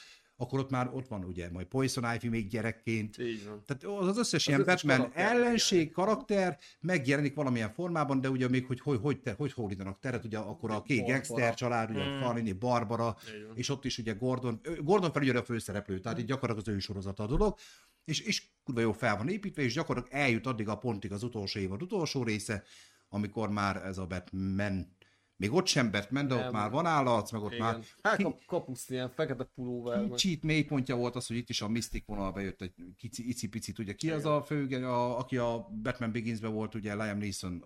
S2: akkor ott már ott van ugye majd Poison Ivy még gyerekként,
S1: Így van.
S2: tehát az, az összes ilyen
S1: összes
S2: Batman
S1: karakter
S2: ellenség, karakter megjelenik valamilyen formában, de ugye még, hogy hogy, hogy, te, hogy hódítanak teret, ugye akkor a két
S1: Barbara. Hmm.
S2: gangster család, ugye mm. Farnini, Barbara,
S1: Így van.
S2: és ott is ugye Gordon, ő- Gordon felügyelő a főszereplő, tehát így gyakorlatilag az ő sorozata a dolog, és, és kurva jó fel van építve, és gyakorlatilag eljut addig a pontig az utolsó évad utolsó része, amikor már ez a Batman, még ott sem Batman, de ott
S1: Nem.
S2: már van állarc, meg ott
S1: Igen.
S2: már
S1: Hát
S2: ki-
S1: kap, kapuszt ilyen fekete pulóvel. meg-
S2: Kicsit mélypontja volt az, hogy itt is a Mystic vonal bejött egy kici, icipicit. Ugye ki az a fő, a, aki a Batman Beginsbe volt, ugye Liam Neeson,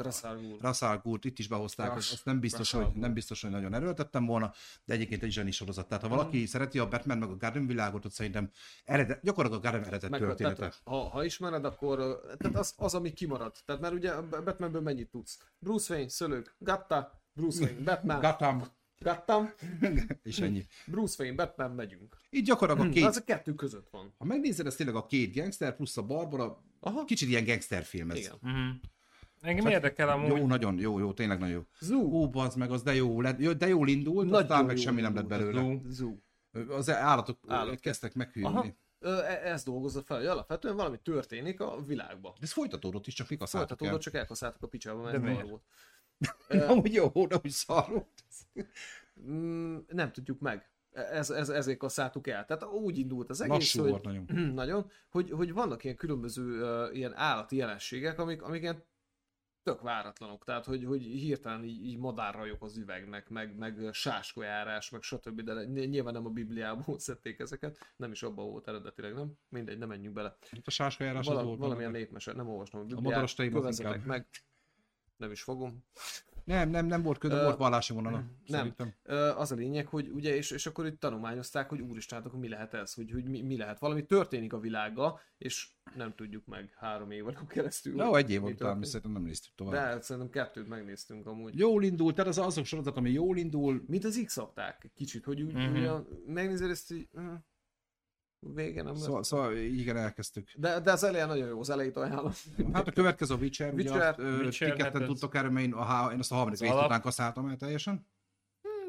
S1: Krasszárgúr.
S2: Russell Gurt, itt is behozták, az,
S1: Ras-
S2: azt nem biztos,
S1: Russell
S2: hogy, nem biztos, hogy nagyon erőltettem volna, de egyébként egy zseni sorozat. Tehát ha
S1: Mhm.
S2: valaki szereti a Batman meg a Garden világot, ott szerintem eredet, gyakorlatilag a Garden eredet
S1: Meg,
S2: története.
S1: tehát, ha, ha ismered, akkor ö, tehát az, az, ami kimarad. Tehát mert ugye a Batmanből mennyit tudsz? Bruce Wayne, szőlők, Gatta, Bruce Wayne, Batman,
S2: Gotham,
S1: Gattam,
S2: és ennyi.
S1: Bruce Wayne, Batman, megyünk.
S2: Itt gyakorlatilag a
S1: Két. Mhm. Az
S2: két,
S1: a kettő között van.
S2: ha megnézed, ez tényleg a két gangster plusz a Barbara,
S1: Aha.
S2: kicsit ilyen gangsterfilm ez.
S1: Igen.
S3: engem érdekel amúgy.
S2: Mhm. Jó, nagyon jó, jó, tényleg nagyon jó.
S1: Zú.
S2: Ú, bazd meg, az de jó lett, jó- de jól indult, Nagyon
S1: Nagyon
S2: aztán meg
S1: jól
S2: semmi nem lett
S1: indult,
S2: belőle.
S1: Zú.
S2: Az állatok
S1: Állatok.
S2: kezdtek
S1: Aha.
S2: meghűlni.
S1: Ö, e- Ez dolgozza fel, hogy alapvetően valami történik a világban.
S2: De ez folytatódott is, csak mik a szálltak
S1: Folytatódott,
S2: el.
S1: csak elkaszáltak a picsába, mert
S3: De
S1: ez
S3: miért?
S1: maró volt.
S2: Amúgy jó, de úgy szarult.
S1: Mm, nem tudjuk meg. Ez, ez, ezért kaszáltuk el. Tehát úgy indult az egész,
S2: Lassú
S1: hogy,
S2: volt nagyon.
S1: nagyon, hogy, hogy vannak ilyen különböző uh, ilyen állati jelenségek, amik, amik ilyen tök váratlanok, tehát hogy, hogy hirtelen így, így madárrajok az üvegnek, meg, meg sáskojárás, meg stb. De ny- nyilván nem a Bibliából szedték ezeket, nem is abban volt eredetileg, nem? Mindegy, nem menjünk bele.
S2: Itt Hát a sáskajárás az
S1: Vala,
S2: volt.
S1: valamilyen népmese, nem olvastam a Bibliát,
S2: madaras teimat
S1: kövezzetek
S2: inkább.
S1: meg. Nem is fogom.
S2: Nem, nem, nem volt köd,
S1: Ö,
S2: volt vallási vonala. szerintem.
S1: Ö, Az a lényeg, hogy ugye, és, és akkor itt tanulmányozták, hogy úristen, hát akkor mi lehet ez, hogy, hogy mi, mi lehet. Valami történik a világa, és nem tudjuk meg három évadon keresztül.
S2: Na,
S1: hogy
S2: egy év
S1: mi
S2: után mi
S1: történt.
S2: szerintem nem néztük tovább.
S1: De hát szerintem kettőt megnéztünk amúgy.
S2: Jól indult, tehát az azok sorozat, ami jól indul,
S1: Mint az x egy kicsit, hogy úgy,
S3: Mhm.
S1: mm-hmm. ugyan, megnézed ezt, hogy uh, vége nem
S2: szóval,
S1: lesz.
S2: szóval igen, elkezdtük.
S1: De, de az elején nagyon jó, az elejét ajánlom.
S2: Hát a következő a Witcher, ugye
S1: Witcher,
S2: azt, ö,
S3: Witcher,
S2: ti ketten
S3: hát ez-
S2: tudtok erre, mert én, a, há- én azt a harmadik
S3: Az
S2: részt
S3: alap.
S2: után kaszáltam el teljesen.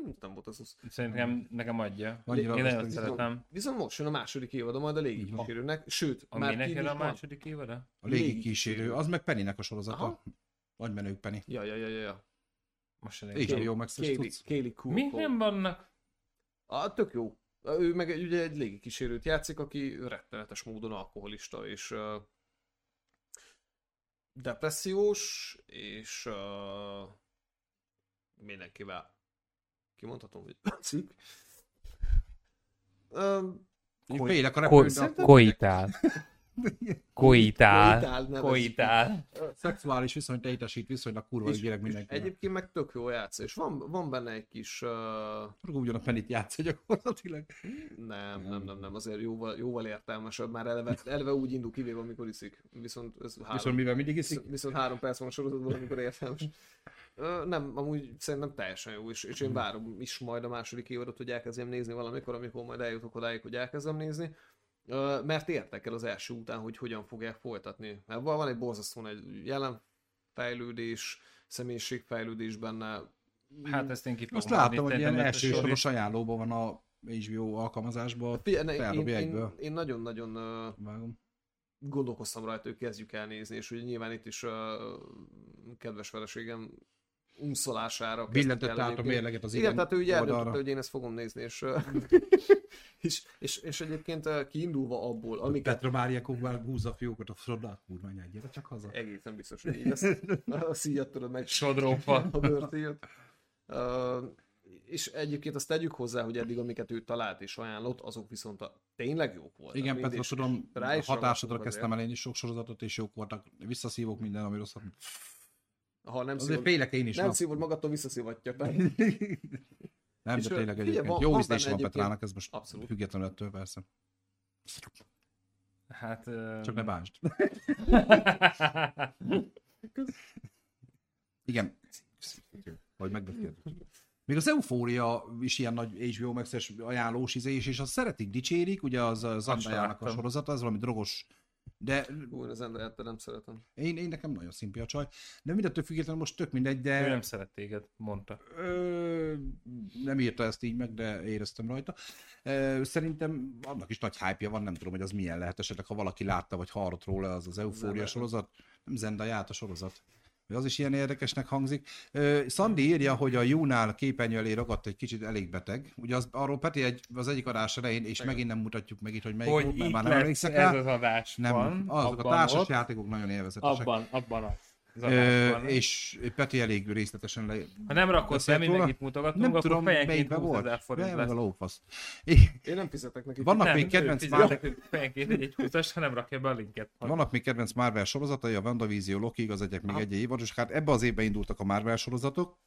S1: Hm, Nem volt az az.
S3: Szerintem nekem adja.
S2: Annyira
S3: Én nagyon
S2: rossz,
S3: szeretem.
S1: Viszont most jön a második évad, majd a
S2: Így van.
S1: légikísérőnek, sőt,
S3: A
S1: már
S3: minek
S1: ki
S3: jön a
S1: a második.
S3: második évada?
S2: A légi kísérő,
S1: Légikísérő.
S2: az meg Pennynek a sorozata.
S1: Aha.
S2: Nagy menők Penny.
S1: Ja, ja, ja, ja, ja.
S3: Most se
S2: És
S3: nézem.
S2: jó megszerzett
S1: Kéli,
S2: tudsz.
S1: Kéli cool
S3: Mi nem vannak?
S1: A, tök jó. Ő meg egy- ugye egy légikísérőt játszik, aki rettenetes módon alkoholista, és ö, depressziós, és ö, mindenkivel kimondhatom, hogy cikk. Ö,
S2: Én
S3: Koi-
S2: Félek a
S1: Szerintem-
S2: repülőben.
S1: ko-
S3: Koitál. Koitál.
S1: Koitál nevezik.
S3: Koitál.
S2: Szexuális viszonyt teljesít viszonylag kurva
S1: És-
S2: ügyileg mindenki. Egyéb...
S1: Egyébként meg tök jó játsz, és van, van benne egy kis... ö,
S2: Ugyan a Pennyt játsza gyakorlatilag.
S1: Nem, nem, nem, nem, azért jóval, jóval értelmesebb, már eleve, eleve úgy indul kivéve, amikor iszik. Viszont ez három,
S2: Viszont mivel mindig iszik,
S1: viszont, viszont három perc van a sorozatban, amikor értelmes. Ö, Nem, amúgy szerintem teljesen jó, és, és én várom is majd a második évadot, hogy elkezdjem nézni valamikor, amikor majd eljutok odáig, hogy elkezdem nézni. Ö, Mert érdekel az első után, hogy hogyan fogják folytatni. Mert van van egy borzasztó egy jelenfejlődés, személyiségfejlődés benne.
S3: Hát ezt én ki
S2: Most
S3: fogom adni,
S2: láttam, hogy ilyen
S3: szerintem ezt
S2: első
S3: a sor is-
S2: soros ajánlóban van a HBO alkalmazásban.
S1: Figyelj, ne, én,
S2: Feldobja
S1: én,
S2: egyből.
S1: én nagyon-nagyon ö,
S2: Vágom.
S1: gondolkoztam rajta, hogy kezdjük el nézni, és ugye nyilván itt is a kedves feleségem unszolására kezdtük
S2: Billentett
S1: el
S2: át a
S1: egyébként.
S2: mérleget az
S1: Igen,
S2: igen
S1: tehát ő ugye
S2: oldalra.
S1: eldöntötte, hogy én ezt fogom nézni, és, ö, és, és, és egyébként ö, kiindulva abból, amiket
S2: Petra Mária Kogvár húzza a fiókot a Frodát, kurványát, gyere csak haza.
S1: egészen biztos, hogy így ezt, a szíjat tudod meg
S3: Sodrófa.
S1: a bőrtét. Ö, és egyébként azt tegyük hozzá, hogy eddig amiket ő talált és ajánlott, azok viszont a, tényleg jók voltak.
S2: Igen,
S1: Mind
S2: Petra,
S1: is-
S2: tudom,
S1: rá is
S2: hatásodra
S1: ragadtunk
S2: kezdtem el én is sok sorozatot, és jók voltak. Visszaszívok minden, ami rosszabb.
S1: Ha nem
S2: Azért
S1: szívod,
S2: félek én is.
S1: nem
S2: na.
S1: szívod magadtól, visszaszívatja.
S2: Nem,
S1: És,
S2: de
S1: ö,
S2: tényleg
S1: figyelj,
S2: egyébként.
S1: van-
S2: Jó
S1: van
S2: ízlés
S1: benne
S2: van
S1: egyébként-
S2: Petrának, ez most
S1: Abszolút.
S2: függetlenül ettől persze.
S3: Hát... ö,
S2: Csak ne bánsd. Igen. Vagy megbeszélt. Még az Eufória is ilyen nagy HBO Max-es ajánlós izés, és azt szeretik, dicsérik, ugye az az
S3: Azt sem
S2: Andájának a
S3: láttam.
S2: sorozata, az valami drogos, de
S1: Úr, az embert nem szeretem.
S2: én, én nekem nagyon szimpi a csaj, de mindettől függetlenül most tök mindegy,
S3: Ő
S2: de
S3: nem szeret téged, mondta.
S2: ö, nem írta ezt így meg, de éreztem rajta. Ö, szerintem annak is nagy hype van, nem tudom, hogy az milyen lehet esetleg, ha valaki látta vagy hallott róla az az Eufória
S1: Zendaya.
S2: sorozat, nem Zendaját a sorozat. Az is ilyen érdekesnek hangzik. Ö, Szandi írja, hogy a Júnál képernyő elé ragadt egy kicsit elég beteg. Ugye az, arról Peti egy, az egyik adás elején, és megint nem mutatjuk meg itt, hogy melyik volt, mert
S3: itt
S2: már nem
S3: lesz
S2: emlékszek
S3: ez
S2: rá.
S3: az adás
S2: Nem,
S3: van.
S2: azok a
S3: abban
S2: társas
S3: ott,
S2: játékok nagyon élvezetesek.
S3: Abban, abban az. az
S2: Ö,
S3: adásban.
S2: és Peti elég részletesen le...
S3: Ha nem rakod be,
S2: beszélt
S3: mindenkit
S2: Nem
S3: mutogatunk, akkor
S2: tudom,
S3: fejenként
S2: melyikben
S3: 20
S2: volt.
S3: ezer forint
S2: Nem, az
S3: lesz.
S2: a lófasz.
S1: Én nem fizetek neki.
S2: Vannak
S3: Nem,
S2: még kedvenc
S3: ő fizet
S2: Marvel,
S3: nekünk Fejenként egy 20 ha nem rakja be a linket.
S2: vannak még kedvenc Marvel sorozatai, a WandaVision, Loki, az egyek még egy évad, és hát ebbe az évben indultak a Marvel sorozatok,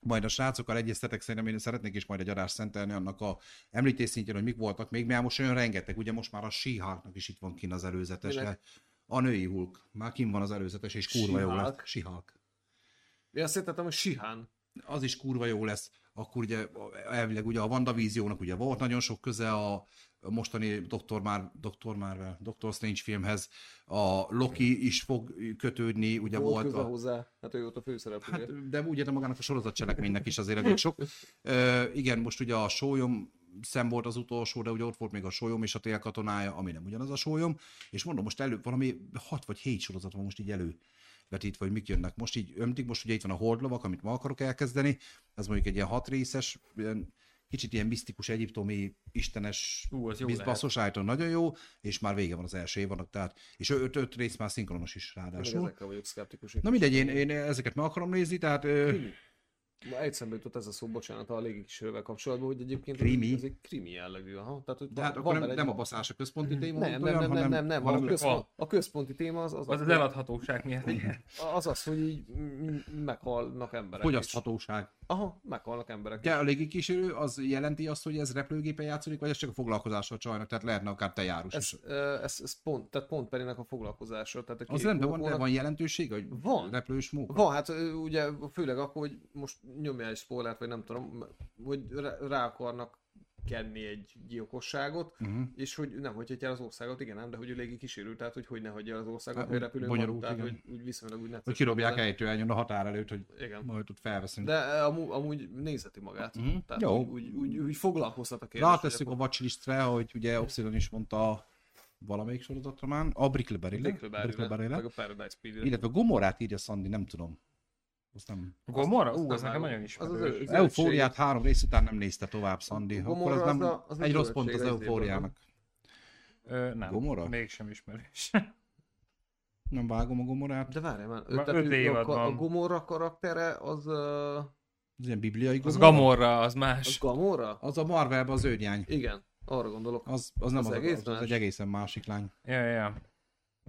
S2: majd a srácokkal egyeztetek, szerintem én szeretnék is majd egy adást szentelni annak a említés szintjén, hogy mik voltak még, mert most olyan rengeteg, ugye most már a Sihárknak is itt van kin az előzetes,
S1: Minek?
S2: a női hulk, már kim van az előzetes, és kurva jó
S1: She-Hulk?
S2: lett. Sihálk.
S1: Én azt hittem, hogy Sihán.
S2: az is kurva jó lesz, akkor ugye elvileg ugye a WandaVisionnak ugye volt nagyon sok köze a mostani Dr. Mar- Dr. Marvel, Dr. Strange filmhez, a Loki is fog kötődni, ugye
S1: Volt
S2: volt,
S1: köze
S2: a,
S1: hozzá. Hát ő volt a főszereplője. Hát,
S2: hát, de úgy értem magának a sorozat cselekménynek is azért elég sok. Ö, igen, most ugye a sólyom szem volt az utolsó, de ugye ott volt még a sólyom és a télkatonája, ami nem ugyanaz a sólyom, és mondom, most elő valami hat vagy hét sorozat van most így elő vetítve, hogy mik jönnek. Most így ömtik, most ugye itt van a hordlovak, amit ma akarok elkezdeni, ez mondjuk egy ilyen hat részes, ilyen, kicsit ilyen misztikus egyiptomi istenes
S3: Ú, az jó
S2: bizbaszos állítólag nagyon jó, és már vége van az első évadnak, tehát, és öt, öt rész már szinkronos is
S1: Még
S2: ráadásul.
S1: ezekkel vagyok szkeptikus.
S2: Na mindegy, én, én ezeket meg akarom nézni, tehát ö,
S1: Ma egy szembe jutott ez a szó, bocsánat, a légikísérővel kapcsolatban, hogy egyébként
S2: Krimi.
S1: ez egy krimi jellegű. Aha. Tehát, hogy
S2: De
S1: van-
S2: hát
S1: van
S2: akkor nem,
S1: vele
S2: nem a baszás a központi téma,
S1: Mhm. nem,
S2: mint
S1: nem, nem, nem, nem, nem, a,
S2: hanem- Ah.
S1: központ,
S3: Van.
S1: a központi téma az az,
S3: Az az eladhatóság miatt.
S1: az, az, hogy így m- m- meghalnak emberek. is.
S2: fogyaszthatóság.
S1: Aha, meghalnak emberek.
S2: De a légikísérő az jelenti azt, hogy ez repülőgépen játszódik, vagy ez csak a foglalkozása a csajnak, tehát lehetne akár tejárus
S1: Ez,
S2: is.
S1: ö, ez, ez, pont, tehát pont Perinek a foglalkozása. Tehát a
S2: Az
S1: két
S2: rendben van, de
S1: hónapnak-
S2: van jelentőség, hogy
S1: Van.
S2: repülős munka?
S1: Van, hát ö, ugye főleg akkor, hogy most nyomja egy spoilert, vagy nem tudom, m- hogy rá- rá akarnak kenni egy gyilkosságot,
S2: Mhm.
S1: és hogy nem hagyhatja el az országot, igen, nem, de hogy ő légi kísérő, tehát hogy hogy ne hagyja el az országot,
S2: Hát,
S1: hogy repülőn van,
S2: bonyolult,
S1: tehát
S2: igen.
S1: hogy úgy viszonylag úgy
S2: Hogy
S1: necces.
S2: kirobják
S1: de-
S2: ejtőányon a határ előtt, hogy
S1: Igen.
S2: majd ott felveszünk.
S1: De amúgy, amúgy nézheti magát.
S2: Mhm.
S1: Tehát
S2: Jó. hát
S1: Úgy, úgy, úgy, úgy foglalkoztat a kérdés.
S2: Rátesszük a watchlistre, hogy ugye Obsidian is mondta valamelyik sorozatra már, a Brickleberry-le,
S1: Brickleberry,
S2: Brickleberry-le.
S1: meg a Paradise Speed.
S2: illetve Gomorát írja Szandi, nem tudom. Azt nem.
S3: Gomorra?
S1: azt
S3: Ú, az
S1: nem
S3: nekem
S1: vágom.
S3: nagyon
S1: Az az
S3: ismerős.
S1: ő-
S2: Eufóriát három rész után nem nézte tovább, Szandi.
S1: Gomorra
S2: Akkor az
S1: az
S2: nem,
S1: a- az nem
S2: egy rossz pont az
S1: zöldséges
S2: eufóriának.
S3: Ö, Nem,
S2: Gomorra?
S3: mégsem ismerős.
S2: Nem vágom a Gomorát.
S1: De várjál már, ő,
S3: Már
S1: tehát
S3: öt
S1: ő, a,
S3: évad
S1: ka- a
S3: van.
S1: Gomorra karaktere az, ö,
S2: Az ilyen bibliai
S3: Az
S2: Gomorra.
S3: Gamorra, az
S1: az
S3: más.
S1: Gamora?
S2: Az a Marvelben az őrjány.
S1: Igen, arra gondolok.
S2: Az, az nem
S1: Az
S2: az, az,
S1: egész
S2: az, az
S1: más?
S2: egy egészen másik lány.
S3: Ja, ja, ja.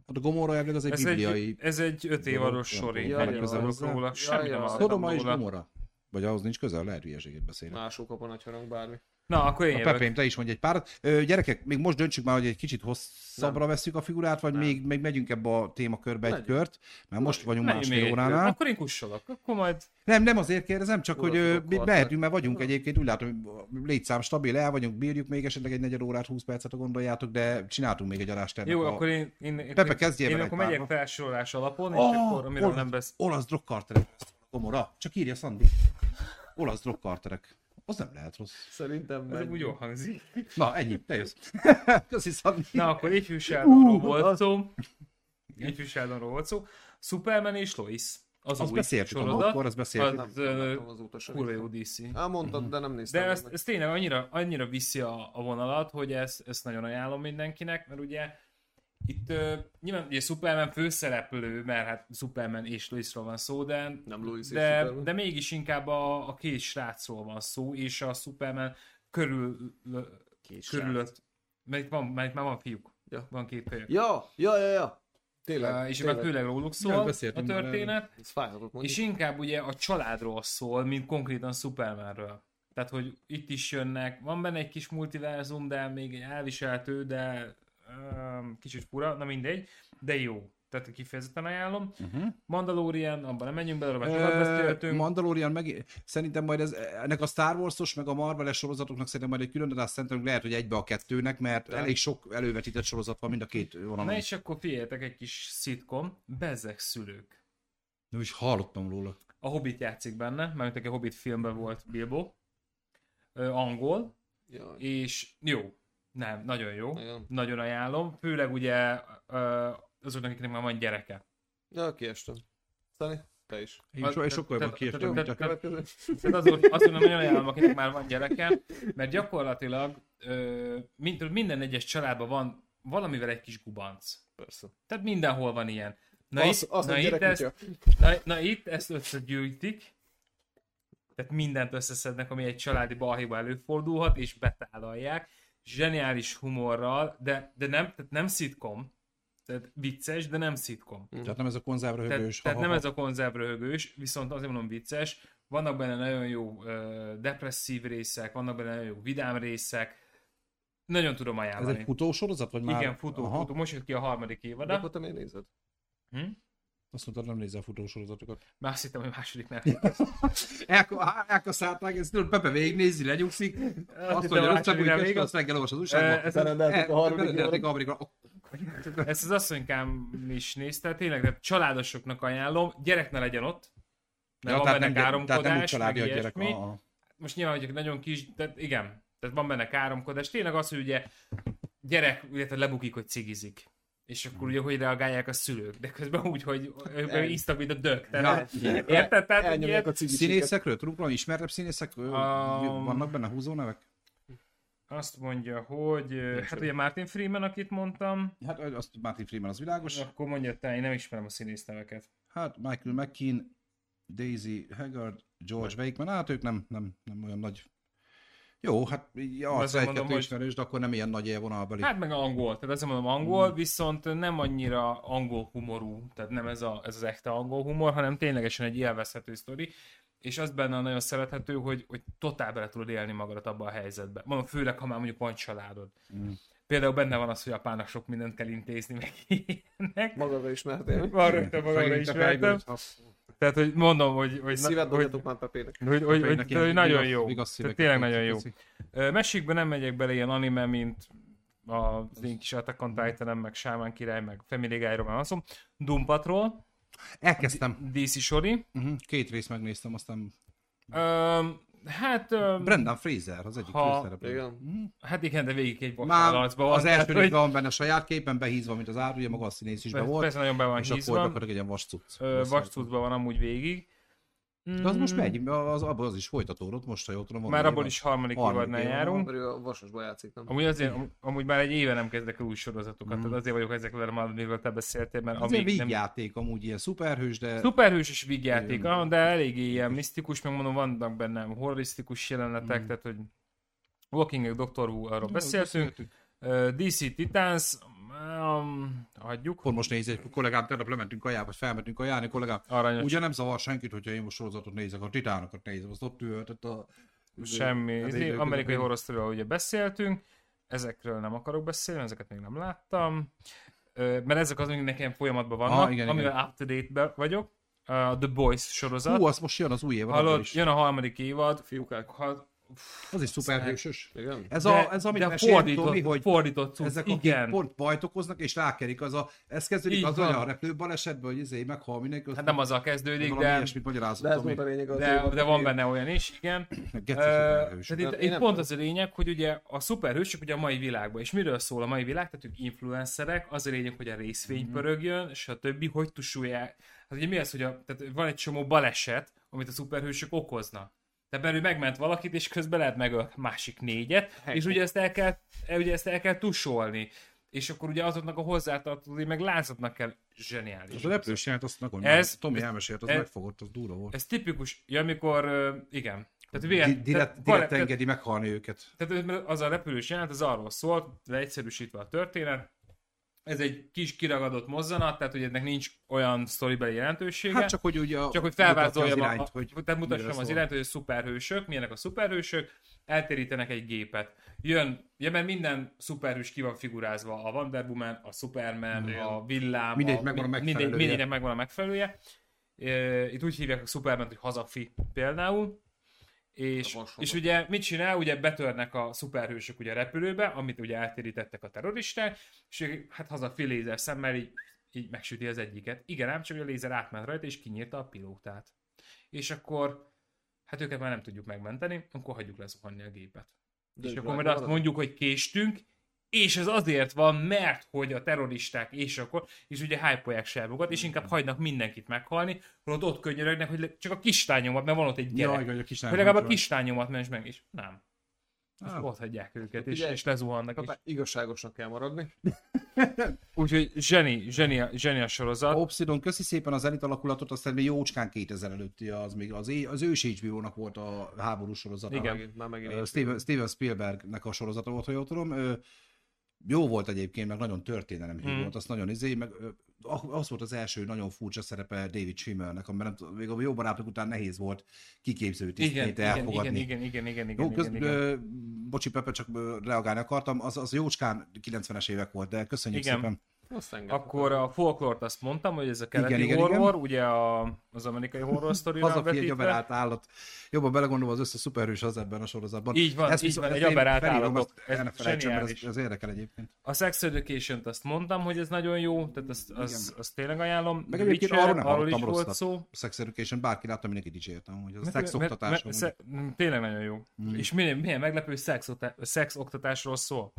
S2: Hát a Gomorra elvileg az egy
S3: Ez
S2: bibliai...
S3: egy, ez egy öt évados
S2: Jaj,
S3: sor, én
S1: jaj,
S3: nem
S1: jaj,
S3: tudok
S2: hozzá.
S3: róla,
S1: Jaj,
S3: semmit nem
S1: jaj.
S3: akartam
S2: Szodoma és
S3: róla.
S2: Gomorra. Vagy ahhoz nincs közel, lehet hülyeséget beszélni.
S1: Mások a nagyharang bármi.
S3: Na, akkor én
S2: A
S3: jövök.
S2: Pepém, te is mondj egy párat. Ö, gyerekek, még most döntsük már, hogy egy kicsit hosszabbra veszük a figurát, vagy
S1: Nem.
S2: még, még megyünk ebbe a témakörbe egy
S1: Megyünk.
S2: kört, mert most vagyunk
S3: Menjünk még
S2: másfél
S3: egy
S2: óránál.
S3: kört. Akkor én kussolok, akkor majd
S2: Nem, nem azért kérdezem, csak
S1: Tudod,
S2: hogy ö,
S1: tudok
S2: mi
S1: voltak.
S2: mehetünk, mert vagyunk egyébként, úgy látom, hogy létszám stabil, el vagyunk, bírjuk még esetleg egy negyed órát, 20 percet, ha gondoljátok, de csináltunk még egy adást ennek
S3: Jó,
S2: a...
S3: akkor én, én, én,
S2: Pepe, kezdjél
S3: én
S2: vele
S3: akkor
S2: egy
S3: megyek
S2: párba.
S3: felsorolás alapon, és
S2: Ah,
S3: akkor amiről
S2: olasz-
S3: nem besz...
S2: Olasz drogkarterek. Komora, csak írja Szandi. Olasz drogkarterek. Az nem lehet rossz.
S1: Szerintem
S3: Ez
S1: meg.
S3: úgy jól hangzik.
S2: Na, ennyi, te jössz. Köszi, Szandi.
S3: Na, akkor ifjúságról
S2: Ú,
S3: volt szó. Ifjúságról volt szó. Superman és Lois. Az
S2: Azt
S3: új
S2: beszéltük,
S3: sorozat.
S2: akkor azt beszéltük.
S1: Nem,
S3: Az,
S1: nem
S3: ö,
S1: láttam az utasat.
S3: Kurva jó DC.
S1: Á, mondtad, de nem néztem.
S3: De
S1: meg.
S3: ez, ez tényleg annyira, annyira viszi a, a vonalat, hogy ezt, ezt nagyon ajánlom mindenkinek, mert ugye itt uh, nyilván ugye Superman főszereplő, mert hát Superman és Loisról van szó, de
S1: Nem Lois és
S3: de,
S1: Superman.
S3: de mégis inkább a, a két srácról van szó, és a Superman körül,
S1: Két
S3: körülött, mert itt, van, mert itt már van fiúk,
S1: Ja.
S3: van két kölyök.
S1: Ja, ja, ja, ja.
S3: Uh,
S1: Tényleg,
S3: és már
S1: tényleg.
S3: főleg róluk szól
S2: Ja,
S3: a
S2: beszéltünk már
S3: történet,
S1: Ez fájhatott
S3: és
S1: mondjuk.
S3: inkább ugye a családról szól, mint konkrétan Supermanről. Tehát, hogy itt is jönnek, van benne egy kis multiverzum, de még elviselhető, de um, kicsit fura, na mindegy, de jó. Tehát kifejezetten ajánlom.
S2: Mhm.
S3: Mandalorian, abban nem menjünk bele, arra már sokat
S2: Ö,
S3: beszéltünk.
S2: Mandalorian meg, szerintem majd ez, ennek a Star Wars-os, meg a Marvel-es sorozatoknak szerintem majd egy külön adást szentelünk, lehet, hogy egybe a kettőnek, mert
S1: De.
S2: elég sok elővetített sorozat van mind a két vonalon.
S3: Na
S2: Ne
S3: és akkor figyeljetek egy kis szitkom, Bezek szülők.
S2: Nem is hallottam róla.
S3: A Hobbit játszik benne, mert egy Hobbit filmben volt Bilbo, ö, angol,
S1: Ja,
S3: és jó, nem, nagyon jó,
S1: igen.
S3: nagyon ajánlom, főleg ugye ö, azoknak, akiknek már van gyereke.
S1: Ja, kiestem. Szani, te is.
S2: Én
S3: Az-
S2: so, és
S3: tehát-
S2: sokkal jobban
S3: tehát-
S2: kiestem,
S3: tehát-
S2: mint a...
S3: tehát-
S1: Következő.
S3: Tehát azok, azoknak nagyon ajánlom, akinek már van gyereke, mert gyakorlatilag ö, mint, minden egyes családban van valamivel egy kis gubanc.
S1: Persze.
S3: Tehát mindenhol van ilyen. Na,
S1: Az-
S3: itt,
S1: az
S3: na,
S1: egy
S3: itt,
S1: gyerekkutya.
S3: ezt, na, na itt ezt összegyűjtik, tehát mindent összeszednek, ami egy családi balhéba előfordulhat, és betálalják. Zseniális humorral, de, de nem, tehát nem szitkom. Tehát vicces, de nem szitkom.
S2: Tehát nem ez a konzervra
S3: Tehát,
S2: hőbős.
S3: tehát nem ez a konzervröhögős, viszont azért mondom vicces, vannak benne nagyon jó ö, depresszív részek, vannak benne nagyon jó vidám részek, nagyon tudom
S2: Ez
S3: ajánlani.
S2: egy futó sorozat, vagy már?
S3: Igen, futó,
S2: Aha.
S3: futó, most jött ki a harmadik
S1: De
S3: évada.
S1: akkor te miért nézed?
S3: Hm?
S2: Azt mondtad, nem nézel futó sorozatokat.
S3: Már azt hittem, hogy második nem.
S2: Elka- Elkaszálták, ezt tudod, Pepe végignézi, lenyugszik. Azt
S3: hittem,
S2: mondja,
S3: a
S2: rossz csak,
S3: második
S2: hogy
S3: nem
S2: kettő,
S3: igaz.
S2: azt reggel olvas az
S3: Ö,
S2: újságban.
S3: ez-
S1: Berendeltek a harmadik
S2: Berendelték
S1: évadra.
S2: a harmadik évadra.
S3: Ezt az asszonykám is nézte, tényleg de családosoknak ajánlom, gyerek ne legyen ott, mert
S2: Ja,
S3: van
S2: tehát nem
S3: benne
S2: gyere- tehát nem úgy
S3: káromkodás, meg
S2: családi a gyerek.
S3: ilyesmi.
S2: aha.
S3: Most nyilván, hogy nagyon kis, de igen, tehát van benne káromkodás. Tényleg az, hogy ugye gyerek, illetve lebukik, hogy cigizik. És akkor ugye hogy reagálják a szülők, de közben úgy, hogy ők
S1: El-
S3: isztak, mint a dög.
S2: Ja,
S3: Tehát, érted? Tehát, hogy
S1: Elnyomják
S3: ilyet-
S1: a cigicséket.
S2: Színészekről tudunk valami ismertebb színészek? Um,
S3: Um,
S2: Vannak benne húzó nevek?
S3: azt mondja, hogy ö, hát
S1: semmi.
S3: ugye Martin Freeman, akit mondtam,
S2: Hát azt Martin Freeman az világos.
S3: akkor mondja te, én nem ismerem a színész neveket.
S2: Hát Michael McKean, Daisy Haggard, George Wakeman, hát ők nem, nem, nem olyan nagy jó, hát ja, az
S3: Azért mondom,
S2: egy-kettő
S3: hogy-
S2: ismerős, de akkor nem ilyen nagy élvonalbeli. Hát,
S3: Hát meg angol, tehát azt mondom angol, viszont nem annyira angol humorú, tehát nem ez, a, ez az ekte angol humor, hanem ténylegesen egy élvezhető sztori, és az benne nagyon szerethető, hogy, hogy totál bele tudod élni magadat abba a helyzetbe. Mondom, főleg, ha már mondjuk van családod.
S2: Mm.
S3: Például benne van az, hogy apának sok mindent kell intézni, meg ilyenek.
S1: Magadra ismertél.
S3: Van rögtön magamra ismertem. Tehát, hogy mondom, hogy... hogy
S1: Szíved
S3: hogy,
S1: dolgatok már Pepének.
S3: hogy, hogy, hogy, hogy nagyon jó. Tehát tényleg nagyon jó.
S2: Köszi.
S3: Ö, Mesékbe nem megyek bele ilyen anime, mint az én kis Attack on titan meg Sámán király, meg Family Guy-ról már van szó. Doom Patrol,
S2: Elkezdtem.
S3: DC Sori.
S2: Mhm, Két részt megnéztem, aztán
S3: Öm, hát, öm,
S2: Brendan Fraser, az egyik
S3: Ha-
S2: főszereplő.
S1: Igen.
S3: hát igen, de végig egy
S2: Már
S3: vakállacba van.
S2: az első
S3: tehát,
S2: részben van benne a saját képen behízva, mint az ár, ugye maga a színész is be
S3: persze,
S2: volt,
S3: persze nagyon be van
S2: és akkor
S3: hízva.
S2: gyakorlatilag egy ilyen vas cucc.
S3: Ö, Vastudban van amúgy végig.
S2: De az most
S3: Mm,
S2: megy, az, abból az is folytatódott, most ha jól tudom.
S3: Már
S2: van
S3: abból
S2: egy
S3: is harmadik
S2: Harmadik
S3: évadnál
S2: évad.
S3: járunk.
S1: Mert ő a vasasba játszik, nem?
S3: Amúgy azért, am- amúgy már egy éve nem kezdek el új sorozatokat,
S2: Mm.
S3: tehát azért vagyok ezek velem, amiről te beszéltél, mert
S2: Az ilyen
S3: amíg
S2: Hát
S3: nem
S2: vígjáték, amúgy ilyen szuperhős, de
S3: Szuperhős és vígjáték,
S2: Igen.
S3: ah, de eléggé ilyen misztikus, meg mondom, vannak benne horrorisztikus jelenetek,
S2: Mm.
S3: tehát hogy Walking Dead, Doctor Who, arról beszéltünk. Ö, DC Titans, um, hagyjuk.
S2: Pont most nézi, egy kollégám, tegnap lementünk kajába, vagy felmentünk kajálni, kollégám,
S3: Aranyos.
S2: ugye nem zavar senkit, hogyha én most sorozatot nézek, a titánokat nézem, azt ott ültett a... Hát
S3: Semmi.
S2: az
S3: Az
S2: időközben-
S3: amerikai horror story ugye beszéltünk, ezekről nem akarok beszélni, ezeket még nem láttam. Ö, Mert ezek azok, amik nekem folyamatban vannak,
S2: Ah, igen,
S3: amivel up to date vagyok. A The Boys sorozat.
S2: Hú, az most jön az új év, abból
S3: Hallod,
S2: is.
S3: jön a harmadik évad.
S1: Fiúkák.
S3: Ha,
S2: az is szuperhősös.
S1: Igen?
S2: Ez,
S3: de-
S2: a, ez amit
S3: de
S2: mesélt
S3: fordított,
S2: Tomi, hogy
S3: fordított cucc,
S2: ezek
S3: igen.
S2: akik pont bajt okoznak, és rákerik az a... Ez kezdődik
S3: Így
S2: az
S3: van.
S2: olyan repülő balesetben, hogy izé meghal mindenki.
S3: Hát nem azzal kezdődik, de,
S2: ilyesmit
S1: De ez
S2: magyarázott,
S1: volt a
S2: Tomi.
S1: lényeg. az
S3: de,
S1: évad,
S3: de van
S1: hogy-
S3: benne olyan is, igen.
S2: Geci
S3: Ö,
S2: szuperhős.
S3: Tehát itt,
S1: Én
S3: itt
S1: nem
S3: pont
S1: tudom.
S3: az a lényeg, hogy ugye a szuperhősök ugye a mai világban, és miről szól a mai világ, tehát ők influencerek, az a lényeg, hogy a
S1: Mhm.
S3: részvény pörögjön, stb. hogy tusulják. Hát ugye mi az, hogy a, tehát van egy csomó baleset, amit a szuperhősök okoznak. Tehát belül megment valakit, és közben lehet meg a másik négyet,
S1: Hely.
S3: és ugye ezt el kell, ugye ezt el kell tusolni. És akkor ugye azoknak a hozzátartozói meg lázadnak kell zseniális.
S2: Az a repülős jelent, azt nagyon
S3: Ez-
S2: Tomi elmesélt, az
S3: ez-
S2: megfogott, az durva volt.
S3: Ez tipikus, ja, amikor, ö, igen.
S2: Di-
S3: Tehát, véletlen-
S2: Direkt,
S3: tehát-
S2: direkt engedi meghalni őket.
S3: tehát mert az a repülős jelenet, az arról szólt, leegyszerűsítve a történet, ez egy kis kiragadott mozzanat, tehát hogy ennek nincs olyan sztoribeli jelentősége.
S2: Hát csak, hogy ugye a-
S3: Csak hogy
S2: mutatja
S3: felvázoljam,
S2: az irányt,
S3: a,
S2: hogy
S3: tehát mutassam
S2: miről
S3: az
S2: szól.
S3: irányt, hogy a szuperhősök, milyenek a szuperhősök, eltérítenek egy gépet. Jön, ja, mert minden szuperhős ki van figurázva, a Wonder Woman, a Superman,
S2: Igen.
S3: a villám,
S2: Mindegy,
S3: a,
S2: megvan a
S3: mind-
S2: megfelelője.
S3: mindegynek megvan a megfelelője. Ö, Itt úgy hívják a Superman, hogy hazafi például. És,
S1: A vashaza.
S3: és ugye mit csinál? Ugye betörnek a szuperhősök ugye a repülőbe, amit ugye eltérítettek a terroristák, és ők, hát hazafi lézer szemmel így így megsüti az egyiket. Igen, ám csak hogy a lézer átment rajta, és kinyírta a pilótát. És akkor, hát őket már nem tudjuk megmenteni, akkor hagyjuk lezuhanni a gépet.
S1: De
S3: és
S1: egy
S3: akkor majd
S1: vágó
S3: azt
S1: marad.
S3: mondjuk, hogy késtünk, és ez azért van, mert hogy a terroristák, és akkor, és ugye hype-olják sárbokat, és inkább hagynak mindenkit meghalni, holott ott könyörögnek, hogy le- csak a kislányomat, mert van ott egy
S2: Jaj,
S3: gyerek.
S2: hogy a kis
S3: hogy legalább a kislányomat ments meg, és nem.
S2: Ah.
S3: Ah. Ott hagyják őket, és,
S1: Ugye-
S3: és lezuhannak. És...
S1: Hát, Igazságosnak kell maradni.
S3: Úgyhogy zseni, zseni, a- zseni a sorozat.
S2: Obsidon, köszi szépen az elit alakulatot, aztán még jócskán 2000 előtti, az még az, é- az ős HBO-nak volt a háború sorozata.
S3: Igen.
S1: Már megint- Már megint.
S2: Ö,
S1: így.
S2: Steven, Steven Spielbergnek a sorozata volt, ha jól tudom. Ö, Jó volt egyébként, meg nagyon történelem
S3: Mm.
S2: mm. volt, azt nagyon izé, meg ö, a- az volt az első nagyon furcsa szerepe David Schwimmernek, amiben nem, tudom, még a jó barátok után nehéz volt kiképző
S3: Igen,
S2: tisztét
S3: igen,
S2: elfogadni.
S3: igen, igen, igen, igen, igen,
S2: Jó, köz,
S3: igen, igen.
S2: ö, bocsi Pepe, csak ö, reagálni akartam, az, az jócskán 90-es évek volt, de köszönjük
S3: Igen.
S2: szépen.
S1: Azt engedhetem.
S3: Akkor a folklort azt mondtam, hogy ez a keleti
S2: Igen,
S3: igen,
S2: igen,
S3: igen, horror, ugye a, az amerikai horror sztori
S2: Hazafi egy aberált állat. Jobban belegondolva az összes szuperhős az ebben a sorozatban.
S3: Így van, így van, egy
S2: én
S3: aberált
S2: felírom,
S3: állatok.
S2: ezt
S3: Ez
S2: el ne felejtsem, mert ez,
S3: zseniális.
S2: ez érdekel egyébként.
S3: A Sex education azt mondtam, hogy ez nagyon jó, tehát azt, azt, azt tényleg ajánlom.
S2: Meg
S3: The
S2: egyébként
S3: Witcher,
S2: arról nem
S3: arról is
S2: hallottam
S3: volt
S2: rosszat.
S3: szó.
S2: Sex Education, bárki látta, mindenki dicsértem, hogy ez a
S3: Mert-
S2: szex
S3: mert-
S2: oktatás.
S3: mert-
S2: amúgy.
S3: sze- m, Tényleg nagyon jó.
S2: Mm.
S3: És milyen, milyen meglepő szex, szex oktatásról szól.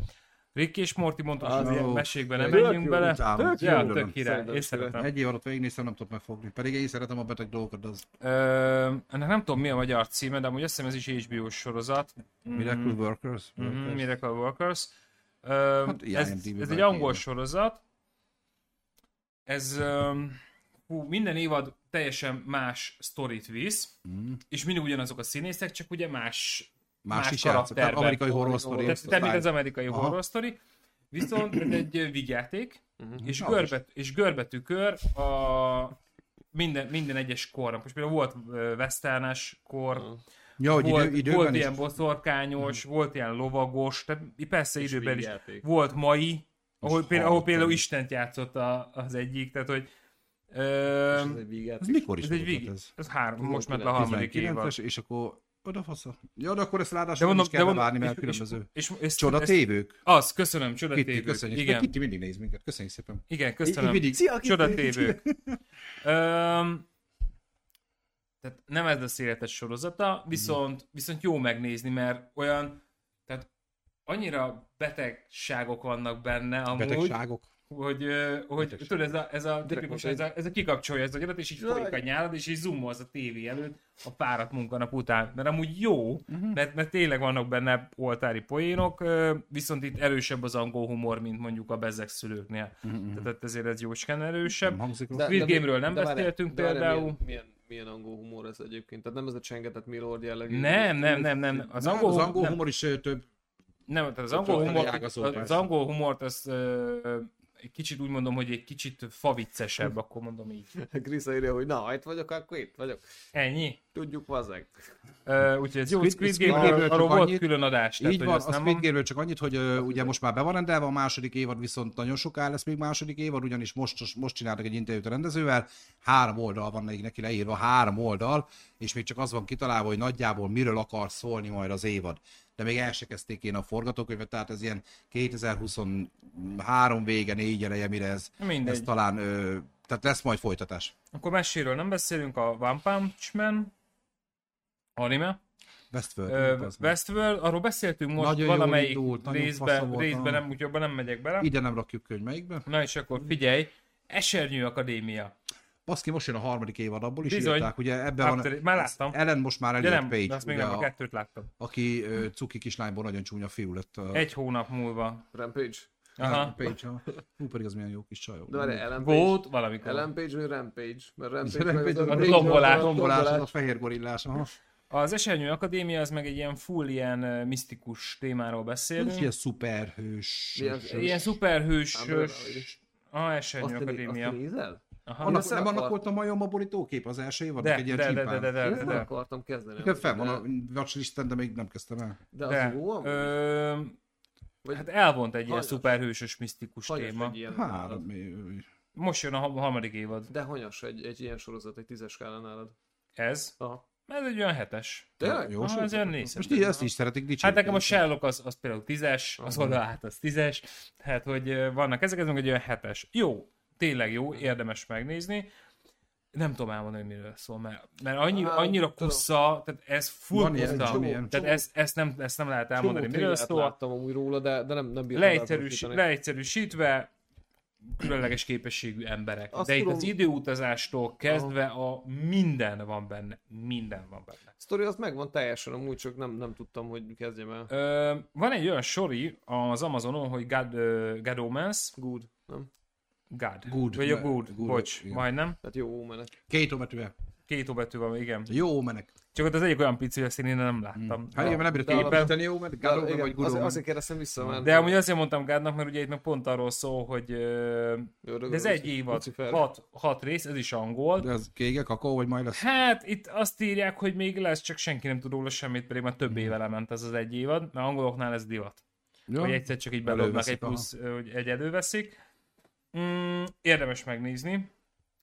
S3: Rick és Morty mondta, hogy
S1: Az
S3: az ilyen
S2: jó.
S3: mesékben nem
S1: Tök
S3: menjünk
S1: jó,
S3: bele.
S2: utálom.
S3: Tök jó,
S2: Örülök.
S3: tök király. Én
S1: Szerintem
S3: szeretem.
S2: Egy év alatt végignéztem, nem tudott megfogni. Pedig én szeretem a beteg dolgokat, de az
S3: Ö, ennek nem tudom mi a magyar címe, de amúgy azt hiszem ez is HBO sorozat.
S2: Miracle Workers.
S3: Mm-hmm,
S2: Workers.
S3: Mhm. Miracle Workers. Ö,
S2: Hát,
S3: ez,
S2: IMDb
S3: ez
S2: -ben
S3: egy angol
S2: kéne.
S3: sorozat. Ez öm, hú, minden évad teljesen más sztorit visz, mm. és mindig ugyanazok a színészek, csak ugye más
S2: Mhm. Más,
S3: Más
S2: is játszik. Tehát
S3: karakterben.
S2: amerikai horror story.
S3: Tehát, tehát mint az amerikai
S2: Aha.
S3: horror story. Viszont ez egy ö, vigyáték, és,
S2: Na,
S3: görbe, és görbetükör a minden, minden egyes korra. Most például volt ö, westernes kor,
S2: Ja, hogy idő,
S3: volt, volt
S2: időben is. Mhm.
S3: ilyen boszorkányos, volt ilyen lovagos, tehát persze
S1: És
S3: időben is.
S1: vígjáték.
S3: Volt mai, ahol, például, ahol
S2: hallottam.
S3: például Istent játszott a, az egyik, tehát hogy
S1: És
S3: ö,
S1: ez egy vígjáték.
S2: Ez mikor is
S3: ez egy
S2: volt
S3: vég,
S2: hát ez?
S3: ez három, most ment le a harmadik évad.
S2: 19-es, és akkor oda fasza. Ja, de akkor ezt
S3: De
S2: ráadásul nem
S3: mondom,
S2: is
S3: de
S2: kell
S3: mondom,
S2: várni, mert
S3: és-
S2: különböző.
S3: És, és, és
S2: Csoda
S3: ezt-
S2: tévők.
S3: Az, köszönöm,
S2: Kitty,
S3: csodatévők.
S2: köszönjük.
S3: Igen,
S2: Igen. Kitty mindig néz minket. Köszönjük szépen.
S3: igen,
S2: Így- így
S3: köszönöm.
S2: mindig.
S1: Szia, Kitty!
S3: Csodatévők. Öm, tehát nem ez lesz életes sorozata,
S2: Mhm.
S3: viszont, viszont jó megnézni, mert olyan, tehát annyira betegságok vannak benne amúgy,
S2: Betegságok.
S3: hogy, ö, hogy
S2: Betegság.
S3: tudod, ez a, ez a
S1: Direkt
S3: tipikus, ez
S1: mondta,
S3: a, ez a kikapcsolja az agyadat, és így
S1: Jaj.
S3: folyik a nyálad, és így zoomolsz a tévé előtt a fáradt munkanap után. Mert amúgy jó,
S2: Mhm.
S3: uh-huh. mert, mert tényleg vannak benne oltári poénok, ö, viszont itt erősebb az angol humor, mint mondjuk a bezzeg szülőknél.
S2: Mhm.
S3: Uh-huh. Tehát ezért ez jócskán
S2: Nem
S3: erősebb.
S2: hangzik
S1: De-
S2: rossz.
S1: de-
S3: Squid Game-ről nem
S1: de várj,
S3: beszéltünk
S1: de várj,
S3: például.
S1: Milyen, milyen, milyen angol humor ez egyébként? Tehát nem ez a csengetett Milord jellegű.
S3: Nem, nem, nem, nem.
S2: Az
S3: Az angol,
S2: angol,
S3: humor- nem,
S2: humor is ö, több.
S3: nem, tehát az
S2: Tudod,
S3: angol
S2: hogy
S3: humor,
S2: ágazó
S3: az
S2: persze.
S3: angol humort, az ö, ö, egy kicsit úgy mondom, hogy egy kicsit faviccesebb, akkor mondom így.
S1: Krisza írja, hogy na, ha itt vagyok, akkor itt vagyok.
S3: Ennyi.
S1: Tudjuk, vazeg.
S3: Ö, úgyhogy ez jó,
S2: Squid-
S3: Squid
S2: Squid
S3: Game-ről
S2: Game-ről
S3: arról
S2: csak
S3: volt
S2: annyit-
S3: külön adás. Tehát,
S2: Így
S3: hogy
S2: van, a
S3: azt nem
S2: Squid Game-ről csak annyit, hogy ö, ugye most már be van rendelve, a második évad viszont nagyon soká lesz még második évad, ugyanis most, most csináltak egy interjút a rendezővel, három oldal van még neki leírva, három oldal, és még csak az van kitalálva, hogy nagyjából miről akar szólni majd az évad. De még el se kezdték én a forgatókönyvet, tehát ez ilyen 2023 vége, négy eleje, mire ez,
S3: Mindegy.
S2: ez talán, ö, tehát lesz majd folytatás.
S3: Akkor meséről nem beszélünk, a One Punch Man anime.
S2: Westworld.
S3: Ö,
S2: az meg.
S3: Westworld, arról beszéltünk most
S2: Nagyon jól
S3: valamelyik
S2: indult, nagyon fasza
S3: részben,
S2: volt,
S3: részben
S2: aha.
S3: nem, úgyhogy abban nem megyek bele.
S2: Ide nem rakjuk könyv melyikbe.
S3: Na és akkor figyelj, Esernyő Akadémia.
S2: Baszki, most jön a harmadik évad, abból is
S3: Bizony.
S2: írták, ugye ebben van...
S3: After- már láttam.
S2: Ellen most már
S3: De
S2: Elliot
S3: nem,
S2: Page,
S3: de azt még
S2: ugye
S3: nem, a
S2: a-
S3: kettőt láttam.
S2: aki ö, cuki kislányból nagyon csúnya fiú lett. A
S3: Egy hónap múlva.
S1: Rampage.
S3: Aha.
S2: Page, ha. Hú, pedig az milyen jó kis csajó.
S1: De várj, Ellen Page.
S3: Volt valamikor.
S1: Ellen Page vagy Rampage? Mert
S2: Az
S1: Rampage,
S2: Rampage,
S1: meg
S2: az
S1: a
S2: a
S3: Rampage, tombolás.
S2: a tombolás, az a fehér gorillás. Aha.
S3: Az Esernyő Akadémia az meg egy ilyen full ilyen ö, misztikus témáról
S2: Ez ilyen
S3: beszélünk.
S2: szuperhős.
S1: Milyen-
S3: Ilyen szuperhős...
S1: Umbrella, vagy-
S3: A Esernyő
S1: Azt né-
S3: Akadémia.
S1: azt nézel?
S3: Aha.
S2: Annak,
S1: Össze
S2: nem annak
S1: akar-
S2: volt a majom a borítókép az első évadnak,
S3: De,
S2: egy ilyen
S3: de, de, de,
S2: csimpán.
S3: de, de,
S1: Én
S3: de,
S1: nem
S3: de.
S1: akartam kezdeni.
S2: Inkább Fel van
S1: de-
S2: a watchlisten, de még nem kezdtem el.
S1: De
S3: De.
S1: az jó amúgy?
S3: Ö,
S1: Vagy-
S3: hát elvont egy ilyen
S1: Hanyas.
S3: szuperhősös, misztikus
S1: Hanyas
S3: téma.
S1: egy ilyen-
S2: Három év.
S3: Most jön a ha- harmadik évad.
S1: De hanyas egy, egy ilyen sorozat, egy tízes skálán nálad.
S3: Ez?
S1: Aha.
S3: Ez egy olyan hetes.
S1: Tényleg?
S2: Jó,
S3: Aha,
S2: sok.
S3: ez olyan néz.
S2: Most így ezt is szeretik
S3: Hát
S2: dicsérni.
S3: nekem a Sherlock az, az például tízes, az oda át az tízes, tehát hogy ö, vannak ezek, ez meg egy olyan hetes. Jó, tényleg jó, érdemes megnézni. Nem tudom elmondani, hogy miről szól, mert, mert annyira,
S1: Á,
S3: annyira
S1: tudom.
S3: kussza, tehát ez full
S2: Van ilyen,
S3: kussza.
S2: csomó,
S3: Tehát
S1: csomó.
S3: ezt, ezt, nem, ezt nem lehet
S1: Csomó
S3: elmondani, miről
S1: trailert
S3: szól.
S1: láttam amúgy róla, de, de nem, nem bírtam
S3: Leegyszerűs,
S1: elbizonyítani.
S3: leegyszerűsítve különleges képességű emberek.
S1: Azt
S3: Azt De itt
S1: tudom-
S3: az időutazástól kezdve a minden van benne. Minden van benne.
S1: sztori az megvan teljesen, amúgy csak nem, nem tudtam, hogy kezdjem el.
S3: Ö, van egy olyan sori az Amazonon, hogy God, ö, God Omens.
S1: Good, nem?
S3: God.
S2: Good.
S3: Vagy a
S2: Ne,
S3: Good.
S2: good,
S3: Bocs,
S2: igen.
S3: majdnem.
S1: Tehát Hát jó menet.
S2: Két ómetűvel.
S3: Két betű van, igen.
S2: Jó menek.
S3: Csak ott az egyik olyan pici, hogy azt én innen nem láttam.
S2: Hát igen, mert nem
S1: de
S2: bírok
S1: alapvetően-
S2: építeni, jó, mert
S1: De,
S2: Garó
S1: igen,
S2: vagy
S1: azért,
S2: Guró.
S1: azért kérdeztem vissza, mert...
S3: De amúgy azért mondtam Gádnak, mert ugye itt meg pont arról szól, hogy ö,
S1: Ördög
S3: de ez
S1: a
S3: egy
S1: Luci-
S3: évad,
S1: Lucifer.
S3: hat, hat rész, ez is angol.
S2: De az kége, kakó, vagy majd lesz?
S3: Hát itt azt írják, hogy még lesz, csak senki nem tud róla semmit, pedig már
S2: Mhm.
S3: több éve lement ez az egy évad, mert angoloknál ez divat.
S2: Jó?
S3: Hogy egyszer csak így belopnak
S2: Előveszik,
S3: egy plusz, ö, hogy egy előveszik. Mm, érdemes megnézni.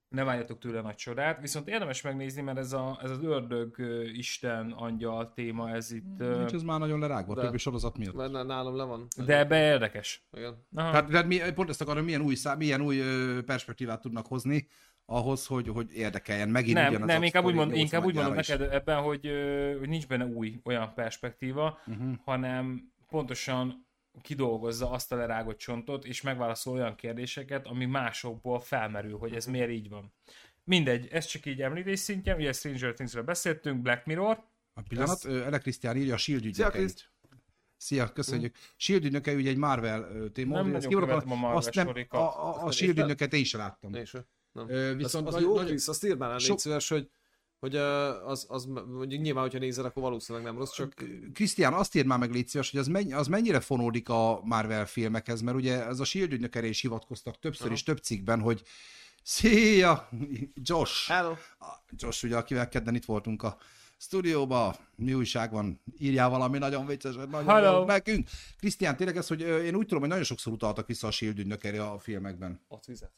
S3: Nem álljatok tőle nagy csodát, viszont érdemes megnézni, mert ez, a, ez az ördög, ö, isten, angyal téma, ez itt... ö,
S2: Mhm. Nincs ez már nagyon lerágva,
S1: De.
S2: a többi sorozat miatt.
S1: Mert ná- nálam le van.
S3: De ebbe érdekes.
S1: Igen.
S3: Aha.
S2: Tehát, tehát mi, pont ezt akarom, milyen új, szám, milyen új ö, perspektívát tudnak hozni ahhoz, hogy, hogy érdekeljen megint
S3: nem,
S2: ugyanaz
S3: nem,
S2: a
S3: inkább úgy,
S2: sztori
S3: mond,
S2: nyolc
S3: inkább úgy mondom
S2: nagyjára
S3: neked ebben, hogy, ö, hogy nincs benne új olyan perspektíva,
S2: Mhm.
S3: uh-huh. hanem pontosan kidolgozza azt a lerágott csontot, és megválaszol olyan kérdéseket, ami másokból felmerül, hogy ez miért így van. Mindegy, ez csak így említés szintjén, ugye Stranger Things-ről beszéltünk, Black Mirror,
S2: is. A pillanat, ö, Ele Krisztián írja a Shield ügynökeit.
S1: Kriszt!
S2: Szia, köszönjük. Shield ügynöke ugye egy Marvel ö, téma. ugye
S3: Nem nagyon
S2: ezt kivarom,
S3: követem a Marvel
S2: azt nem, a,
S3: sorokat.
S2: a, a
S1: Azt
S2: Shield
S1: nézted?
S2: ügynöket én is láttam.
S1: Én sem. Nem.
S2: Ö,
S1: Viszont
S2: viszont
S1: az, az
S2: nagy-
S1: jó,
S2: nagy-
S1: Krisz, azt írd már el,
S2: sok-
S1: légy szíves, hogy, hogy ö, az, az mondjuk nyilván, hogyha nézed, akkor valószínűleg nem rossz, csak
S2: Krisztián, azt írd már meg légy szíves, hogy az, menny- az mennyire fonódik a Marvel filmekhez, mert ugye ez a Shield ügynök erre is hivatkoztak többször
S1: Aha.
S2: és több cikkben, hogy Szia! Josh!
S1: hello,
S2: A Josh, ugye, akivel kedden itt voltunk a stúdióba, mi újság van, írjál valami nagyon vicceset, nagyon
S3: Hello.
S2: jót nekünk. Krisztián, tényleg ez, hogy ö, én úgy tudom, hogy nagyon sokszor utaltak vissza a Shield ügynökére a filmekben.
S1: ott vizet.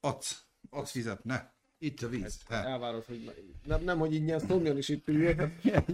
S2: Adsz, adsz fizet, ne. Itt a víz. Te.
S1: Elvárod, hogy nem, nem hogy ingyen szomjon is itt üljél.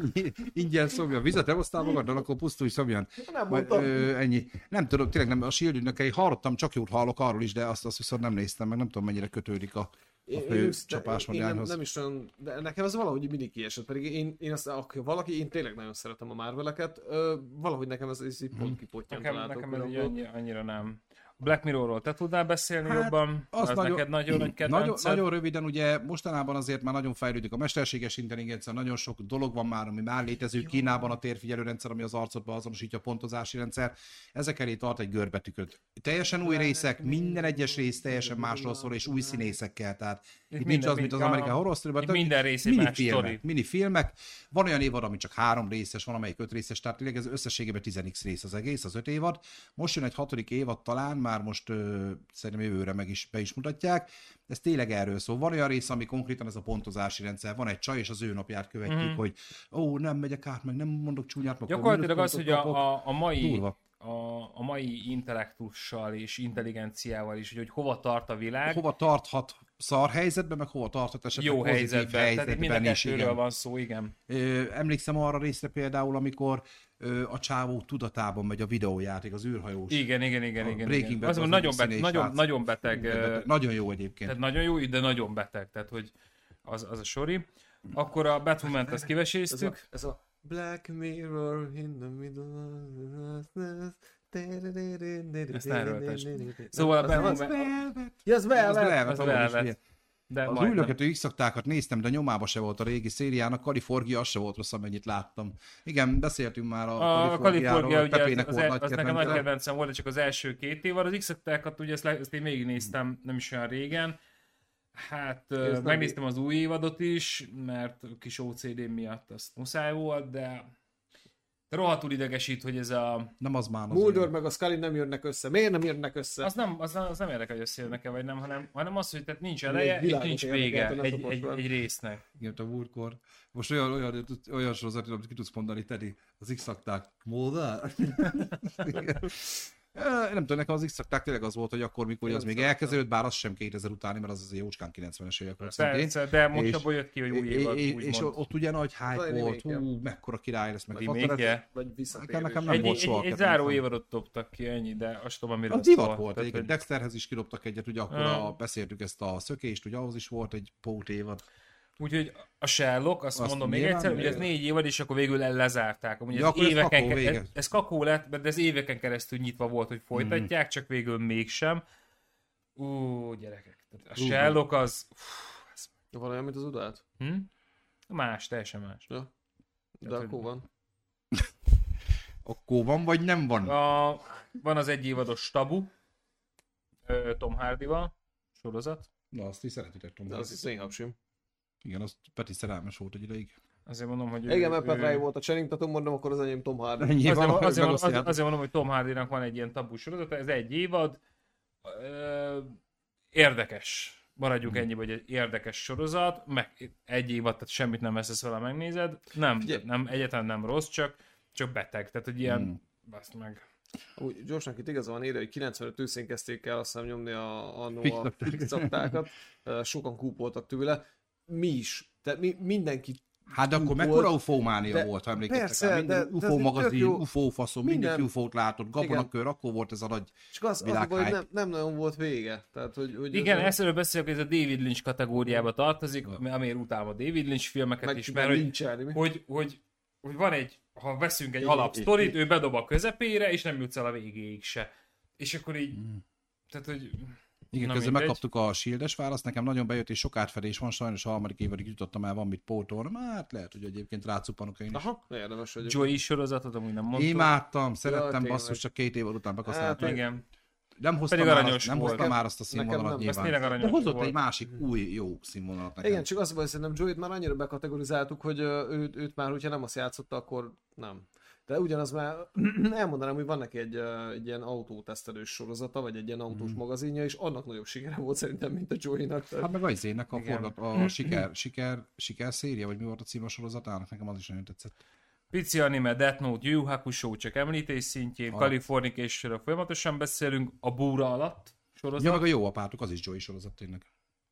S2: Ingyen szomjan vizet, nem hoztál magaddal, akkor pusztulj szomjan.
S1: Nem
S2: Majd,
S1: mondtam.
S2: ö, ennyi. Nem tudom, tényleg nem, a Shield ügynökei hallottam, csak jót hallok arról is, de azt, azt viszont nem néztem, meg nem tudom, mennyire kötődik a, a
S1: Én- én
S2: fő
S1: ősz-
S2: csapás
S1: én nem,
S2: magánhoz.
S1: nem, is olyan, de nekem ez valahogy mindig kiesett, pedig én, én azt, aki valaki, én tényleg nagyon szeretem a Marveleket, ö, valahogy nekem ez, ez
S2: Mhm.
S1: így pont kipottyan
S3: Nekem,
S1: találtak,
S3: nekem ez
S1: hogy
S3: így
S1: akkor-
S3: annyira, annyira nem. A Black Mirrorról te tudnál beszélni
S2: Hát,
S3: hát, jobban?
S2: az
S3: Az,
S2: nagyon-
S3: nagyon, neked nagyon nagy
S2: Nagyon,
S3: kedvenced?
S2: nagyon röviden, ugye mostanában azért már nagyon fejlődik a mesterséges intelligencia, nagyon sok dolog van már, ami már létező. Kínában a térfigyelő rendszer, ami az arcodba azonosítja a pontozási rendszer, ezek elé tart egy görbetüköt. Teljesen új részek, minden egyes rész teljesen másról szól, és új színészekkel. Tehát itt, itt nincs
S3: minden-
S2: az, mint az
S3: a-
S2: amerikai horror
S3: itt minden rész egy más sztori.
S2: minifilmek. Van olyan évad, ami csak három részes, van amelyik öt részes, tehát tényleg ez összességében 10x rész az egész, az öt évad. Most jön egy hatodik évad talán, már most ö, szerintem jövőre meg is be is mutatják. Ez tényleg erről szól. Van olyan rész, ami konkrétan ez a pontozási rendszer. Van egy csaj, és az ő napját követjük, mm. hogy ó, nem megyek át, meg nem mondok csúnyát, meg akkor
S3: Mhm. Gyakorlatilag az, hogy
S2: mínuszpontot
S3: a,
S2: kapok.
S3: a, a mai
S2: Durva.
S3: a, a mai intellektussal és intelligenciával is, hogy, hogy hova tart a világ,
S2: hova tarthat szar helyzetben, meg hova tarthat esetleg
S3: jó
S2: pozitív
S3: helyzetben, helyzetben, tehát itt mind a
S2: helyzetben is.
S3: kettőről
S2: Igen.
S3: van szó, igen.
S2: Ö, emlékszem arra részre például, amikor ö, a csávó tudatában megy a videójáték, az űrhajós.
S3: Igen, igen, igen,
S2: A
S3: igen.
S2: Breaking
S3: igen.
S2: Bad
S3: Azt
S2: az
S3: mondom, nagyon,
S2: egyik
S3: bet,
S2: színész
S3: nagyon,
S2: srác.
S3: nagyon beteg,
S2: Beteg,
S3: ö,
S2: beteg. Nagyon jó egyébként.
S3: tehát nagyon jó, de nagyon beteg, tehát hogy az, az a sori. Akkor a batwoman azt
S1: Ez a,
S3: kiveséztük.
S1: ez a Black Mirror in the middle of the darkness.
S3: Ezt ne erőltesd.
S1: Nem,
S3: Szóval a
S1: az nem az.
S3: Batwoman,
S1: Ja, az be,
S2: Az
S1: be.
S2: Velvet,
S3: az
S2: amúgy is
S3: Velvet.
S2: ilyen.
S3: de
S2: Az új
S3: majdnem.
S2: lökető x néztem, de nyomába se volt a régi szériának. Kalifornia az se volt rossz, amennyit láttam. Igen, beszéltünk már a,
S3: A Kalifornia, ugye
S2: Pepének
S3: az,
S2: volt
S3: az,
S2: nagy
S3: az nekem nagy
S2: kedvence.
S3: kedvencem volt, de csak az első két év, az x ugye ezt, le- ezt én végignéztem nem is olyan régen. Hát ö,
S1: Ez nem
S3: megnéztem az új évadot is, mert a kis OCD miatt azt muszáj volt, de de rohadtul idegesít, hogy ez a...
S2: Nem az már az.
S1: Mulder
S2: olyan.
S1: meg a Scully nem jönnek össze. Miért nem jönnek össze?
S3: Az nem, az nem, az nem érdekel, hogy összejönnek-e vagy nem, hanem, hanem az, hogy tehát nincs
S1: Egy
S3: eleje, és
S1: világot
S3: nincs
S1: érdekel,
S3: vége
S1: te ne
S3: egy,
S1: szopass
S3: egy,
S1: fel.
S3: egy, résznek.
S2: Igen, a Woodcore. Most olyan, olyan, olyan sorozat, amit ki tudsz mondani, Teddy, az X-szakták. Mulder? Igen. Ö, Nem tudom, nekem az X-szakták tényleg az volt, hogy akkor, mikor az még elkezdődött, bár az sem 2000 utáni, mert az az jócskán 90-es évek volt szintén.
S3: Persze, de most
S2: És-
S3: abból jött ki, hogy új
S2: É-
S3: évad,
S2: é-
S3: úgymond.
S2: és ott ugye nagy
S1: Az
S2: hype
S1: anime
S2: volt,
S1: igen.
S2: hú, mekkora király lesz, meg
S3: Vagy
S2: akkor ez-
S3: remake-je.
S1: Vagy visszatérés.
S2: Nekem- nekem nem
S3: Egy,
S2: volt
S3: egy,
S2: soha
S3: egy, egy
S2: kedvencem.
S3: záró évadot dobtak ki, ennyi, de azt tudom, amiről
S2: Az divat volt,
S3: Tehát,
S2: igen.
S3: hogy-
S2: Dexterhez is kidobtak egyet, ugye akkor
S3: Ah.
S2: a, beszéltük ezt a szökést, ugye ahhoz is volt egy pót évad.
S3: Úgyhogy a Sherlock, azt,
S2: Azt
S3: azt mondom még
S2: nyilván
S3: egyszer, hogy ez
S1: még-
S3: négy évad, és akkor végül el lezárták. Amúgy
S2: Ja,
S3: ez,
S2: akkor ez
S3: éveken,
S2: kakó
S3: ez,
S2: vége.
S3: ez, ez kakó lett, de ez éveken keresztül nyitva volt, hogy folytatják, csak végül mégsem. Ú, gyerekek. tehát A
S2: Ú.
S3: Sherlock az... Fú,
S1: Van olyan, mint az
S2: Hát,
S1: udát?
S3: hm? Más, teljesen más.
S1: Ja. De
S3: Hát, hogy-
S1: akkor van.
S2: Akkor van, vagy nem van?
S3: A, van az egy évados tabu, ö, Tom Hardy-val, sorozat.
S2: Na, azt is szeretitek, Tom
S1: De az
S2: Hanks.
S1: is én hapsim.
S2: Igen, az Peti szerelmes volt egy ideig.
S3: Azért mondom, hogy... ő-
S1: Igen, mert
S3: ő-
S1: Petrai volt a Channingtatom, mondom, akkor az enyém Tom Hardy.
S2: Ennyi
S3: Azért,
S2: van,
S3: van,
S2: hogy
S3: azért, mondom, az,
S2: megosztjátok.
S3: azért mondom, hogy Tom Hardy-nak van egy ilyen tabu sorozata, ez egy évad. Ö, érdekes. Maradjunk ennyi, hogy egy érdekes sorozat, meg egy évad, tehát semmit nem veszesz vele, megnézed. Nem,
S1: Figyelj.
S3: nem egyáltalán nem rossz, csak, csak beteg. Tehát, hogy ilyen, baszd meg.
S1: Úgy gyorsnak itt igaza van ére, hogy 95 őszén kezdték el azt hiszem nyomni a, annó a
S2: Fixnapták.
S1: fixaptákat. Sokan kúpoltak tőle. Mi is. Tehát mi, mindenki
S2: Hát de akkor
S1: Volt.
S2: mekkora ufómánia
S1: De-
S2: volt, ha emlékeztek
S1: persze,
S2: rá. Minden
S1: de- de ez
S2: UFO
S1: így tök
S2: magazin,
S1: jó.
S2: UFO faszom, minden
S1: Minden.
S2: UFO-t látott, gabonakör, akkor volt ez a nagy...
S1: Csak az, az a
S2: Világ
S1: baj, hogy
S2: hype.
S1: nem, nem nagyon volt vége. Tehát, hogy, hogy
S3: Igen,
S1: ez,
S3: ezt beszélek, hogy ez a David Lynch kategóriába tartozik, ami- amiért utálom a David Lynch filmeket
S1: meg
S3: is,
S1: is,
S3: mert hogy
S1: nincselni. mi?
S3: hogy, hogy, hogy van egy, ha veszünk egy
S1: Igen,
S3: alapsztorit, ő bedob a közepére, és nem jutsz el a végéig se. És akkor így, tehát hogy...
S2: Igen,
S3: Na,
S2: közben
S3: mindegy.
S2: megkaptuk a shieldes választ, nekem nagyon bejött, és sok átfedés van, sajnos a harmadik évadig jutottam el, van mit pótolnom, hát lehet, hogy egyébként rácupanok én is.
S1: Aha, érdemes vagyok.
S3: Joey sorozatot amúgy nem mondtuk.
S2: Imádtam, szerettem,
S1: tényleg.
S2: basszus, csak két év után bekasztáltam.
S1: Hát,
S3: Igen.
S2: nem hozta,
S3: Pedig
S2: már,
S3: aranyos
S2: azt, nem
S3: volt.
S2: hozta már azt a
S1: Nekem
S2: színvonalat
S1: nem.
S3: Ezt
S2: nyilván.
S3: tényleg
S2: De
S3: aranyos
S2: hozott
S3: volt.
S2: egy másik új jó színvonalat nekem.
S1: Igen, csak az a baj, szerintem Joey-t már annyira bekategorizáltuk, hogy ö, őt, őt már, hogyha nem azt játszotta, akkor nem. De ugyanaz már, elmondanám, hogy van neki egy, ö, egy ilyen autótesztelős sorozata, vagy egy ilyen autós
S3: Mhm.
S1: mm. magazinja, és annak nagyobb sikere volt szerintem, mint a Joey-nak. Tehát-
S2: Hát meg az ének a,
S3: Igen.
S2: forgat, a siker, siker, siker széria, vagy mi volt a címe a sorozatának, nekem az is nagyon tetszett.
S3: Pici anime, Death Note, Yu Yu Hakusho csak említés szintjén,
S2: Alap.
S3: Californication-ről folyamatosan beszélünk, a búra alatt
S2: Ja,
S3: sorozat.
S2: meg a jó apátok, az is Joey sorozat tényleg.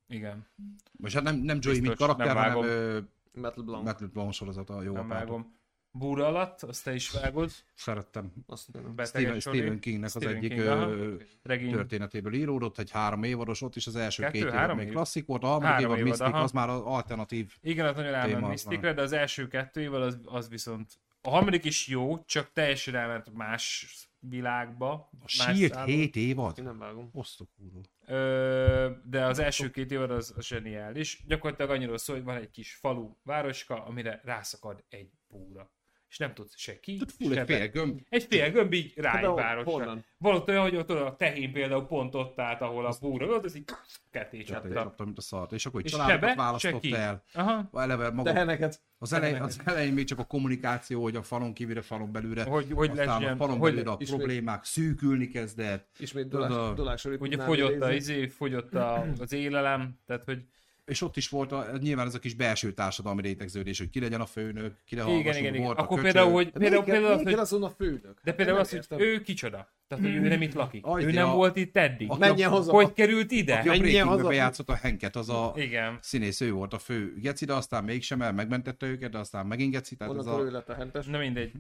S3: Igen,
S2: Most hát nem, nem Joey, mint
S3: Biztos,
S2: karakter,
S3: nem
S2: hanem
S3: vágom.
S2: ö,
S1: Metal Blanc. Met-
S2: Matt Leblanc sorozat a jó
S3: nem
S2: apátok.
S3: vágom. Búra alatt, azt te is vágod.
S2: Szerettem.
S1: azt nem.
S3: Beteges
S2: Stephen,
S3: Csori.
S2: Stephen Kingnek
S3: Stephen
S2: az egyik
S3: King, aha.
S2: ö,
S3: regény.
S2: történetéből íródott, egy három évados, ott is az első
S3: Kettő,
S2: két évad
S3: három
S2: még
S3: év?
S2: klasszik volt, a harmadik
S3: Három
S2: évad
S3: évad,
S2: Mystic,
S3: aha.
S2: az már az alternatív.
S3: Igen, az nagyon ráment
S2: téma az
S3: Mysticre, de az első kettőjével az, az viszont... A harmadik is jó, csak teljesen elment más világba.
S2: A
S3: más
S2: Shield
S3: szálló.
S2: 7
S1: Én
S2: évad?
S1: nem vágom.
S2: Osztok úrul.
S3: Ö, de az első két évad az az zseniális. Gyakorlatilag annyiról szól, hogy van egy kis falu, városka, amire rászakad egy búra. És nem tudsz se ki,
S2: Tehát full
S3: se
S2: egy
S3: be.
S2: fél gömb.
S3: Egy fél gömb így rá
S1: Hát de
S3: egy
S1: hol-
S3: városra.
S1: honnan?
S3: Volt olyan, hogy ott a tehén például pont ott állt, ahol a búra volt, az így ketté
S2: Csatét
S3: csattam.
S2: kaptam, mint a szart. És akkor egy
S3: És se
S2: családokat
S3: be, se
S2: választott
S3: ki.
S2: el.
S3: Aha.
S2: Eleve maga
S1: Teheneket.
S2: Az elején, az elején még csak a kommunikáció, hogy a falon kívülre, falon belülre,
S3: Hogy- hogy
S2: aztán
S3: legyen-
S2: a falon
S3: hogy-
S2: belülre a
S1: ismét-
S2: problémák szűkülni kezdett,
S1: Ismét
S2: Tudod,
S1: dolás, dolás
S3: Ugye fogyott a izé, fogyott a, az élelem, tehát hogy
S2: és ott is volt a, nyilván ez a kis belső társadalmi rétegződés, hogy ki legyen a főnök, ki
S3: igen,
S2: hallgasson,
S3: igen, igen,
S2: volt a
S3: Akkor
S2: köcsög.
S3: például, hogy például,
S1: Például,
S3: például az,
S1: például,
S3: hogy,
S1: Hát azon a főnök.
S3: de például
S1: hát Nem
S3: az,
S1: értem.
S3: hogy ő kicsoda. Tehát, hogy ő nem itt lakik.
S2: Aj,
S3: Ő
S2: de
S3: nem
S2: a-
S3: volt itt eddig.
S2: a-
S1: Menjen haza.
S3: Hogy került ide?
S2: Aki a
S1: Menjen
S2: Breaking
S1: haza.
S2: bejátszott a Henket, az a
S3: Igen.
S2: színész, ő volt a fő geci, de aztán mégsem el, megmentette őket, de aztán megint geci, tehát ez
S1: Onnantól ő
S2: a...
S1: lett a hentes.
S3: Na mindegy.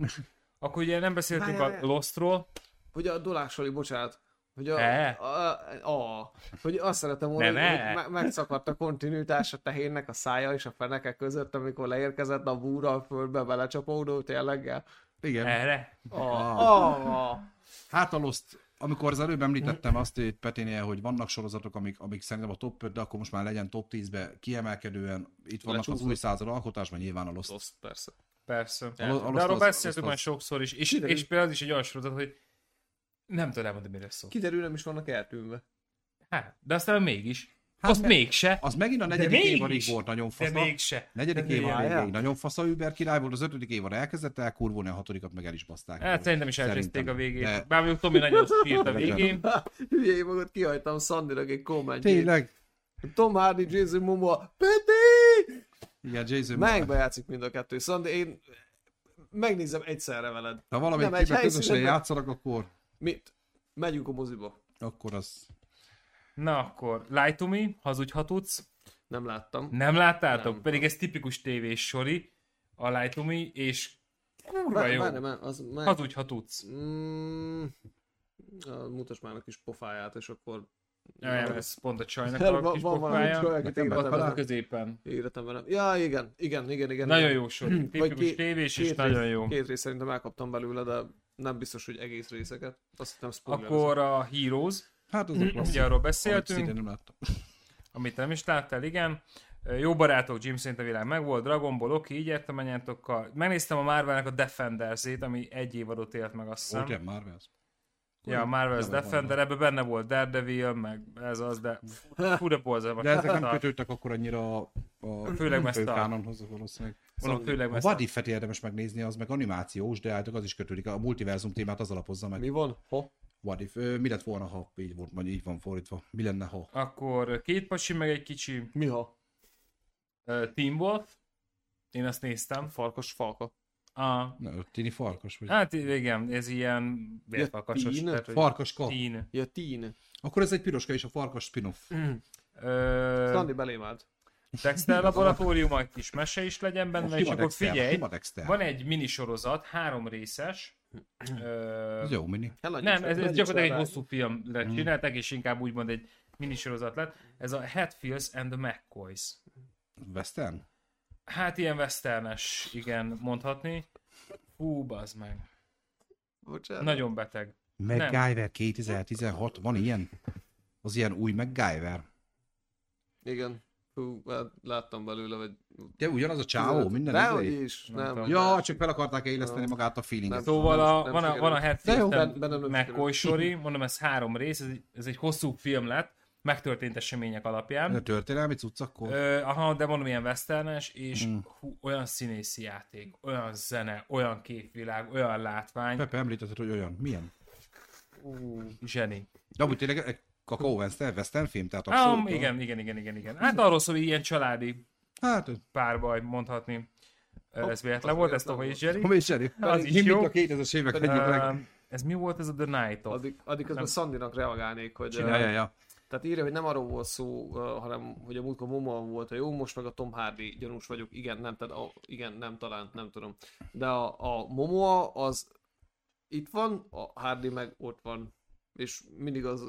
S3: Akkor ugye nem beszéltünk
S1: Várjál,
S3: a
S1: várjál.
S3: Lostról.
S1: Hogy a dolásoli, bocsánat. Hogy a,
S3: E?
S1: a, a, a, hogy azt szeretem volna,
S3: Nem,
S1: hogy,
S3: e?
S1: hogy me- megszakadt a kontinuitás a tehénnek a szája és a fenekek között, amikor leérkezett a búra a földbe belecsapódó tényleggel.
S2: Igen.
S3: Erre?
S1: A,
S2: Ah.
S1: a, a,
S2: Hát a Lost, amikor az előbb említettem azt itt Petinél, hogy vannak sorozatok, amik, amik szerintem a top 5, de akkor most már legyen top 10-be kiemelkedően. Itt vannak az
S1: Lecsúszott.
S2: új század alkotásban, nyilván a Lost.
S1: Rossz, persze.
S3: Persze.
S2: A lo- a
S3: De
S2: Lost
S3: arról
S2: az-
S3: beszéltünk
S2: Lost
S3: már
S2: az-
S3: sokszor is. És,
S1: Kiderül.
S3: és például az is egy olyan sorozat, hogy nem tudom elmondani, mire szól.
S1: Kiderül, nem is vannak eltűnve.
S3: Hát, de aztán mégis.
S2: Hát
S3: Azt
S2: ne-
S3: mégse.
S2: Az megint a negyedik
S3: mégis!
S2: évadig volt nagyon
S3: De
S2: fasz.
S3: mégse.
S2: Negyedik
S3: De
S2: évad
S1: várjál.
S2: végéig nagyon fasz a Uber király volt, az ötödik évad elkezdett elkurvulni, a hatodikat meg el is baszták.
S3: Hát szerintem is elcseszték a
S2: Szerintem.
S3: végét.
S2: De-
S3: Bár mondjuk Tomi nagyon sírt a végén.
S1: Hülyei magad kihajtam Szandinak egy kommentjét.
S2: Tényleg?
S1: Tom Hardy, Jason Momoa, Peti!
S2: Igen, Jason Momoa.
S1: Megbe játszik mind a kettő, szóval de én megnézem egyszerre veled.
S2: Ha valamelyik
S1: Nem, egy
S2: képben közösen
S1: helyszínen-
S2: játszanak, akkor,
S1: Mit? Megyünk a moziba.
S2: akkor az...
S3: Na akkor, Lie to me, hazudhatsz.
S1: Nem láttam.
S3: Nem láttátok?
S1: Nem.
S3: Pedig ez tipikus tévés sori, a Lie to me, és kurva
S1: Várj,
S3: jó.
S1: várj, várj, az meg...
S3: Hazudj, ha tudsz.
S1: Mm, ah, mutasd már a kis pofáját, és akkor...
S3: Nem, ez pont a csajnak
S1: Van-
S3: a
S1: van
S3: kis
S1: valami
S3: pofája.
S1: csaj,
S3: Ott
S1: akit
S2: Nekem
S1: égretem
S3: van a
S1: velem.
S3: középen.
S1: Égretem velem. Ja, igen, igen, igen, igen.
S3: Nagyon
S1: igen.
S3: jó sor.
S1: Vagy
S3: Tipikus
S1: ké-
S3: tévés, és
S1: két
S3: nagyon
S1: rész-
S3: jó.
S1: Két rész szerintem elkaptam belőle, de nem biztos, hogy egész részeket. Azt hittem spoilerezem.
S3: Akkor a Heroes,
S2: Hát azok klassz.
S3: ugye arról
S2: Amit
S3: beszéltünk,
S2: szintén nem láttam.
S3: amit nem is láttál, igen. Ö, Jó barátok, Jim szerint a világ megvolt, Dragon Ball, oké, így értem anyátokkal. Megnéztem a Marvelnek a Defenders-ét, ami egy évadot élt meg, azt hiszem.
S2: Volt ilyen Marvels?
S3: Ja, a Marvel's
S2: Marvel.
S3: Defender, ebben benne volt Daredevil, meg ez az, de fú, de borzalmas.
S2: De ezek nem kötődtek akkor annyira a, a
S3: hát Főleg Mesta.
S2: főkánonhoz valószínűleg.
S3: Mondom, főleg
S2: A
S3: ezt
S2: Szóval What If-et érdemes megnézni, az meg animációs, de álltok az is kötődik. A multiverzum témát az alapozza meg.
S1: Mi van? Ha?
S2: What If, ö, mi lett volna, ha így, volt, vagy így van fordítva? Mi lenne, ha?
S3: Akkor két pasi, meg egy kicsi
S1: Mi ha?
S3: uh, Team Wolf. Én azt néztem.
S1: Farkas falka.
S3: A,
S2: Na, a tini farkas vagy?
S3: hát igen, ez ilyen vérfakasos.
S1: teen?
S3: tehát, hogy
S2: Farkas kap.
S3: Teen.
S1: Ja, teen.
S2: Akkor ez egy piroska és a farkas spin-off.
S3: Ö,
S1: Szandi belém állt.
S3: Dexter laboratórium, egy kis mese is legyen benne, és
S2: Sima
S3: akkor
S2: Dexter,
S3: figyelj,
S2: Sima Dexter.
S3: van egy minisorozat, három részes. Ö,
S2: Ez jó mini.
S1: Eladjuk
S3: Nem,
S1: le-
S3: ez, ez
S1: eladjuk
S3: gyakorlatilag
S1: le
S3: egy
S1: rá.
S3: hosszú film
S1: Mm.
S3: lett csinálták, és inkább úgymond egy minisorozat lett. Ez a Hatfields and the McCoys.
S2: Western?
S3: Hát ilyen westernes, igen, mondhatni. Hú, bazd meg.
S1: Bocsánat.
S3: Nagyon beteg.
S2: MacGyver 2016, van ilyen? Az ilyen új MacGyver.
S1: Igen. Hú, hát láttam belőle, vagy...
S2: De ugyanaz a csávó, minden
S1: Dehogy
S2: izé?
S1: is,
S3: Nem
S1: nem.
S3: tudom.
S2: Ja, csak fel akarták éleszteni magát a feelinget.
S1: Nem.
S3: Szóval a,
S1: nem
S3: van, a,
S1: sikerült.
S3: van a
S1: De jó,
S3: Hatfield
S1: benne nem sikerült.
S3: McCoy sori, mondom, ez három rész, ez egy, ez egy hosszú film lett, megtörtént események
S2: A
S1: Hát
S3: alapján.
S2: történelmi cucc akkor?
S3: Ö, aha, de mondom, ilyen westernes, és
S2: Mm.
S3: hú, olyan színészi játék, olyan zene, olyan képvilág, olyan látvány,
S2: Pepe említetted, hogy olyan. Milyen?
S1: Ú,
S3: zseni.
S2: De amúgy tényleg egy Kakao Western, Western film, tehát abszolút.
S3: Ah, igen, igen, igen, igen, igen. Hát arról szól, hogy ilyen családi
S2: Hát,
S3: párbaj, mondhatni. Ö, Ez véletlen
S1: az
S3: volt, ezt
S1: véletlen
S3: a is
S1: volt.
S3: zseni.
S2: Home és Jerry.
S3: Az is
S2: Mindig
S3: jó.
S2: a 2000-es évek
S1: Pedig-
S2: egyik leg...
S3: Ö, Ez mi volt ez a The Night of?
S1: Addig, addig közben Szandinak reagálnék, hogy...
S2: Ja, ja, ja.
S1: Tehát írja, hogy nem arról volt szó, uh, hanem hogy a múltkor Momoa volt a jó, most meg a Tom Hardy gyanús vagyok. Igen, nem, tehát a, igen, nem, talán, nem tudom. De a, a Momoa az itt van, a Hardy meg ott van. És mindig az,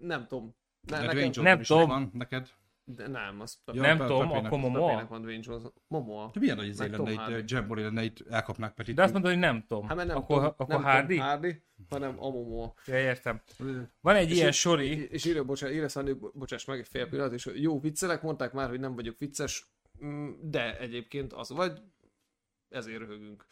S1: nem tudom. Ne,
S2: De
S1: nekem,
S2: Dwayne Johnson is
S3: tudom.
S2: van neked.
S1: de nem, az
S2: Jó,
S3: Nem
S2: Pe-
S3: tudom,
S2: Pepe-nek.
S3: akkor
S1: Momoa?
S3: Momoa?
S1: van Dwayne Johnson. Momoa.
S2: De milyen nagy izé
S1: Meg
S2: lenne
S1: Tom
S2: itt,
S1: Hardy.
S2: eh, Jamboree lenne itt, elkapnák Petit.
S3: De azt mondod, hogy nem Tom.
S1: Hát mert nem,
S3: Akkor,
S1: Tom, Hát-
S3: akkor
S1: nem
S3: Hardy?
S1: Tom Hardy, hanem a Momoa.
S3: Ja, értem. Van egy ilyen
S1: így-
S3: sori,
S1: És írja, bocsánat, írja Szandi, bo- bocsáss meg egy fél pillanat, és jó viccelek, mondták már, hogy nem vagyok vicces, mm, de egyébként az vagy, ezért röhögünk.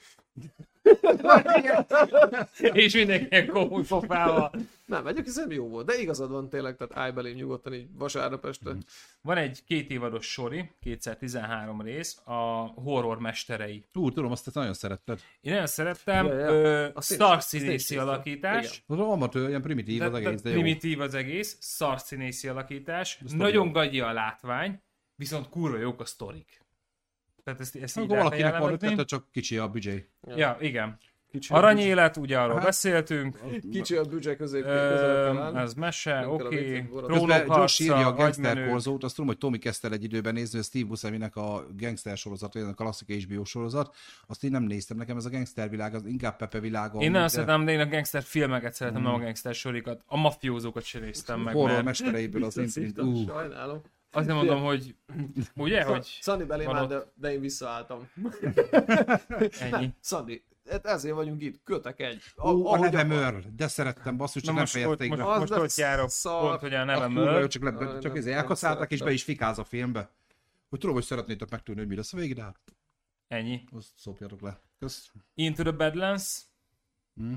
S3: és mindenki komoly pofával.
S1: Nem, vagyok, hiszem jó volt, de igazad van tényleg, tehát állj belém nyugodtan így vasárnap este.
S2: Mhm.
S3: Van egy két évados sori, 2013 rész, a horror mesterei.
S2: Úr, tudom, azt te nagyon szeretted.
S3: Én nagyon szerettem,
S1: Ja, ja.
S3: ö,
S1: A szín-
S3: szar
S1: a
S3: színészi
S1: színész-
S3: alakítás.
S1: igen.
S2: Az amatőr, ilyen primitív az
S3: De- de
S2: egész, de jó.
S3: primitív az egész, szar színészi alakítás,
S2: sztori
S3: nagyon
S2: jó.
S3: gagyi a látvány, viszont kurva jók a sztorik. Tehát ezt, ezt így
S2: Akkor
S3: lehet
S2: Hát, valakinek van
S3: jellemezni.
S2: ötlete, csak kicsi a büdzsé.
S3: Ja, igen.
S1: Kicsi a büdzsé-
S3: Aranyélet, ugye arról
S2: Hát,
S3: beszéltünk.
S1: Kicsi a büdzsé közé,
S3: Öm,
S1: közel
S3: ez mese,
S1: Nem kell a
S3: oké.
S1: viccet, Borat.
S2: Közben Josh írja a
S3: Trónokharca,
S2: Gangster
S3: agymenők.
S2: korzót, azt tudom, hogy Tommy kezdte el egy időben nézni, a Steve Busceminek a Gangster sorozat, olyan a klasszik HBO sorozat, azt én nem néztem, nekem ez a Gangster világ, az inkább Pepe világa.
S3: Én
S2: amúgy,
S3: nem
S2: de
S3: szeretem, de én a gangster filmeket szeretem, nem a gangster sorikat. A mafiózókat sem néztem meg,
S2: Horror
S3: mert
S2: mestereiből az
S1: Viccet
S2: én...
S1: szívtam,
S2: Ú,
S1: sajnálom.
S3: azt nem mondom, hogy ugye, hogy
S1: Szandi belém
S3: van
S1: áll,
S3: ott.
S1: de, de én visszaálltam.
S3: ennyi.
S1: Szandi, hát ezért vagyunk itt, kötek egy. A-
S2: Ú, a
S1: ahogy
S2: nevem őr, de szerettem basszus,
S3: Na
S2: csak nem
S3: most, ott,
S2: fejezték
S3: most,
S2: be.
S1: Az
S3: most
S1: de
S3: ott járok,
S1: szar.
S3: pont, hogy a nevem
S2: A kurva jó,
S3: ölt.
S2: csak, le,
S1: Aj,
S2: csak
S1: nem,
S2: izé
S1: nem
S2: elkaszálták, és
S1: szerettem.
S2: be is fikáz a filmbe. Hogy tudom, hogy szeretnétek megtudni, hogy mi lesz a végig, de hát
S3: Ennyi.
S2: azt szopjatok le. Kösz.
S3: Into the Badlands,
S2: Hm.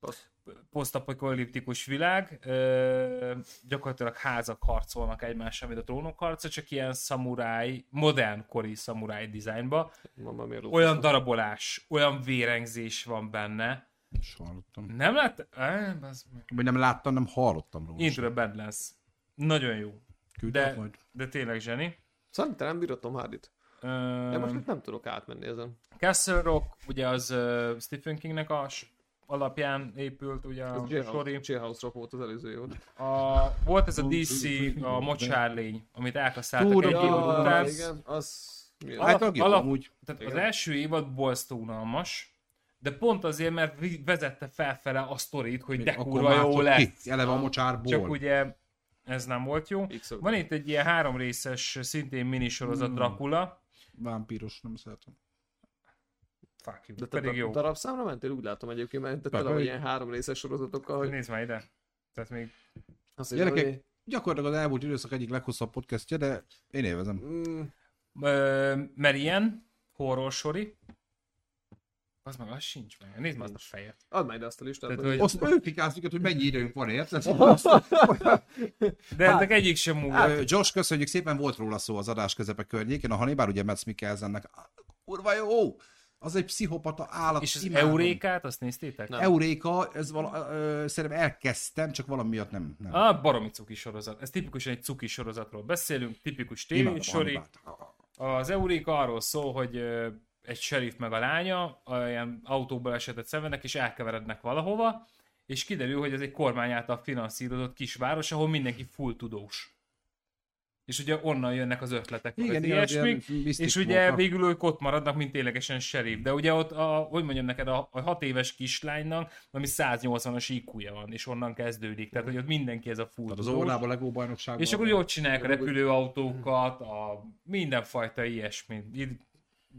S1: Azt-
S3: posztapokaliptikus világ, ö, gyakorlatilag házak harcolnak egymással, mint a trónok harca, csak ilyen szamuráj, modern kori szamuráj dizájnba.
S1: Mamma mia, Lukasz.
S3: Olyan darabolás, olyan vérengzés van benne.
S2: És hallottam.
S3: Nem lett? Eh, bazd meg.
S2: Vagy nem láttam, nem hallottam róla.
S3: Into the Badlands. Nagyon jó.
S2: Küldtek
S3: De,
S2: majd.
S3: de tényleg zseni.
S1: Szandi, te nem bírod Tom Hardy-t? De most
S3: Ö,
S1: itt nem tudok átmenni ezen.
S3: Castle Rock, ugye az ö, Stephen Kingnek a s- alapján épült, ugye
S1: Ez
S3: a sori.
S1: Jailhouse- Jailhouse Rock volt az előző év.
S3: A, volt ez a DC, a mocsárlény, amit elkaszáltak egy
S2: Tudom,
S3: év
S2: ja,
S3: után.
S1: igen, az... mi az?
S2: Hát a jó,
S3: alap-
S2: amúgy.
S3: Tehát az
S1: Igen.
S3: első évad borzasztó unalmas, de pont azért, mert vi- vezette felfele a sztorit, hogy de
S2: Akkor
S3: kurva jó
S2: mások
S3: lesz.
S2: ki, eleve a mocsárból.
S3: Csak ugye ez nem volt jó.
S1: X-ok.
S3: Van itt egy ilyen három részes, szintén minisorozat
S2: Hmm.
S3: Dracula.
S2: Vámpíros, nem szeretem.
S3: Fuck you,
S1: De te
S3: pedig
S1: da-
S3: jó.
S1: darabszámra mentél? Úgy látom egyébként, mert te
S2: Persze,
S1: tele vagy
S2: hogy-
S1: ilyen három részes sorozatokkal, hogy
S3: Nézd már ide. Tehát még
S1: azt hittem,
S2: Gyerekek,
S1: hogy...
S2: gyakorlatilag az elmúlt időszak egyik leghosszabb podcastje, de én élvezem.
S1: Mm,
S3: Ö, mert ilyen horror sori. Az meg az sincs meg. Nézd már azt a fejet.
S1: add meg ide azt a listát.
S3: Tehát,
S1: hogy-
S3: hogy,
S2: Azt ő fikáz minket, hogy mennyi időnk van, érted?
S3: de ennek egyik sem múlva.
S2: Ö, Josh, köszönjük szépen, volt róla szó az adás közepe környékén, a Hannibal, ugye Mads Mikkelsennek, á, kurva jó, az egy pszichopata állat.
S3: És az
S2: imádom.
S3: Eurékát, azt néztétek?
S1: Nem.
S2: Euréka, ez vala, ö, szerintem elkezdtem, csak valami miatt nem. nem.
S3: A baromi cuki sorozat. Ez tipikusan egy cuki sorozatról beszélünk, tipikus
S2: Imádom a
S3: tévésori.
S2: Hannibalt.
S3: Az Euréka arról szól, hogy ö, egy sheriff meg a lánya ö, ilyen autóból esetet szenvednek, és elkeverednek valahova, és kiderül, hogy ez egy kormány által finanszírozott kisváros, ahol mindenki full tudós. És ugye onnan jönnek az ötletek, meg
S2: Igen,
S3: az
S2: igen, az
S3: ilyesmik.
S2: ilyen misztikus
S3: És ugye
S2: voltak.
S3: végül ők ott maradnak, mint ténylegesen serif. De ugye ott, a, hogy mondjam neked, a, a hat éves kislánynak, ami 180-as iq van, és onnan kezdődik. Tehát, hogy ott mindenki ez a full
S2: Tehát Hát az
S3: tudós.
S2: Orlában Legó bajnokságban.
S3: És akkor ugye ott csinálják a repülőautókat, a mindenfajta ilyesmit. Itt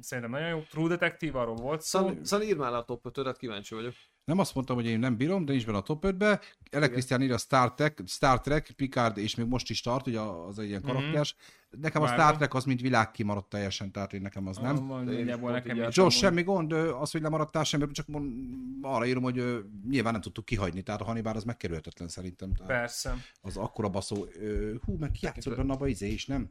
S3: szerintem nagyon jó. True Detective, arról volt szó.
S1: Szan, Szan írd már le a top 5 hát kíváncsi vagyok.
S2: Nem azt mondtam, hogy én nem bírom, de nincs benne a top 5-be. Ele Krisztián írja Star Trek, Star Trek, Picard, és még most is tart, ugye az egy ilyen
S1: Mhm.
S2: karakters. Nekem a
S3: Várva.
S2: Star Trek az, mint világ kimaradt teljesen, tehát én nekem az nem.
S3: Ah,
S1: én is
S3: Nagyjából
S1: pont
S3: nekem
S1: így
S3: is
S2: Josh,
S3: amúgy.
S2: semmi gond, ö, az, hogy lemaradtál semmi, csak mond, arra írom, hogy ö, nyilván nem tudtuk kihagyni, tehát a Hannibal az megkerülhetetlen szerintem. Tehát
S3: Persze.
S2: az akkora baszó, ö, hú, meg ki játszott benne abba izé is, nem?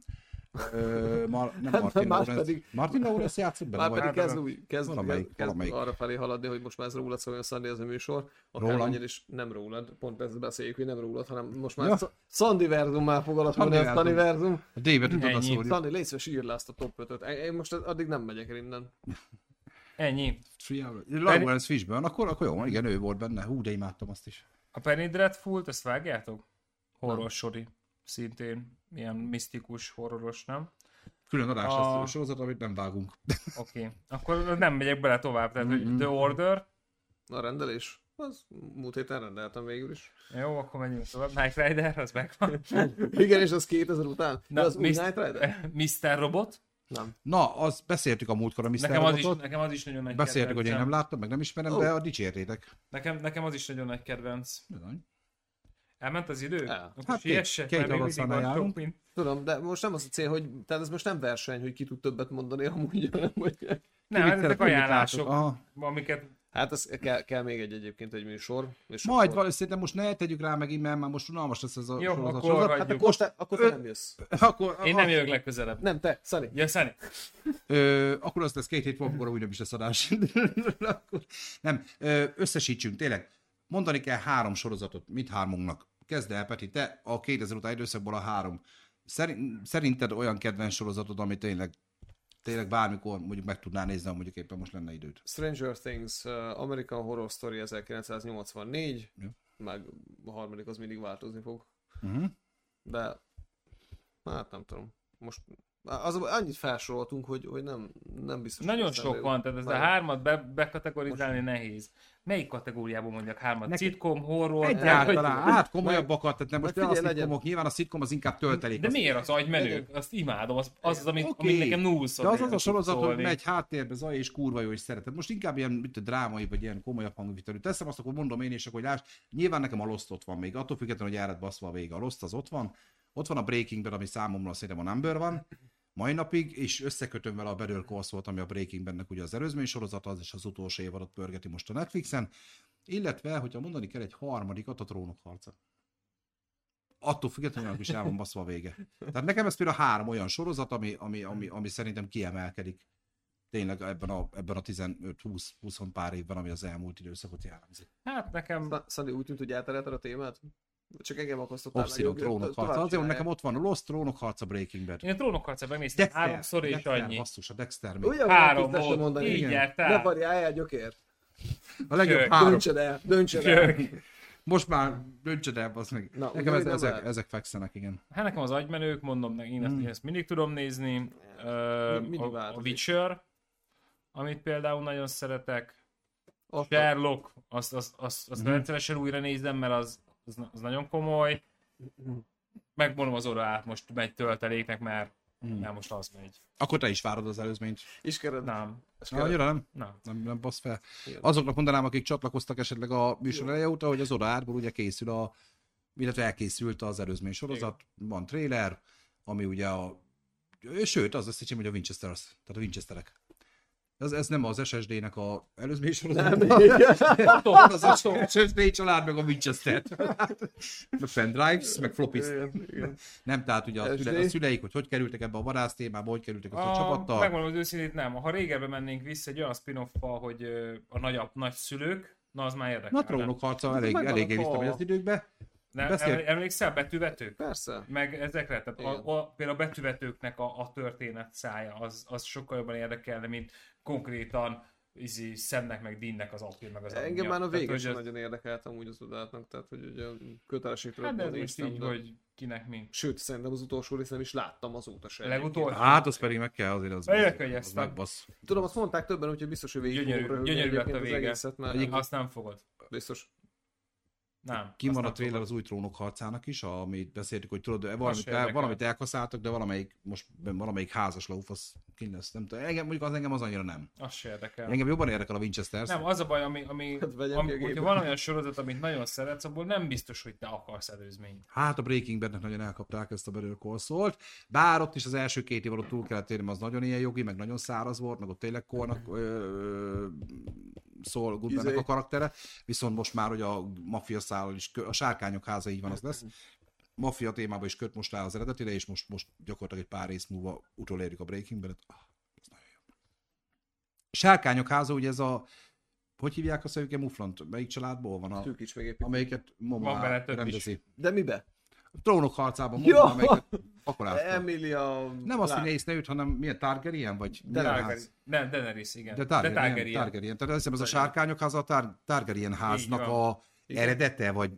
S2: Ö, Mar, nem
S1: Hát,
S2: Martin
S1: más
S2: Lawrence.
S1: pedig-
S2: Martin Lawrence játszott benne?
S1: Már
S2: Vagy?
S1: pedig
S3: Általában.
S1: kezd úgy, kezd,
S2: Valamelyik,
S1: kezd, kezd
S2: valamelyik.
S1: arra felé haladni, hogy most már ez rólad szóljon Szandi ez a műsor. Akár
S2: Rólam?
S1: annyira is nem rólad, pont ezt beszéljük, hogy nem rólad, hanem most már
S2: Ja.
S1: ja. Szandiverzum már fog alakulni a
S2: Szandiverzum.
S1: Szandiverzum.
S2: A D-be tudod
S3: Ennyi.
S2: azt szólni.
S1: Szandi, légy szíves, írd le azt a top 5-öt. Én én most addig nem megyek el innen.
S3: Ennyi.
S2: Lawrence Fishburne, akkor, akkor jó, igen, ő volt benne. Hú, de imádtam azt is.
S3: A Penny Dreadful-t, ezt vágjátok? Horror sori. Szintén ilyen misztikus, horroros, nem?
S2: Külön adás a...
S3: A-
S2: lesz a sorozat, amit nem vágunk.
S3: Oké. Okay. Akkor nem megyek bele tovább. Tehát, hogy The Order.
S1: A rendelés? Az múlt héten rendeltem végül is.
S3: Jó, akkor megyünk tovább. Knight Rider, az megvan.
S1: Igen, és az 2000 után? De az új Knight Rider?
S3: Mr. Robot.
S1: Nem.
S2: Na, az beszéltük a múltkor a Mr.
S3: Nekem az, is,
S2: Robotot.
S3: nekem az is nagyon nagy
S2: Beszéltük, hogy én nem
S3: kedvencem.
S2: láttam, meg nem ismerem,
S1: Ó.
S2: de a dicsértétek.
S3: nekem, nekem az is nagyon nagy kedvenc.
S2: Bizony.
S3: Elment az idő?
S1: El.
S3: Akkor
S2: Hát
S3: hát
S2: két-
S3: siessek,
S2: két
S3: mert még
S2: ravasszal
S3: mindig van
S2: járunk.
S3: sok mint.
S1: Tudom, de most nem az a cél, hogy... Tehát ez most nem verseny, hogy ki tud többet mondani amúgy. hanem hogy-
S3: Nem,
S2: Kivittelek,
S3: ezek
S2: kivittelek.
S3: ajánlások,
S2: Aha.
S3: amiket
S1: Hát ez kell, kell még egy egyébként egy műsor. És
S2: Majd
S1: akkor-
S2: valószínűleg most ne tegyük rá meg, mert már most unalmas lesz ez a
S3: Jó,
S2: sorozat.
S3: akkor
S2: sorozat.
S3: hagyjuk.
S1: Hát akkor, te, akkor te
S2: Ö-
S1: nem jössz.
S2: akkor,
S3: én nem jövök legközelebb.
S1: Nem, te, Szani.
S3: Ja, Szani.
S2: Ö, akkor az lesz két hét múlva, akkor úgynem is lesz adás. Akkor- nem, ö, összesítsünk, tényleg. Mondani kell három sorozatot, mit hármunknak. Kezd el, Peti, te a 2000 után időszakból a három. Szerin- Szerinted olyan kedvenc sorozatod, amit tényleg, tényleg bármikor mondjuk meg tudnál nézni, ha mondjuk éppen most lenne időd.
S1: Stranger Things, uh, American Horror Story 1984,
S2: Ja.
S1: meg a harmadik az mindig változni fog,
S2: Uh-huh.
S1: de hát nem tudom. Most az, annyit felsoroltunk, hogy, hogy nem, nem biztos. hogy
S3: Nagyon
S1: eszembe
S3: sok
S1: jut.
S3: van, tehát ez a
S1: Nagyon.
S3: hármat be, bekategorizálni nehéz. Melyik kategóriából mondjak hármat?
S2: Neki-
S3: Sitcom, horror?
S2: Egyáltalán,
S1: hogy-
S2: hát komolyabbakat, tehát nem most
S1: Figyelj,
S2: figyelj, a
S1: legyen.
S2: szitkomok, nyilván a szitkom az inkább töltelék.
S3: De
S2: az-
S3: miért az agymenők? Azt imádom, az az, az amit,
S2: Oké.
S3: amit nekem nullszor
S2: De az az
S3: lehet
S2: a sorozat, hogy
S3: szólni.
S2: megy háttérbe zaj, és kurva jó, és szeretem. Most inkább ilyen mit, tudom, drámai, vagy ilyen komolyabb hangvitelű. Teszem azt, akkor mondom én is, akkor hogy láss, nyilván nekem a Lost ott van még, attól függetlenül, hogy elred baszva a vége. A Lost az ott van, ott van a Breaking Bad, ami számomra szerintem a number van, mai napig, és összekötöm vele a Better Call Saul-t, ami a Breaking Bennek ugye az előzmény sorozata, az és az utolsó évadot pörgeti most a Netflixen, illetve, hogyha mondani kell egy harmadikat, a trónok harca. Attól függetlenül, hogy is el van baszva a vége. Tehát nekem ez például három olyan sorozat, ami, ami, ami, ami szerintem kiemelkedik tényleg ebben a, ebben a 15-20 pár évben, ami az elmúlt időszakot jellemzi.
S3: Hát nekem
S1: Sz- Szandi, úgy tűnt, hogy áterelted a témát? Csak engem akasztottál. meg,
S2: Obszidon
S1: jó,
S2: trónok
S1: tovább
S2: harca. Azért, hogy
S1: csinálják.
S2: nekem ott van a Lost trónok harca Breaking Bad.
S3: én a trónokharcát megnéztem
S2: Dexter,
S3: háromszor és
S2: Dexter,
S3: annyi.
S2: Basszus, a Dexter még.
S1: Ugyan
S3: Három
S1: három volt,
S3: volt,
S1: mondani.
S3: így
S1: igen.
S3: jártál.
S1: Ne varjáljál, gyökér.
S2: A legjobb
S3: Sőt.
S2: három.
S1: Döntsed el, döntsed el.
S3: Jövök.
S2: Most már döntsed el, az meg.
S1: Na,
S2: nekem
S1: ugye,
S2: ez,
S1: nem
S2: ezek,
S1: lehet.
S2: ezek fekszenek, igen.
S3: Hát nekem az agymenők, mondom, ne- én
S2: Mm.
S3: ezt, én ezt mindig tudom nézni. Ö,
S1: mindig
S3: a, a
S1: változik.
S3: Witcher, amit például nagyon szeretek.
S1: Ott van.
S3: Sherlock, azt, azt, azt,
S2: Mhm.
S3: azt rendszeresen újra nézem, mert az, az, az nagyon komoly. Megmondom az orrát, most megy tölteléknek, mert,
S2: Mm.
S3: mert most az megy.
S2: Akkor te is várod az előzményt.
S1: Iskered.
S3: Nem,
S2: Na, Annyira nem?
S3: nem.
S2: Nem, nem basz fel.
S1: Igen.
S2: Azoknak mondanám, akik csatlakoztak esetleg a műsor eleje óta, hogy az oda árból ugye készül a, illetve elkészült az előzmény sorozat, Igen. van trailer, ami ugye a, sőt, az lesz hiszem, hogy a Winchesters, tehát a Winchesterek. Ez, ez nem az SSD-nek a előzmény sorozat, nem, az a SSD család, meg a Winchester. meg pendrives, meg floppies.
S1: Igen, igen.
S2: Nem, tehát ugye a,
S1: SSD.
S2: szüle, a szüleik, hogy hogy kerültek ebbe a vadász témába, hogy kerültek a, a
S1: Ah,
S2: csapattal.
S3: Megmondom az őszintét, nem. Ha régebben mennénk vissza egy olyan spin off hogy ö, a nagyap, nagyszülők, na az már érdekel.
S2: Na, trónok harca elég,
S1: megvan
S2: eléggé
S1: a
S2: vittem
S1: tolva.
S2: az időkbe.
S3: Nem,
S2: beszél.
S3: eml- emlékszel betűvetők?
S1: Persze.
S3: Meg ezekre, tehát
S1: Igen.
S3: a, a, például a betűvetőknek a, a történet szája, az, az sokkal jobban érdekelne, mint konkrétan izi, szemnek, meg dinnek az apja, meg az
S1: Engem
S3: anyja.
S1: már a
S3: Tehát,
S1: vége
S3: hogy
S1: sem
S3: az-
S1: nagyon érdekelt amúgy az odátnak, tehát hogy ugye kötelességtől
S3: Hát de ez most
S1: néztem,
S3: így,
S1: de-
S3: hogy kinek mi.
S1: Sőt, szerintem az utolsó részt nem is láttam azóta se.
S3: Legutolsó?
S1: egyébként.
S2: Hát, az pedig meg kell azért az. az
S3: Elkönyeztem.
S2: megbasz.
S1: Tudom, azt mondták többen, úgyhogy biztos, hogy végig
S3: Gyönyörű-
S1: fogom röhögni
S3: gyönyörű lett
S1: egyébként
S3: a
S1: az
S3: vége.
S1: egészet, mert
S3: Azt nem fogod.
S1: biztos.
S3: Nem.
S2: Kimaradt
S3: azt nem
S2: trailer az új trónok harcának is, amit beszéltük, hogy tudod,
S3: se
S2: valamit, el,
S3: érdekel.
S2: valamit elkaszáltak, de valamelyik, most valamelyik házas lóf, az kint lesz, nem tudom. Engem, mondjuk az engem az annyira nem.
S3: tudom. Azt se érdekel.
S2: Engem jobban érdekel a Winchester.
S3: Nem, az a baj, ami, ami,
S1: Hát vegyem
S3: ami
S1: ki a
S3: hogyha
S1: gépet.
S3: van olyan sorozat, amit nagyon szeretsz, abból nem biztos, hogy te akarsz előzményt.
S2: Hát a Breaking Badnek nagyon elkapták ezt a Better Call Saul-t, bár ott is az első két év alatt túl kellett érni, az nagyon ilyen jogi, meg nagyon száraz volt, meg ott tényleg Kornak szól Goodmannek
S1: Izé.
S2: a karaktere, viszont most már, hogy a maffia szállal is, kö- a sárkányok háza így van, az lesz. Maffia témába is köt most rá az eredetire, és most, most gyakorlatilag egy pár rész múlva utolérjük a Breaking Badet. Ah, ez nagyon jó. Sárkányok háza, ugye ez a hogy hívják azt, hogy Muflant? Melyik családból van? A,
S1: Szűkíts még egy picit.
S2: amelyiket
S3: Van bele
S2: Momoa
S3: több is.
S2: rendezi.
S1: De mibe?
S2: Trónok harcában
S1: Jó!
S2: mondom, amelyiket pakoláztak.
S1: Emilia...
S2: Nem azt,
S1: Lá-
S2: hogy néznőt, hanem milyen Targaryen, vagy
S1: De
S2: milyen
S3: Targaryen.
S2: ház?
S3: Nem, Daenerys, igen.
S2: De Targaryen,
S3: Targaryen.
S2: Targaryen. Targaryen. Tehát azt hiszem, ez a sárkányok háza a Tar- Targaryen háznak
S3: Így van.
S2: a eredete, vagy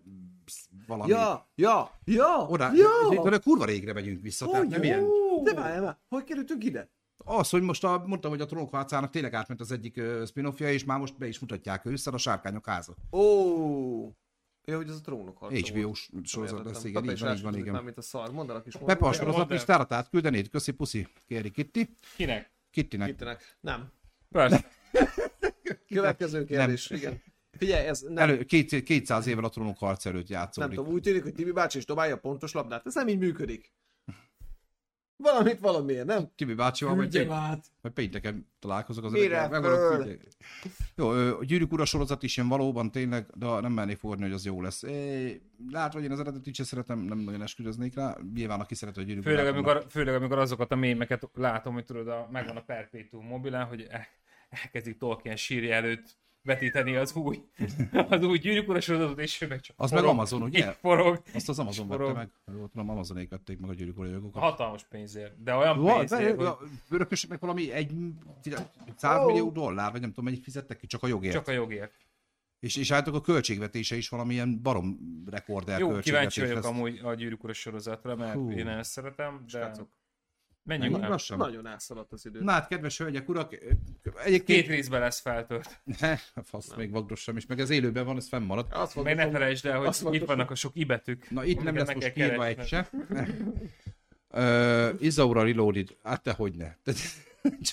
S2: valami.
S1: Ja, ja, ja,
S2: Oda,
S1: ja!
S2: de, de kurva régre megyünk vissza,
S1: Ó,
S2: tehát nem
S1: jó!
S2: ilyen.
S1: De várjál már, hogy kerültünk ide?
S2: Az, hogy most a, mondtam, hogy a trónok harcának tényleg átment az egyik ö, spin-offja, és már most be is mutatják ősszel a sárkányok háza.
S1: Ó, ja, hogy ez a trónok harca volt.
S2: HBO-s sorozat lesz,
S1: Értettem.
S2: igen,
S1: Papa
S2: így
S1: is
S2: van, így
S1: rásütött
S2: van,
S1: már,
S2: igen.
S1: mint a szar, mondd el a kis
S2: Pepe a
S1: mondatot.
S2: sorozat
S3: modern.
S2: is tárat átküldenéd, köszi, puszi, kéri Kitty.
S3: Kinek?
S2: Kittinek.
S1: Kittenek. Nem.
S3: Persze.
S1: Következő kérdés, igen. Figyelj, ez nem,
S2: Elő, két, 200 évvel a trónok harc előtt
S1: nem
S2: játszódik.
S1: tudom, úgy tűnik, hogy Tibi bácsi is dobálja a pontos labdát. Ez nem így működik. Valamit valamiért, nem?
S2: Tibi bácsival, majd,
S3: Küldjem
S2: pént,
S3: át.
S2: majd pénteken találkozok az
S1: Mire
S2: öreg- megmondom,
S1: föl?
S2: küldjék. Jó, ö, a gyűrűk ura sorozat is én valóban tényleg, de nem mernék fordni, hogy az jó lesz. É, látva, hogy én az eredetit sem szeretem, nem nagyon esküdöznék rá. Nyilván, aki szereti a gyűrűk
S3: Főleg
S2: urát, annak-
S3: amikor, főleg amikor azokat a mémeket látom, hogy tudod, a, megvan a Perpetuum mobilán, hogy el- elkezdik Tolkien sírja előtt vetíteni az új, az új gyűrűk ura sorozatot, és ő meg csak
S2: Az meg
S3: forog,
S2: Amazon, ugye?
S3: Így forog.
S2: Azt az Amazon vette
S3: forog.
S2: meg. Ha Jól tudom, Amazonék vették meg a gyűrűk ura jogokat.
S3: Hatalmas pénzért, de olyan
S2: Va-
S3: pénzért,
S2: de-
S3: hogy
S2: a Örökös meg valami egy 100 millió dollár, vagy nem tudom, mennyit fizettek ki, csak a jogért.
S3: csak a jogért.
S2: És, és állítólag a költségvetése is valamilyen barom rekorder
S3: Jó,
S2: költségvetés
S3: kíváncsi vagyok
S2: lesz.
S3: amúgy a gyűrűk ura sorozatra, mert
S2: Hú.
S3: én ezt szeretem, de
S1: Srácok.
S3: menjünk
S2: Menjünk
S3: el.
S2: lassan.
S1: Nagyon elszaladt az idő.
S2: Na hát, kedves hölgyek, urak, ö,
S3: Két
S2: egyébként...
S3: részben lesz feltört.
S2: Ne, fasz, még vagdos sem is, meg ez élőben van, ez fennmarad.
S1: Azt
S3: Meg ne
S1: mondom,
S3: felejtsd el,
S1: Azt
S3: hogy
S1: mondom.
S3: itt vannak a sok ibetük.
S2: Na itt nem
S3: amiket
S2: lesz
S3: meg
S2: most
S3: kell
S2: írva egy
S3: keresni.
S2: se. Ö, Izaura Reloaded, hát te hogy ne. Tehát,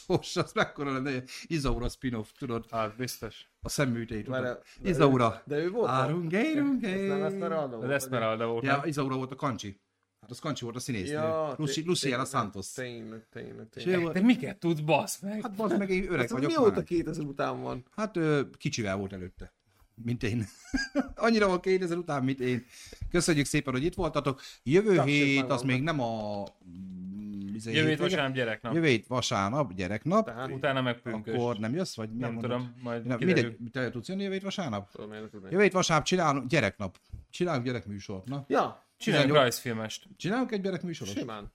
S2: Gyors, az mekkora lenne, Izaura spin-off, tudod,
S3: Hát biztos.
S2: a szemműteit.
S1: Várjál, de ő-
S2: Izaura.
S1: de ő volt a-
S2: Árungé,
S1: Ez nem Esmeralda
S3: Az
S1: volt?
S3: Esmeralda volt.
S2: Ja,
S3: nem?
S2: Izaura volt a kancsi. Hát az kancsi volt a színésznő.
S1: Ja,
S2: Lucy,
S1: té-
S2: Luciana
S1: tényleg,
S2: Santos.
S1: Tényleg, tényleg,
S2: És
S1: tényleg.
S2: ő volt-
S3: De miket tudsz, basz meg?
S2: Hát bazd meg, én öreg
S1: Ez
S2: vagyok
S1: mióta
S2: már.
S1: 2000 után van?
S2: Hát ö, kicsivel volt előtte, mint én. Annyira van 2000 után, mint én. Köszönjük szépen, hogy itt voltatok. Jövő
S1: Tapsít
S2: hét, az
S1: magamnak.
S2: még nem a... mm, izé,
S3: Jövő hét
S2: hétvége.
S3: vasárnap gyereknap.
S2: Jövő hét vasárnap, gyereknap.
S1: Tehát
S3: Utána meg pünkös.
S2: Akkor nem jössz, vagy miért
S3: Nem
S2: mondod?
S3: tudom, majd
S2: Nem,
S3: kiderül.
S2: mindegy, te tudsz jönni jövő hét vasárnap?
S1: Tudom, én nem tudnék.
S2: Jövő hét vasárnap csinálunk gyereknap. Csinálunk gyerekműsort, na.
S1: Ja,
S3: Csináljunk
S2: 18.
S3: rajzfilmest.
S2: Csinálunk egy gyerekműsort?
S1: simán.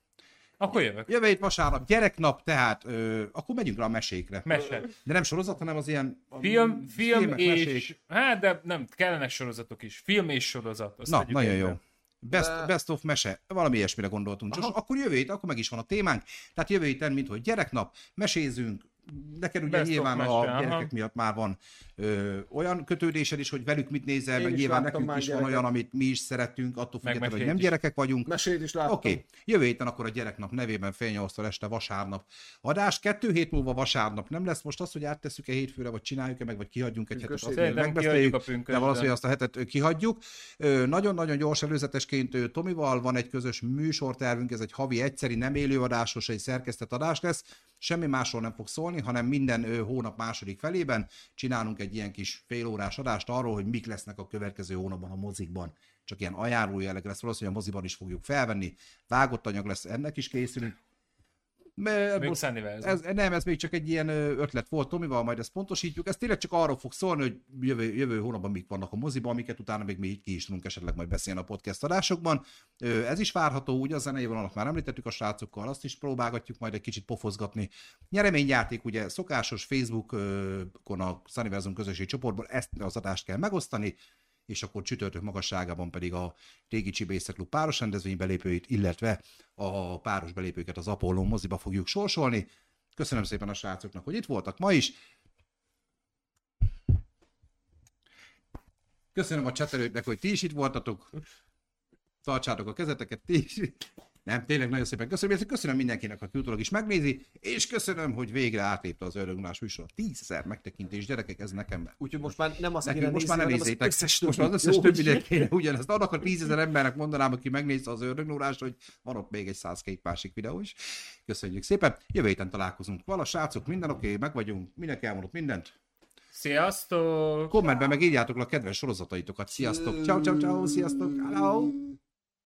S3: Akkor jövök.
S2: Jövő hét vasárnap, gyereknap, tehát ö, akkor megyünk rá a mesékre.
S3: Mese.
S2: De nem sorozat, hanem az ilyen... a
S3: Film, film
S2: filmek,
S3: és...
S2: mesék.
S3: Hát, de nem, kellenek sorozatok is. Film és sorozat. Azt
S2: Na,
S3: tegyük
S2: nagyon jó.
S3: egybe.
S2: Best,
S1: De-
S2: best of mese, valami ilyesmire gondoltunk. Csak akkor jövő hét, akkor meg is van a témánk. Tehát jövő héten, mint hogy gyereknap, mesézünk, neked ugye
S3: Best of
S2: nyilván
S3: mese,
S2: a
S3: aha.
S2: gyerekek miatt már van ö, olyan kötődésed is, hogy velük mit nézel,
S1: Én
S2: meg
S1: is
S2: nyilván
S1: láttam
S2: nekünk
S1: már
S2: is van
S1: gyereket.
S2: olyan, amit mi is szeretünk, attól
S3: Meg
S2: függetlenül, hogy
S3: mesét
S2: nem
S3: is.
S2: gyerekek vagyunk.
S1: Mesét is láttam.
S2: Oké, okay. jövő héten akkor a gyereknap nevében fél nyolctól este vasárnap adás. Kettő hét múlva vasárnap nem lesz most az, hogy áttesszük-e hétfőre, vagy csináljuk-e meg, vagy kihagyjunk egy hetet.
S1: Pünkösdön.
S2: Azt még
S3: Szerintem
S2: megbeszéljük,
S3: kihagyjuk a pünkösdön.
S2: de valószínűleg azt a hetet ö, kihagyjuk. Ö, Nagyon-nagyon gyors előzetesként ö, Tomival van egy közös műsortervünk, ez egy havi egyszeri, nem élőadásos, egy szerkesztett adás lesz. Semmi másról nem fog szólni, hanem minden ö, hónap második felében csinálunk egy ilyen kis félórás adást arról, hogy mik lesznek a következő hónapban a mozikban. Csak ilyen ajánló jelleg lesz, valószínűleg a moziban is fogjuk felvenni. Vágott anyag lesz, ennek is készülünk. Mert
S3: Még
S2: most-
S3: Sunnyverse.
S2: ez, nem, ez még csak egy ilyen ö, ötlet volt Tomival, majd ezt pontosítjuk. Ez tényleg csak arról fog szólni, hogy jövő, jövő hónapban mik vannak a moziban, amiket utána még mi így ki is tudunk esetleg majd beszélni a podcast adásokban. Ö, Ez is várható, ugye a zenei vonalat már említettük a srácokkal, azt is próbálgatjuk majd egy kicsit pofozgatni. Nyereményjáték ugye szokásos Facebookon a Sunniverzum közösségi csoportból ezt az adást kell megosztani, és akkor csütörtök magasságában pedig a régi Csibészek Klub páros rendezvény belépőit, illetve a páros belépőket az Apollon moziba fogjuk sorsolni. Köszönöm szépen a srácoknak, hogy itt voltak ma is. Köszönöm a csetelőknek, hogy ti is itt voltatok. Tartsátok a kezeteket, ti is. Nem, tényleg nagyon szépen köszönöm, és köszönöm mindenkinek, aki utólag is megnézi, és köszönöm, hogy végre átlépte az Ördögulás műsor. Tízszer megtekintés, gyerekek, ez nekem
S1: Úgyhogy most már nem azt
S2: Nekünk
S1: kéne
S2: most már ne
S1: nézni, hanem
S2: nézzétek.
S1: összes
S2: most már
S1: többit.
S2: az összes
S1: Jó,
S2: többi
S1: hogy-
S2: kéne ugyanezt. Annak a tízezer embernek mondanám, aki megnézte az ördögnórást, hogy van ott még egy 102 másik videó is. Köszönjük szépen. Jövő héten találkozunk. Vala, srácok, minden oké, okay, meg vagyunk. Mindenki elmondott mindent.
S3: Sziasztok!
S2: Kommentben meg írjátok le a kedves sorozataitokat. Sziasztok. Ciao, ciao, ciao. Sziasztok. Hello.